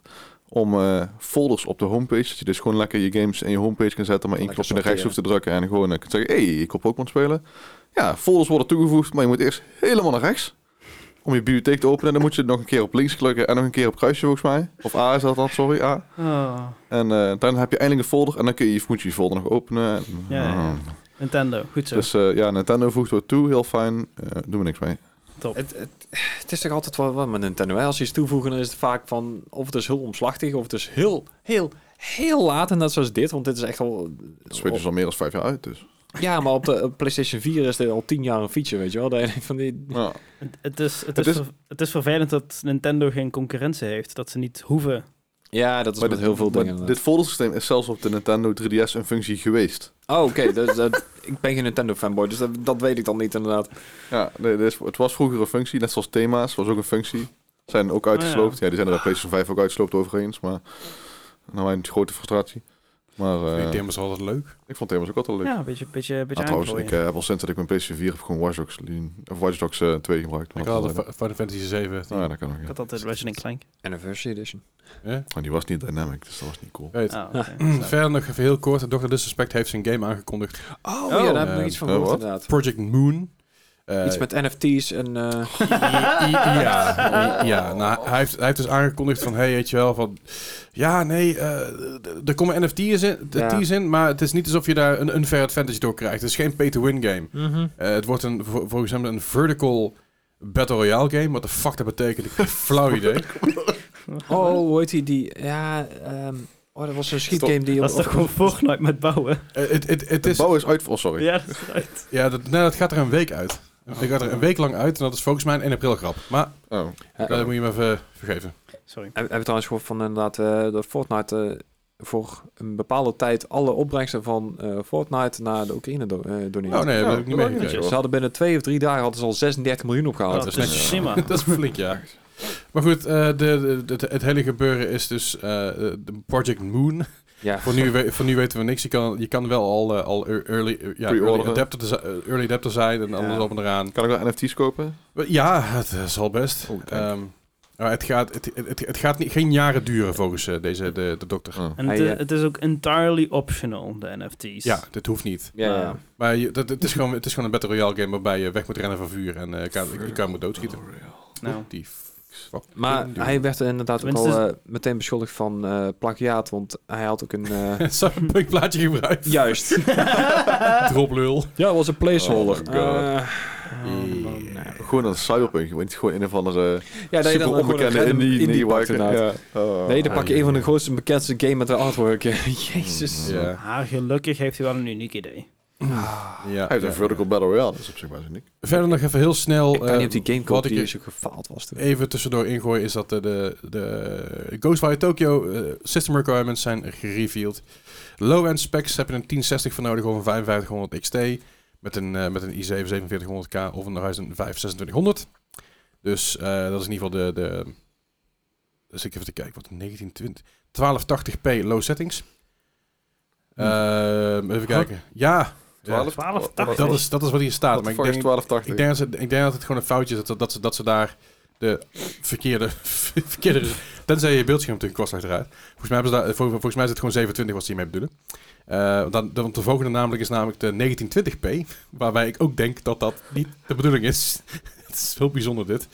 om eh, folders op de homepage, dat je dus gewoon lekker je games in je homepage kan zetten, maar één Lekker knopje naar rechts hoeft te sorteren. drukken en gewoon eh, kunt zeggen, hé, hey, ik wil Pokémon spelen. Ja, folders worden toegevoegd, maar je moet eerst helemaal naar rechts om je bibliotheek te openen. Dan moet je nog een keer op links klikken en nog een keer op kruisje volgens mij. Of A is dat dan, sorry, A. Oh, En eh, dan heb je eindelijk een folder en dan kun je, moet je je folder nog openen. Hmm. En, Ja, ja, ja. Nintendo, goed zo. Ah. Dus eh, ja, Nintendo voegt wat toe, heel fijn. Eh doen we niks mee. Het, het, het is toch altijd wel wat met Nintendo. Hè? Als ze iets toevoegen, dan is het vaak van... Of het is heel omslachtig, of het is heel, heel, heel laat. En net zoals dit, want dit is echt al... De Switch is al meer dan vijf jaar uit, dus. Ja, maar op de eh, PlayStation 4 is dit al tien jaar een feature, weet je wel. Dat je denkt van die... Ja. Het- het, is, het, is, Het is- ver- het is vervelend dat Nintendo geen concurrentie heeft. Dat ze niet hoeven. Ja, dat is met heel veel dingen. eh. Dit foldersysteem is zelfs op de Nintendo 3DS een functie geweest. Oh, oké. dus, dat- ik ben geen Nintendo-fanboy, dus dat, dat weet ik dan niet inderdaad. Ja, nee, dit is- het was vroeger een functie, net zoals thema's was ook een functie. Zijn ook uitgesloopt. Oh, ja. die zijn er bij PlayStation 5 ook uitgesloopt overigens, maar nou mijn grote frustratie. Maar eh, ik denk dat is altijd leuk. ik vond thema's ook altijd leuk. Ja, een beetje, beetje, Ah, beetje trouwens, ik aanklooien. eh, heb al sinds dat ik mijn PlayStation 4 heb gewoon Watch Dogs, Lean- of Watch Dogs eh, 2 gebruikt. Ik maar had dat- altijd Fi- Final Fantasy 7. Nou ja, dat kan ook. Ik Ja. had altijd Resident Clank. Anniversary Edition. Maar die was niet dynamic, dus dat was niet cool. Weet. Ah, oké. Verder nog even heel kort. Dr. Disrespect heeft zijn game aangekondigd. Oh, Oh. ja, daar heb ik nog Eh, iets van eh, gehoord, wat? inderdaad. Project Moon. Eh, Iets met NFT's en... eh, I- i- ja, i- ja. Nou, hij, heeft, hij heeft dus aangekondigd van, hey, weet je wel, van... Ja, nee, eh, d- er komen NFT's in, Ja. NFT's in, maar het is niet alsof je daar een unfair advantage door krijgt. Het is geen pay-to-win game. mhm. Eh, het wordt een, vol- volgens hem een vertical battle royale game. Wat de fuck dat betekent, ik heb geen flauw idee. Oh, hoe heet die? die ja, ehm, oh, dat was een schietgame die... Dat is toch gewoon Fortnite met bouwen? Eh, Het het- het De is... bouw is uit... Oh, sorry. Ja, dat is right. Ja, dat, nou, dat gaat er een week uit. Dat gaat er een week lang uit en dat is volgens mij een 1 april grap. Maar Oh. eh, dat moet je me even vergeven. Sorry. Heb, heb je trouwens gehoord van inderdaad eh dat Fortnite eh, voor een bepaalde tijd alle opbrengsten van eh, Fortnite naar de Oekraïne do- eh, doneren. Oh nee, dat Ja, heb ik niet dat meegekregen. Ze hadden binnen twee of drie dagen hadden ze al 36 miljoen opgehaald. Oh, Dus dat dat is is netjes. prima. Dat is flink, ja. Maar goed, eh, de, de- de- het hele gebeuren is dus eh, de Project Moon. Ja. Voor nu, we- voor nu weten we niks. Je kan, je kan wel al, eh, al ear- early, eh, ja, early, Pre-orderen. adapter te zi- eh, early adapter zijn en alles Ja. op en eraan. Kan ik wel NFT's kopen? Maar Ja, het eh, zal best. Oh, dank. Ehm, maar het gaat, het, het, het gaat niet, geen jaren duren volgens eh, deze, de, de dokter. Oh. En Hij, het, is- eh, het is ook entirely optional, de NFT's. Ja, dit hoeft niet. Ja, ja. Ah. Maar je, dat, het, is gewoon, het is gewoon een Battle Royale game waarbij je weg moet rennen van vuur en eh elkaar, elkaar moet doodschieten. Nou, Die fucking Maar dude. hij werd inderdaad ook al Tenminste- eh, meteen beschuldigd van eh, plagiaat, want hij had ook een... eh, Cyberpunk plaatje gebruikt. Juist. Droplul. Ja, was een placeholder. Oh my Eh, Gewoon een cyberpunk, je bent gewoon een of andere ja, dat je super dan gewoon een onbekende random indie, indie pakt, waar ik- inderdaad. ja. Oh. Nee, dan Ah, pak je ja, een van de ja. grootste bekendste game met de artwork. Jezus. Ja. haar Ah, gelukkig heeft hij wel een uniek idee. Ja, Hij heeft een ja. vertical battle royale, dat is op zich wel zo niks. Verder nog even heel snel. Ik kan eh, niet op die game wat kopen die ik zo gefaald was toen. even tussendoor ingooi is dat de, de, de Ghostwire Tokyo eh, system requirements zijn gereveeld. Low-end specs heb je een 1060 voor nodig of een 5500 XT. Met een, eh, met een i7 4700K of een Ryzen 5 2600. Dus eh, dat is in ieder geval de... de dus ik even te kijken, wat 1920... 1280p low settings. Hm. Ehm, even kijken. Ja, ja, 1280. dat is, dat is wat hier staat. Wat Maar de ik fuck is denk, 1280? ik denk, dat ze, ik denk dat het gewoon een foutje is dat, dat, ze, dat ze daar de verkeerde... verkeerde tenzij je beeldscherm natuurlijk kost achteruit. Volgens mij, hebben ze daar, vol- volgens mij is het gewoon 27 wat ze hiermee bedoelen. Eh, dan, dan, want de volgende namelijk is namelijk de 1920p. Waarbij ik ook denk dat dat niet de bedoeling is. Het is heel bijzonder dit.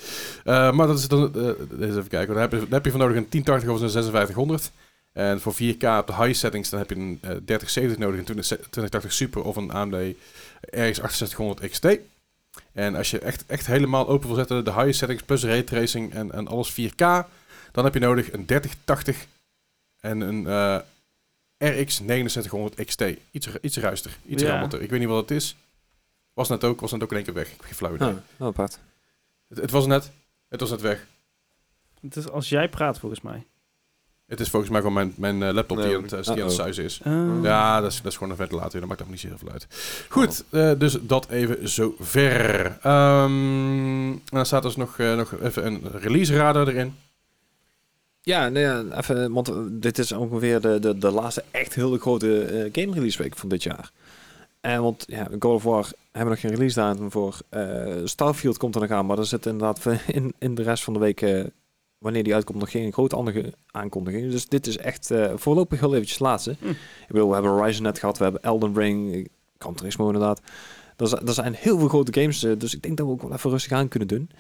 Eh, maar dat is dan... eh, eens even kijken. Dan heb, je, dan heb je voor nodig een 1080 of een 5600. En voor 4K op de high settings dan heb je een eh, 3070 nodig. Een 20, 2080 Super of een AMD RX 6800 XT. En als je echt, echt helemaal open wil zetten, de high settings plus raytracing en, en alles 4K, dan heb je nodig een 3080 en een eh, RX 6900 XT. Iets, iets ruister, iets Ja. rammelter. Ik weet niet wat het is. Was net ook, was net ook in één keer weg. Ik heb geen flauw idee. Ah, wel apart. Het, het was net, het was net weg. Het is als jij praat, volgens mij. Het is volgens mij gewoon mijn, mijn eh, laptop die Nee, oh. aan het, eh, die aan het uh-oh. suizen is. Eh, Ja, dat is, dat is gewoon een ventilator. Dat maakt allemaal niet zo heel veel uit. Oh. Goed, eh, dus dat even zover. Ehm, en dan staat dus nog, eh, nog even een release radar erin. Ja, nee, ja, even, want eh, dit is ongeveer de, de, de laatste echt hele grote eh, game release week van dit jaar. En want ja, God of War hebben we nog geen release datum voor. Eh, Starfield komt er nog aan, maar er zit inderdaad in, in de rest van de week, eh, wanneer die uitkomt, nog geen grote andere aankondiging. Dus dit is echt eh, voorlopig heel eventjes laatste. Hm. Ik bedoel, we hebben Horizon net gehad, we hebben Elden Ring, eh, Gran Turismo inderdaad. Er, zi- er zijn heel veel grote games, eh, dus ik denk dat we ook wel even rustig aan kunnen doen.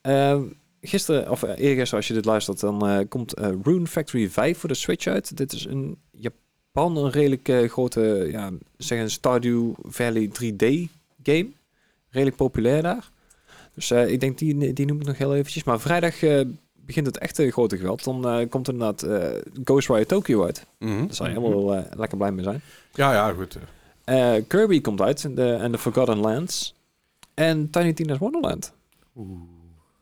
Ehm, gisteren, of eh, eergisteren als je dit luistert, dan eh, komt eh, Rune Factory 5 voor de Switch uit. Dit is een Japan, een redelijk eh, grote, ja, zeg een Stardew Valley 3D game. Redelijk populair daar. Dus eh, ik denk, die, die noem ik nog heel eventjes. Maar vrijdag eh, begint het echte grote geweld. Dan eh, komt inderdaad eh Ghostwire Tokyo uit. Mhm. Daar zou je helemaal eh, lekker blij mee zijn. Ja, ja, goed. eh. Eh, Kirby komt uit en de- en de Forgotten Lands. En Tiny Tina's Wonderland.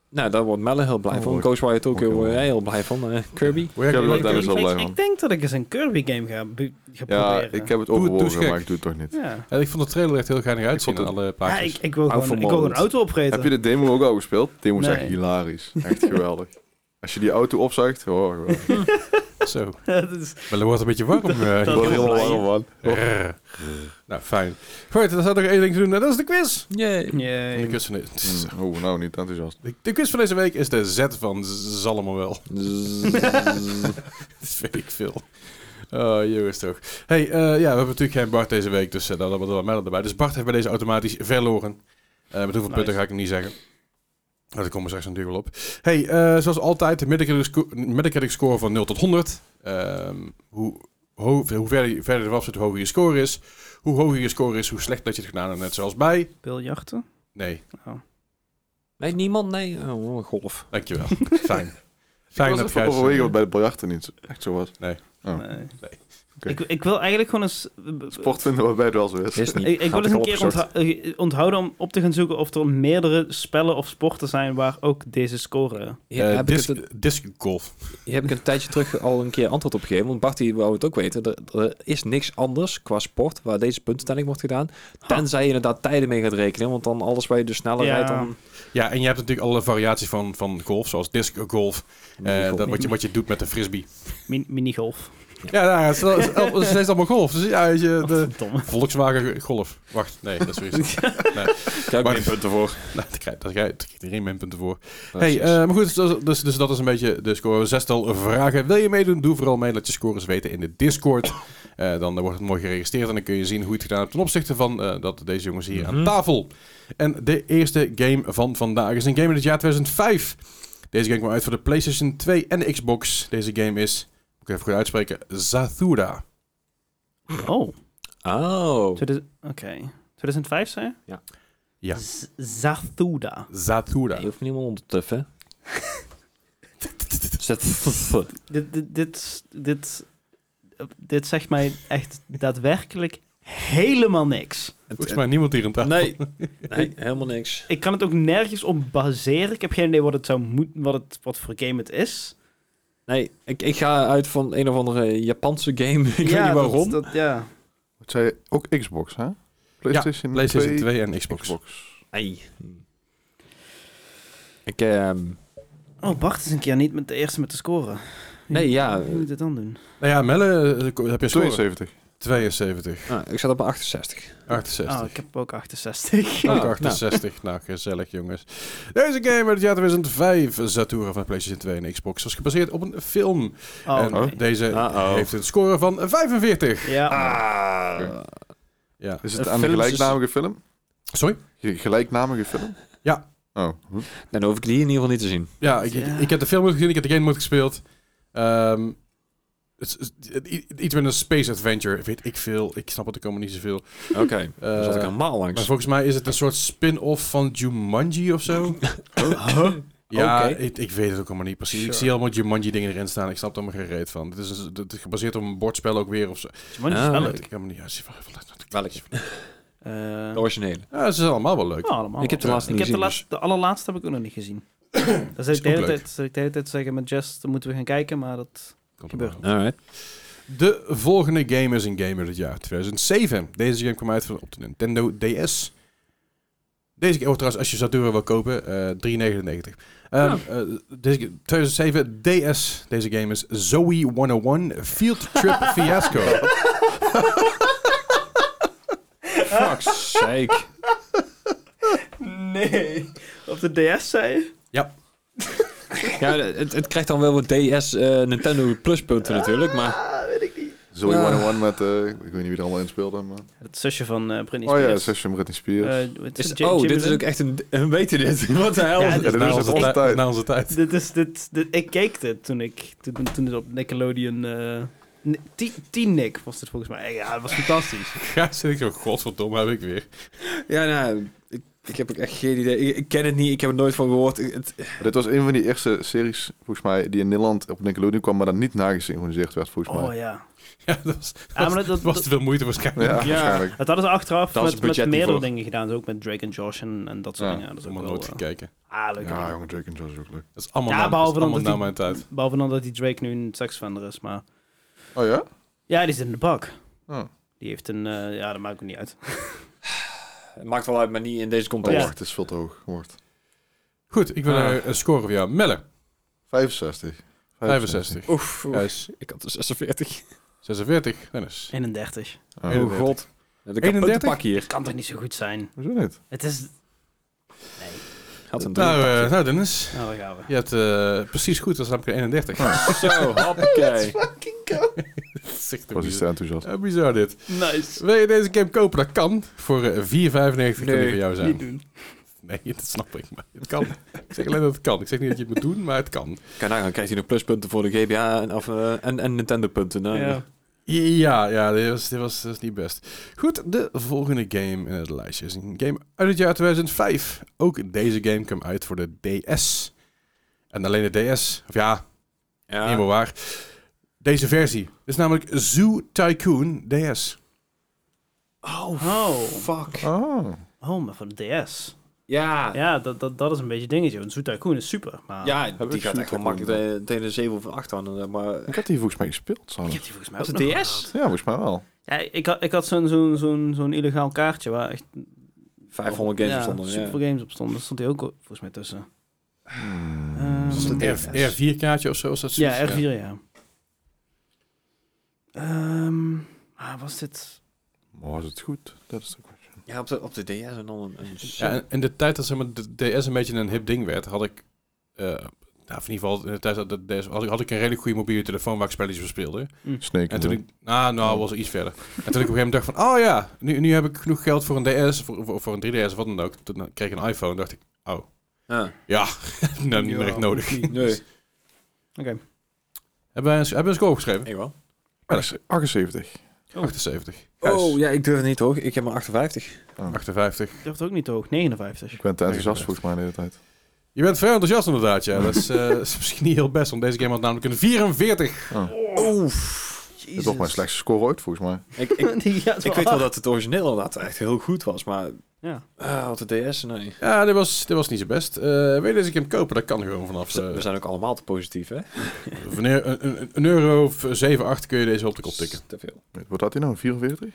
Nou, daar wordt Melle heel blij Oh, van. word- Ghostwire Tokyo word ik word wel- jij heel blij van. eh, Kirby. Hoe heb Ja, je dat dat is wel ik, blij ik- van. ik denk dat ik eens een Kirby-game ga, be- ga Ja, proberen. ik heb het Doe het, overwogen, doe eens maar gek. ik doe het toch niet. Ja. Ja, Eh, ik vond de trailer echt heel geinig uitzien Ik vond aan alle Ja, plaatjes. ik, ik wil Hou gewoon, van ik wil een Morland. auto Heb opreten. je de demo ook al gespeeld? De demo is Nee. echt hilarisch. Echt geweldig. Als je die auto opzuigt, oh, geweldig. Ik Zo, Dat is- maar er wordt een beetje warm. eh, dat- hier. word er helemaal warm van. Rrr. Nou, fijn. Goed, dan staat nog één ding te doen en dat is de quiz. Yay. Yay. De quiz van de, Mm, Oh, nou niet enthousiast. de, de quiz van deze week is de Z van Zalmowel. Zzz. Dat weet ik veel. Oh, jongens toch. hey, eh, ja, we hebben natuurlijk geen Bart deze week, dus eh, daar hebben we er wel Mel erbij. Dus Bart heeft bij deze automatisch verloren. Eh, met hoeveel Nice. punten ga ik hem niet zeggen. Maar daar komen we straks natuurlijk wel op. hey, eh, zoals altijd, de Metacritic, sco- Metacritic score van 0 tot 100. Ehm, hoe, ho- hoe verder, je- verder je eraf zit, hoe hoger je score is. Hoe hoger je score is, hoe slecht dat je het gedaan hebt. Net zoals bij... Biljarten? Nee, nee, niemand? Nee. Oh, golf. dankjewel. Fijn. Fijn dat ik was even jij... eh, overwegen wat bij de biljarten niet echt zo was. Nee. Oh. Oké. Ik, ik wil eigenlijk gewoon eens... Sport vinden waarbij het wel zo is. Is niet. Ik, Had ik wil eens een al keer opgezocht. ontha- eh, onthouden om op te gaan zoeken of er meerdere spellen of sporten zijn waar ook deze scoren... Hier Eh, heb, disc, ik het, disc golf. hier heb ik een tijdje terug al een keer antwoord op gegeven. Want Bart die wou het ook weten. Er, er is niks anders qua sport waar deze puntentelling wordt gedaan. Tenzij je inderdaad tijden mee gaat rekenen. Want dan alles waar je dus sneller Ja. rijdt dan... Ja, en je hebt natuurlijk alle variaties van, van golf, zoals disc golf. eh, dat wat, je, wat je doet met de frisbee. Min- minigolf. Ja, nou, het is- het is- het is steeds allemaal golf. Dus ja, als je, de Verdomme. Volkswagen Golf. Wacht, nee, dat is weer iets. Krijg ik Maar- geen punten voor. Nou, daar krijg- daar krijgt iedereen minpunten voor. Hey, Precies. eh, maar goed, dus, dus, dus dat is een beetje de score. Zestal vragen. Wil je meedoen? Doe vooral mee. Laat je scores weten in de Discord. Eh, dan wordt het mooi geregistreerd en dan kun je zien hoe je het gedaan hebt ten opzichte van eh, dat deze jongens hier aan Mhm. tafel. En de eerste game van vandaag is een game in het jaar 2005. Deze game kwam uit voor de PlayStation 2 en de Xbox. Deze game is, moet ik even goed uitspreken, Zathura. Oh, eh, Oh. 2000 oké. 2005 zei je? Ja. Ja. Z- Zathuda. Zathura. Je hoeft niet meer onder te tuffen. Zet- Dit, dit, dit, dit, dit zegt mij echt daadwerkelijk helemaal niks. Volgens mij niemand hier aan tafel. Nee. nee, helemaal niks. Ik kan het ook nergens op baseren. Ik heb geen idee wat het zou moeten, wat, het, wat voor game het is. Nee, ik, ik ga uit van een of andere Japanse game. ik Ja, weet niet waarom. Dat, dat, ja. Het zei je? ook Xbox, hè? PlayStation, PlayStation 2, 2 en Xbox. Xbox. Ei. Ik, ehm, Oh, Bart is een keer niet met de eerste met de scoren. Wie- Nee, ja. Wie moet dit dan doen? Nou ja, Melle, eh, ko- heb je score? 72. 72. ah, ik zat op een 68. 68. Oh, ik heb ook 68. Ook Ah, nou. 68. Nou, gezellig jongens. Deze game uit het jaar 2005, Zatura van de PlayStation 2 en Xbox, was gebaseerd op een film. Oh, en nee. deze Uh-oh. heeft een score van 45. Ja. Ah. Ja. Eh, Is het Een aan de film is- gelijknamige film? Sorry? Je gelijknamige film? Ja. Oh. Hm. Dan hoef ik die in ieder geval niet te zien. Ja, ik, ik, ik heb de film nooit gezien, ik heb de game nooit gespeeld. Ehm, het is- het- het- i- Iets met een space adventure, weet ik veel. Ik snap het, ik kom er niet zoveel. Oké, dan zat ik Eh, maar helemaal langs. volgens mij is het een soort spin-off van Jumanji of zo. Oh. Ja, Oké. ik, ik weet het ook allemaal niet precies. Ik Sure. zie allemaal Jumanji dingen erin staan. Ik snap er helemaal geen reet van. Dit is, dit is gebaseerd op een bordspel ook weer of zo. Maar die is Ah. wel Ja, leuk. Ik heb hem niet uit. Wat- wat- wat- Welk? Eh, De originele. Ja, ze zijn allemaal wel leuk. ja, allemaal. Ik heb de wel. laatste ik niet heb de, gezien, dus- laatste, de allerlaatste heb ik ook nog niet gezien. Dan zit ik, de ook hele leuk. tijd, zit ik de hele tijd zeggen met Jess, dan moeten we gaan kijken, maar dat... Komt Gebeurt. allemaal. Alright. De volgende game is een game uit het jaar 2007. Deze game kwam uit van- op de Nintendo DS. Deze game, oh, trouwens, als je Saturn wil kopen, eh 3,99. Ehm, Oh. Ah. eh, deze game- 2007 DS. Deze game is Zoe 101 Field Trip Fiasco. Fuck sake. Nee. Op de DS zei je? Ja, het, het krijgt dan wel wat DS eh, Nintendo pluspunten natuurlijk, maar... Ah, weet ik niet. Zoe Ja. 101 met, eh, ik weet niet wie er allemaal in speelde, maar... Het zusje van eh Britney Oh ja, Spears. Session Britney Spears. Eh, het Is, J- oh, Jimmy dit is Lin. ook echt een... een weten dit? Wat de hel? Ja, is dit Dat is na het onze op tijd- tijd. Na onze tijd. Dit is, dit, dit- ik keek dit toen, ik, toen, toen het op Nickelodeon... eh Ni- Ti- Tienik was dit volgens mij. Ja, het was fantastisch. Ja, zit ik zo, godverdomme, heb ik weer. Ja, nou, ik, ik heb ook echt geen idee. Ik, ik ken het niet, ik heb er nooit van gehoord. Ik- het- Maar Dit was een van die eerste series, volgens mij, die in Nederland op Nickelodeon kwam, maar dan niet nagesynchroniseerd werd, volgens mij. Oh ja. Ja, dat was, Ja, maar dat- dat dat- was te veel moeite waarschijnlijk. Ja, Ja. waarschijnlijk. Dat hadden ze achteraf Daar was met, het met budget meerdere niet voor. dingen gedaan. Dus ook met Drake en Josh en, en dat soort Ja, dingen. Dat is ook Allemaal wel... nooit eh, gekeken. ah, leuke Ja, dingen. jongen, Drake en Josh is ook leuk. Dat is allemaal, Ja, na, dat is behalve dan allemaal dat na die- mijn tijd. Behalve dan dat die Drake nu een seksvender is, maar... Oh ja? Ja, die zit in de bak. Oh. Die heeft een... eh, ja, dat maakt ook niet uit. Het maakt wel uit, maar niet in deze Oh, context. wacht, het is veel te hoog. Wordt. Goed, ik wil Ah. eh, een score van jou. Melle, 65. 65. Oef, oef. Gijs, ik had dus er 46. 46. Dennis. 31. Oh, Heel Oh goed. god. Dat ik een 31? pak hier. Kan toch niet zo goed zijn? Hoezo niet? Het is... Had een Nou, drie. eh, nou, Dennis. Nou, daar gaan we. Je hebt eh, precies goed, dat is namelijk een 31. Zo, Oh, hoppakee. Dat is echt Ik was iets bizar. te enthousiast. Eh, bizar dit. Nice. Wil je deze game kopen? Dat kan. Voor eh, 4,95 kan die Nee, voor jou Niet zijn. doen. Nee, dat snap ik. Maar het kan. ik zeg alleen dat het kan. Ik zeg niet dat je het moet doen, maar het kan. Kijk, nou, dan krijgt hij nog pluspunten voor de GBA en, of, eh, en, en Nintendo punten. Nou, Ja. Ja, ja, dit was, dit was, dit was niet best. Goed, de volgende game in het lijstje is een game uit het jaar 2005. Ook deze game kwam uit voor de DS. En alleen de DS, of ja, ja. helemaal waar. Deze versie. Dit is namelijk Zoo Tycoon DS. Oh, Oh. fuck. Oh. Oh, maar van de DS. Ja, ja, Ja, dat, dat, dat is een beetje dingetje. Een Zoo Tycoon is super, maar... ik die gaat zo'n echt wel Tycoon. makkelijk eh, tegen een 7 of 8 aan. eh, Maar Ik had die volgens mij gespeeld. Zo. Ik Ja, heb die volgens mij was het ook nog DS? gehad. volgens mij wel. Ja, ik had, ik had zo'n zo'n zo'n zo'n illegaal kaartje waar echt 500 games ja, bestonden, super ja. veel games op stonden. Daar stond die ook volgens mij tussen. Hmm. Ehm, Is dat een DS. R4-kaartje of zo? Was dat zoiets? ja, R4, ja. Ehm, ah, was dit... Maar was het goed? Dat is de question. Ja, op de, op de DS en dan een... een Ja, en in de tijd dat zeg maar, de DS een beetje een hip ding werd, had ik... eh, nou, of in ieder geval, in de tijd dat de DS, had, ik, had ik een redelijk goede mobiele telefoon waar ik spelletjes voor speelde. Snake. En toen Hill. ik... Ah, nou, was er iets verder. En toen ik op een gegeven moment dacht van... Oh ja, nu, nu heb ik genoeg geld voor een DS, voor, voor, voor een 3DS of wat dan ook. Toen kreeg ik een iPhone dacht ik... ja. Ja, nou, niet meer echt nodig. Ah, Nee, Oké. Hebben wij een, hebben we een score opgeschreven? ik wel. Ja, dat is 78. 78. Oh, Gijs, ja, ik durf het niet hoog. Ik heb maar 58. 58. Ik durfde ook niet te hoog. 59. Ik ben te enthousiast Nee, volgens mij de hele tijd. Je bent vrij enthousiast inderdaad, ja. Dat is, eh, is misschien niet heel best, want deze game had namelijk een 44. Ah. Oef. Dit is toch mijn slechtste score ooit volgens mij. Ik, ik, Die gaat ik weet wel dat het origineel inderdaad echt heel goed was, maar Ja. eh, op de DS, nee. Ja, dit was, dit was niet zo best. Eh wil je deze game kopen? Dat kan gewoon vanaf eh, Dus, We zijn ook allemaal te positief, hè? wanneer- een, een, een euro of 7, 8 kun je deze op de kop tikken. Te veel. Wat had hij nou? 44?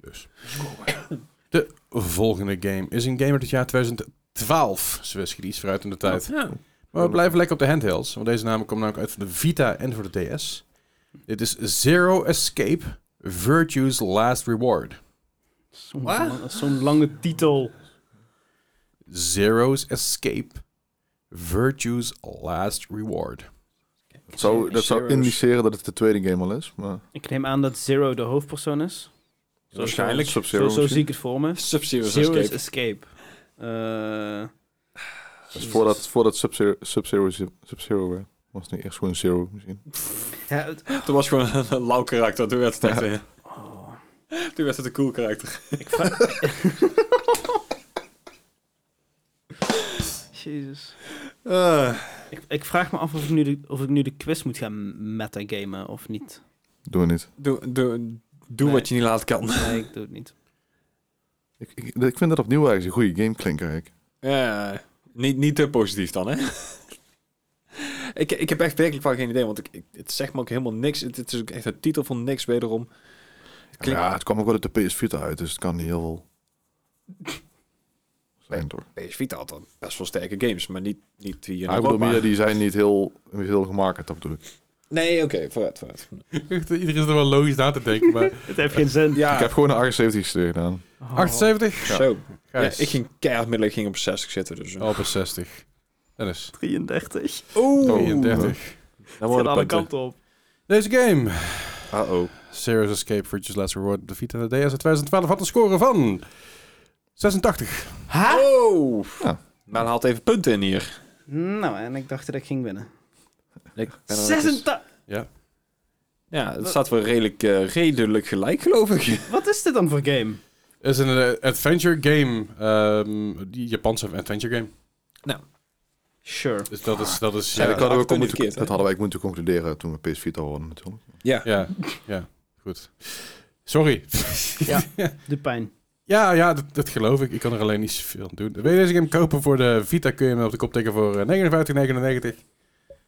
Dus. De volgende game is een game uit het jaar 2012. Ze was iets vooruit in de tijd. Ja. Maar we blijven lekker op de handhelds. Want deze namen komen namelijk uit voor de Vita en voor de DS. Dit is Zero Escape Virtue's Last Reward. Zo'n Wat? la- zo'n lange titel. Zero's Escape Virtue's Last Reward. Dat zou, dat zou indiceren dat het de tweede game al is. Maar Ik neem aan dat Zero de hoofdpersoon is. Waarschijnlijk. Zo, Sub-Zero zo zie misschien. ik het voor me. Sub-Zero Zero Escape. is Escape. Eh, Dus voordat, voordat Sub-Zero Sub-Zero Sub-Zero werd, was het nu eerst gewoon Zero misschien. ja, het- Toen was gewoon een, een lauw karakter. Toen werd het echt... eh, oh. Toen werd het een cool karakter. Ik vraag... Jezus. Ah, Ik, ik vraag me af of ik, nu de, of ik nu de quiz moet gaan metagamen of niet. Doen we niet. doe doe, doe Nee. wat je niet laat kan. Nee, ik doe het niet. Ik, ik, ik vind dat opnieuw eigenlijk een goede game klinken eigenlijk. Ja, niet, niet te positief dan, hè? ik, ik heb echt werkelijk van geen idee, want ik, ik- het zegt me ook helemaal niks. Het, het is ook echt een titel van niks wederom. Het klinkt Ja, het kwam ook wel uit de PS Vita uit, dus het kan niet heel veel zijn toch. PS Vita had dan best wel sterke games, maar niet, niet hier Ja, in ik bedoel Europa. meer, die zijn niet heel, heel gemaakt, dat bedoel ik. Ah. Nee, oké, vooruit, vooruit. Iedereen is er wel logisch na te denken, maar... Het heeft geen zin. Ja, Ik heb gewoon een 78 gestuurd gedaan. Oh. 78? zo. Oh. Ja, Gijs. ik ging keihard middelen, ik ging op 60 zitten, dus... Oh, op een 60. Dennis. 33. Oeh! Oh, 33. Dan Van worden alle punten. kanten op. Deze game, Uh-oh. Serious Escape Virtue's Last Reward, de Vita en de DS uit 2012, had een score van 86. Oh! Ja. Maar haalt even punten in hier. Nou, en ik dacht dat ik ging winnen. Ik ben er- 86. Ja, het staat wel redelijk, eh, redelijk gelijk, geloof ik. Wat is dit dan voor game? Het is een eh, adventure game, ehm, die Japanse adventure game. Sure. Dus dat is, dat is, Ja, ja, dat, hadden we acht ook moeten, keer, hè? dat hadden wij ook moeten concluderen toen we PS Vita hoorden natuurlijk. Ja. Ja, ja, goed. Sorry. De pijn. Ja, ja, dat, dat geloof ik. Ik kan er alleen niet zoveel aan doen. Wil je deze game kopen voor de Vita, kun je hem op de kop tikken voor eh, 59,99.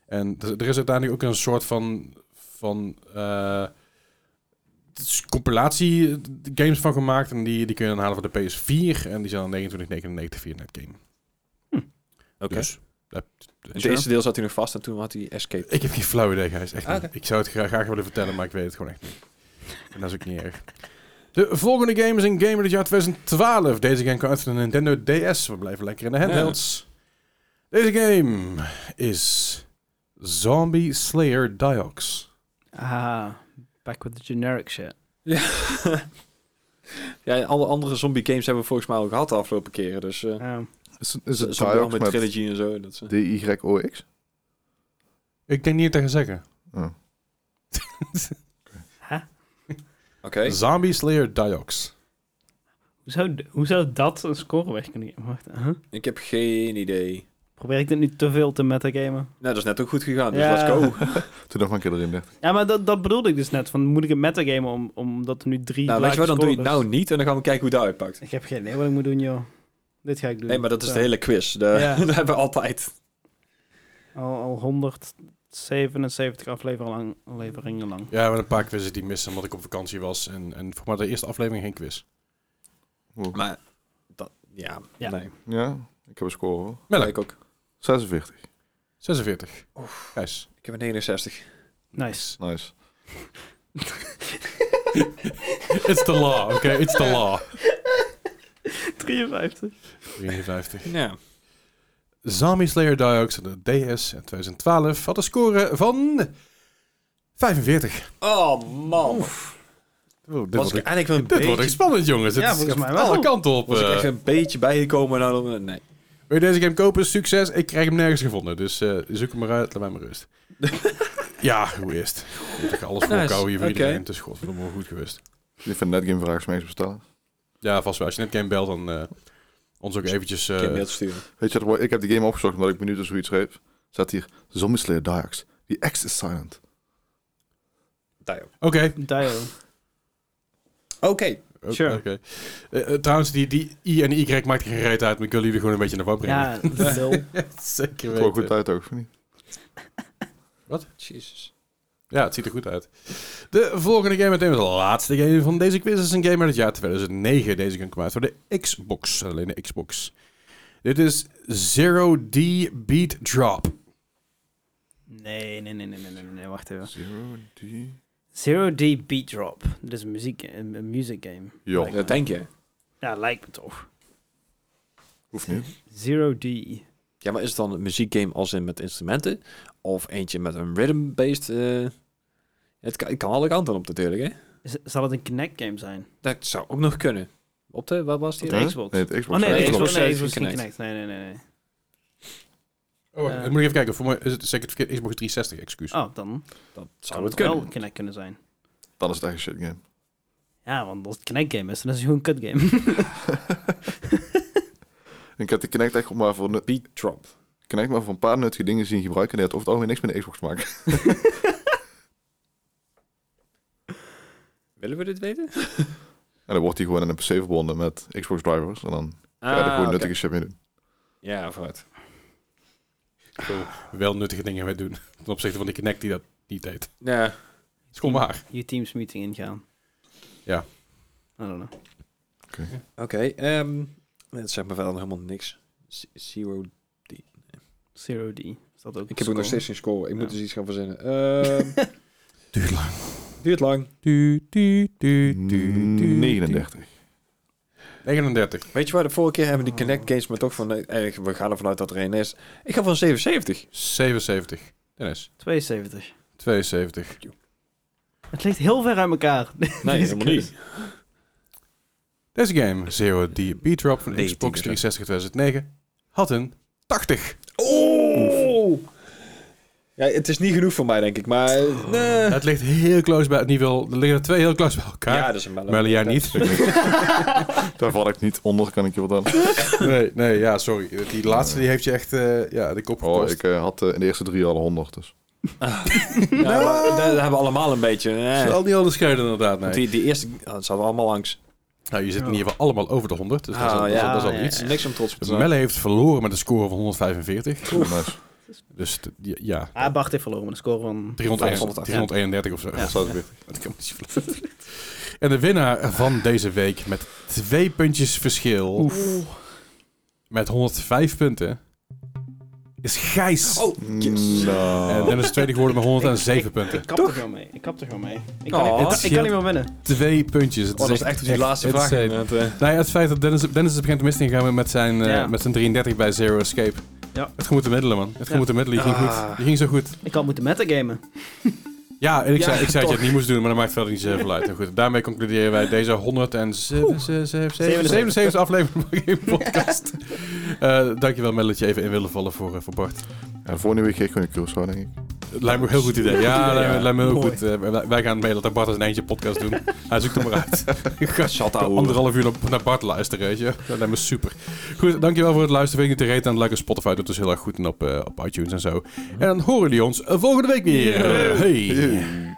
En er er is uiteindelijk ook een soort van, van eh, het is compilatie eh, games van gemaakt. En die, die kun je dan halen voor de PS4. En die zijn dan 29,99 via Netgame. Oké. Dus, dat- Het eerste deel zat hij nog vast en toen had hij escape. Ik heb geen flauw idee, Gijs. Echt Ah, niet. oké. Ik zou het graag, graag willen vertellen, maar ik weet het gewoon echt niet. En dat is ook niet erg. De volgende game is een game uit het jaar 2012. Deze game kwam uit van de Nintendo DS. We blijven lekker in de handhelds. Deze game is Zombie Slayer Diox. Ah, back with the generic shit. Ja. ja, alle andere zombie games hebben we volgens mij al gehad de afgelopen keren. Dus eh Ja. Is, is het zombie Diox met, met trilogy en zo. Dat, eh. ze- D-Y-O-X? Ik denk niet tegen zeggen. Oh. Huh? Oké. Zombie Slayer Diox. Hoe zou, hoe zou dat een score weg kunnen geven? Wacht, huh? Ik heb geen idee. Probeer ik dit nu te veel te metagamen. Nou, dat is net ook goed gegaan, dus Ja. let's go. Toen nog maar een keer erin dacht. Ja, maar dat, dat bedoelde ik dus net. Van, moet ik het metagamen om, omdat er nu drie Nou, weet je lage wat, dan doe je het scorers- nou niet en dan gaan we kijken hoe dat uitpakt. Ik heb geen idee wat ik moet doen, joh. Dit ga ik doen. Eh, Nee, maar dat is Ja. de hele quiz. De, Ja. dat hebben we altijd. Al, al 177 afleveringen lang. Afleveringen lang. Ja, maar een paar quizzes die ik miste omdat ik op vakantie was. En, en voor mij de eerste aflevering geen quiz. Oeh. Maar, dat, ja, Ja. nee. Ja, ik heb een score hoor. Melk, Ik ook. 46. 46. Gijs. Ik heb een 69. Nice. Nice. It's the law, oké? It's the law. 53. 53. Ja. Zombie Slayer Diox en de DS in 2012 had een score van 45. Oh, man. Oh, dit was wordt, ik echt- eigenlijk wel een dit wordt echt beetje... spannend, jongens. Ja, Het is volgens mij wel. alle kanten op. Was ik eh. echt een beetje bijgekomen en dan... Nee. Wil je deze game kopen? Succes. Ik krijg hem nergens gevonden. Dus eh, zoek hem maar uit. Laat mij maar rust. ja, hoe is het? Goed, Ik ga alles voor Nice. elkaar hier voor Oké. iedereen. Het is godverdomme wel goed geweest. Je vindt netgame vragen mee bestaan. Ja, vast wel. Als je net game belt, dan eh, ons ook eventjes... eh, Ik heb mail te sturen. Weet je wat, ik heb die game opgezocht omdat ik minuten zoiets schreef. Staat hier, Zombie Slayer Darks. Die X is silent. Daar ook. Oké. Dio. Oké. Oké, Sure. oké. Eh, eh, trouwens, die, die I en Y maakt er geen reet uit. Maar ik wil jullie gewoon een beetje naar wou brengen. Ja, lul. Zeker Het wel goed weten. uit ook, of niet? Jezus. Ja, het ziet er goed uit. De volgende game, meteen de laatste game van deze quiz, is een game uit het jaar 2009. Deze game kwam uit voor de Xbox. Alleen de Xbox. Dit is Zero D Beat Drop. Oh, Nee, nee, nee, nee, nee, nee, nee, wacht even. Zero D. Zero D Beat Drop. Dit is een muziek, een, een music game. Ja. Lijkt me. Dat denk je. Ja, lijkt me toch. Hoeft niet. Zero D. Ja, maar is het dan een muziekgame als in met instrumenten? Of eentje met een rhythm-based... eh, Het kan, het kan alle kanten op natuurlijk, hè? Is, zal het een Kinect game zijn? Dat zou ook nog kunnen. Op de... Waar was die? Op de Huh? Xbox. Nee, het Xbox. Oh nee, nee, nee, Xbox Xbox, nee, is Xbox geen geen Kinect. Nee, nee, nee, nee. Oh, wacht, Ja. dan moet ik even kijken. Voor mij is het zeker het verkeerd. Xbox 360, excuus. Oh, dan Dat zou zou het het kunnen. wel Kinect kunnen zijn. Dan is het echt een shit game. Ja, want als het Kinect game is, dan is het gewoon een kut game. En ik heb de Kinect echt maar voor, nu- Beat drop. Kinect maar voor een paar nuttige dingen zien gebruiken. En die had over het algemeen niks met de Xbox te maken. Willen we dit weten? En dan wordt die gewoon aan een PC verbonden met Xbox drivers. En dan Ah, ga je er gewoon nuttige shit mee doen. Ja, vooruit. Wel nuttige dingen mee doen. Ten opzichte van die Kinect die dat niet deed. Het Ja. is gewoon waar. Je Teams meeting ingaan. Ja. I don't know. Oké, ehm het zegt me verder helemaal niks. Z- Zero. Zero D. Is dat ook Ik heb ook nog score? steeds geen score. Ik moet Ja. dus iets gaan verzinnen. Ehm Duurt lang. duurt lang. 39. 39. Weet je waar de vorige keer hebben die Connect games, maar toch van, nee, eigenlijk, we gaan ervan uit dat er één is. Ik ga van 77. 77. Dennis. 72. 72. Het ligt heel ver uit elkaar. Nee, Deze helemaal quiz. niet. Deze game, Zero D Beat Drop van de Nee, Xbox tien is 360 2009, had een 80. Oh! Ja, het is niet genoeg voor mij, denk ik, maar... eh, Oh. nee. Het ligt heel close bij het niveau. Er liggen er twee heel close bij elkaar. Ja, Ja, dat is een mellow. maar jij niet. Daar val ik niet onder, kan ik je wat aan. nee, nee, ja, sorry. Die laatste die heeft je echt eh, ja, de kop Oh, gekost. ik eh, had eh, in de eerste drie al 100. Dus. Ja, maar dat hebben we allemaal een beetje. eh. Het zal niet anders schelen inderdaad, Want nee. Die, die eerste, oh, dat zaten we allemaal langs. Nou, je zit in ieder geval allemaal over de 100, dus dat is al, Ah, dat is al- dat is al ja, ja. iets. Dus Niks om trots op te zijn. Melle heeft verloren met een score van 145. Nice. Dus t- ja, Ah, Bart heeft verloren met een score van... 331, 500, 331 of zo. Ja. Dat is weer- Dat kan niet zo flauw. En de winnaar van deze week met twee puntjes verschil. Met 105 punten. Is Gijs. Oh, Mm, yes. En Nou. Dennis is tweede geworden met 107 punten. Ik kap er gewoon mee. Ik kap er gewoon mee. Ik kan, Oh. Het niet- ik, kan- ik kan scheelt- niet meer winnen. Twee puntjes. Het Oh, dat is echt die laatste vraag. insane. inderdaad, eh. Nou ja, het feit dat Dennis, Dennis is begint te mist ingaan met zijn, eh, Ja. met zijn 33 bij Zero Escape. Ja. Het moet de middelen, man. Het Ja. moet de middelen. Je ging Ah. goed. Je ging zo goed. Ik had moeten metagamen. Ja, en ik Ja, zei, ik zei dat je toch. het niet moest doen, maar dat maakt verder niet zoveel uit. En goed, daarmee concluderen wij deze 177 aflevering van Game Podcast. Eh dankjewel, Mel, dat je even in wilde vallen voor, eh, voor Bart. En voor nu week geef ik gewoon een cursus, denk ik. Het lijkt me een heel goed idee. Ja, lijkt me, lijkt me heel Mooi. goed. Eh, wij- wij gaan mee dat Bart als een eindje podcast doen. Hij zoekt hem maar uit. Zat Een anderhalf uur op- naar Bart luisteren, weet je. Dat lijkt me super. Goed, dankjewel voor het luisteren. Vind je het te reten aan het like op Spotify. doet dus heel erg goed en op, eh, op iTunes en zo. En dan horen jullie ons eh, volgende week weer. Hey. Hey.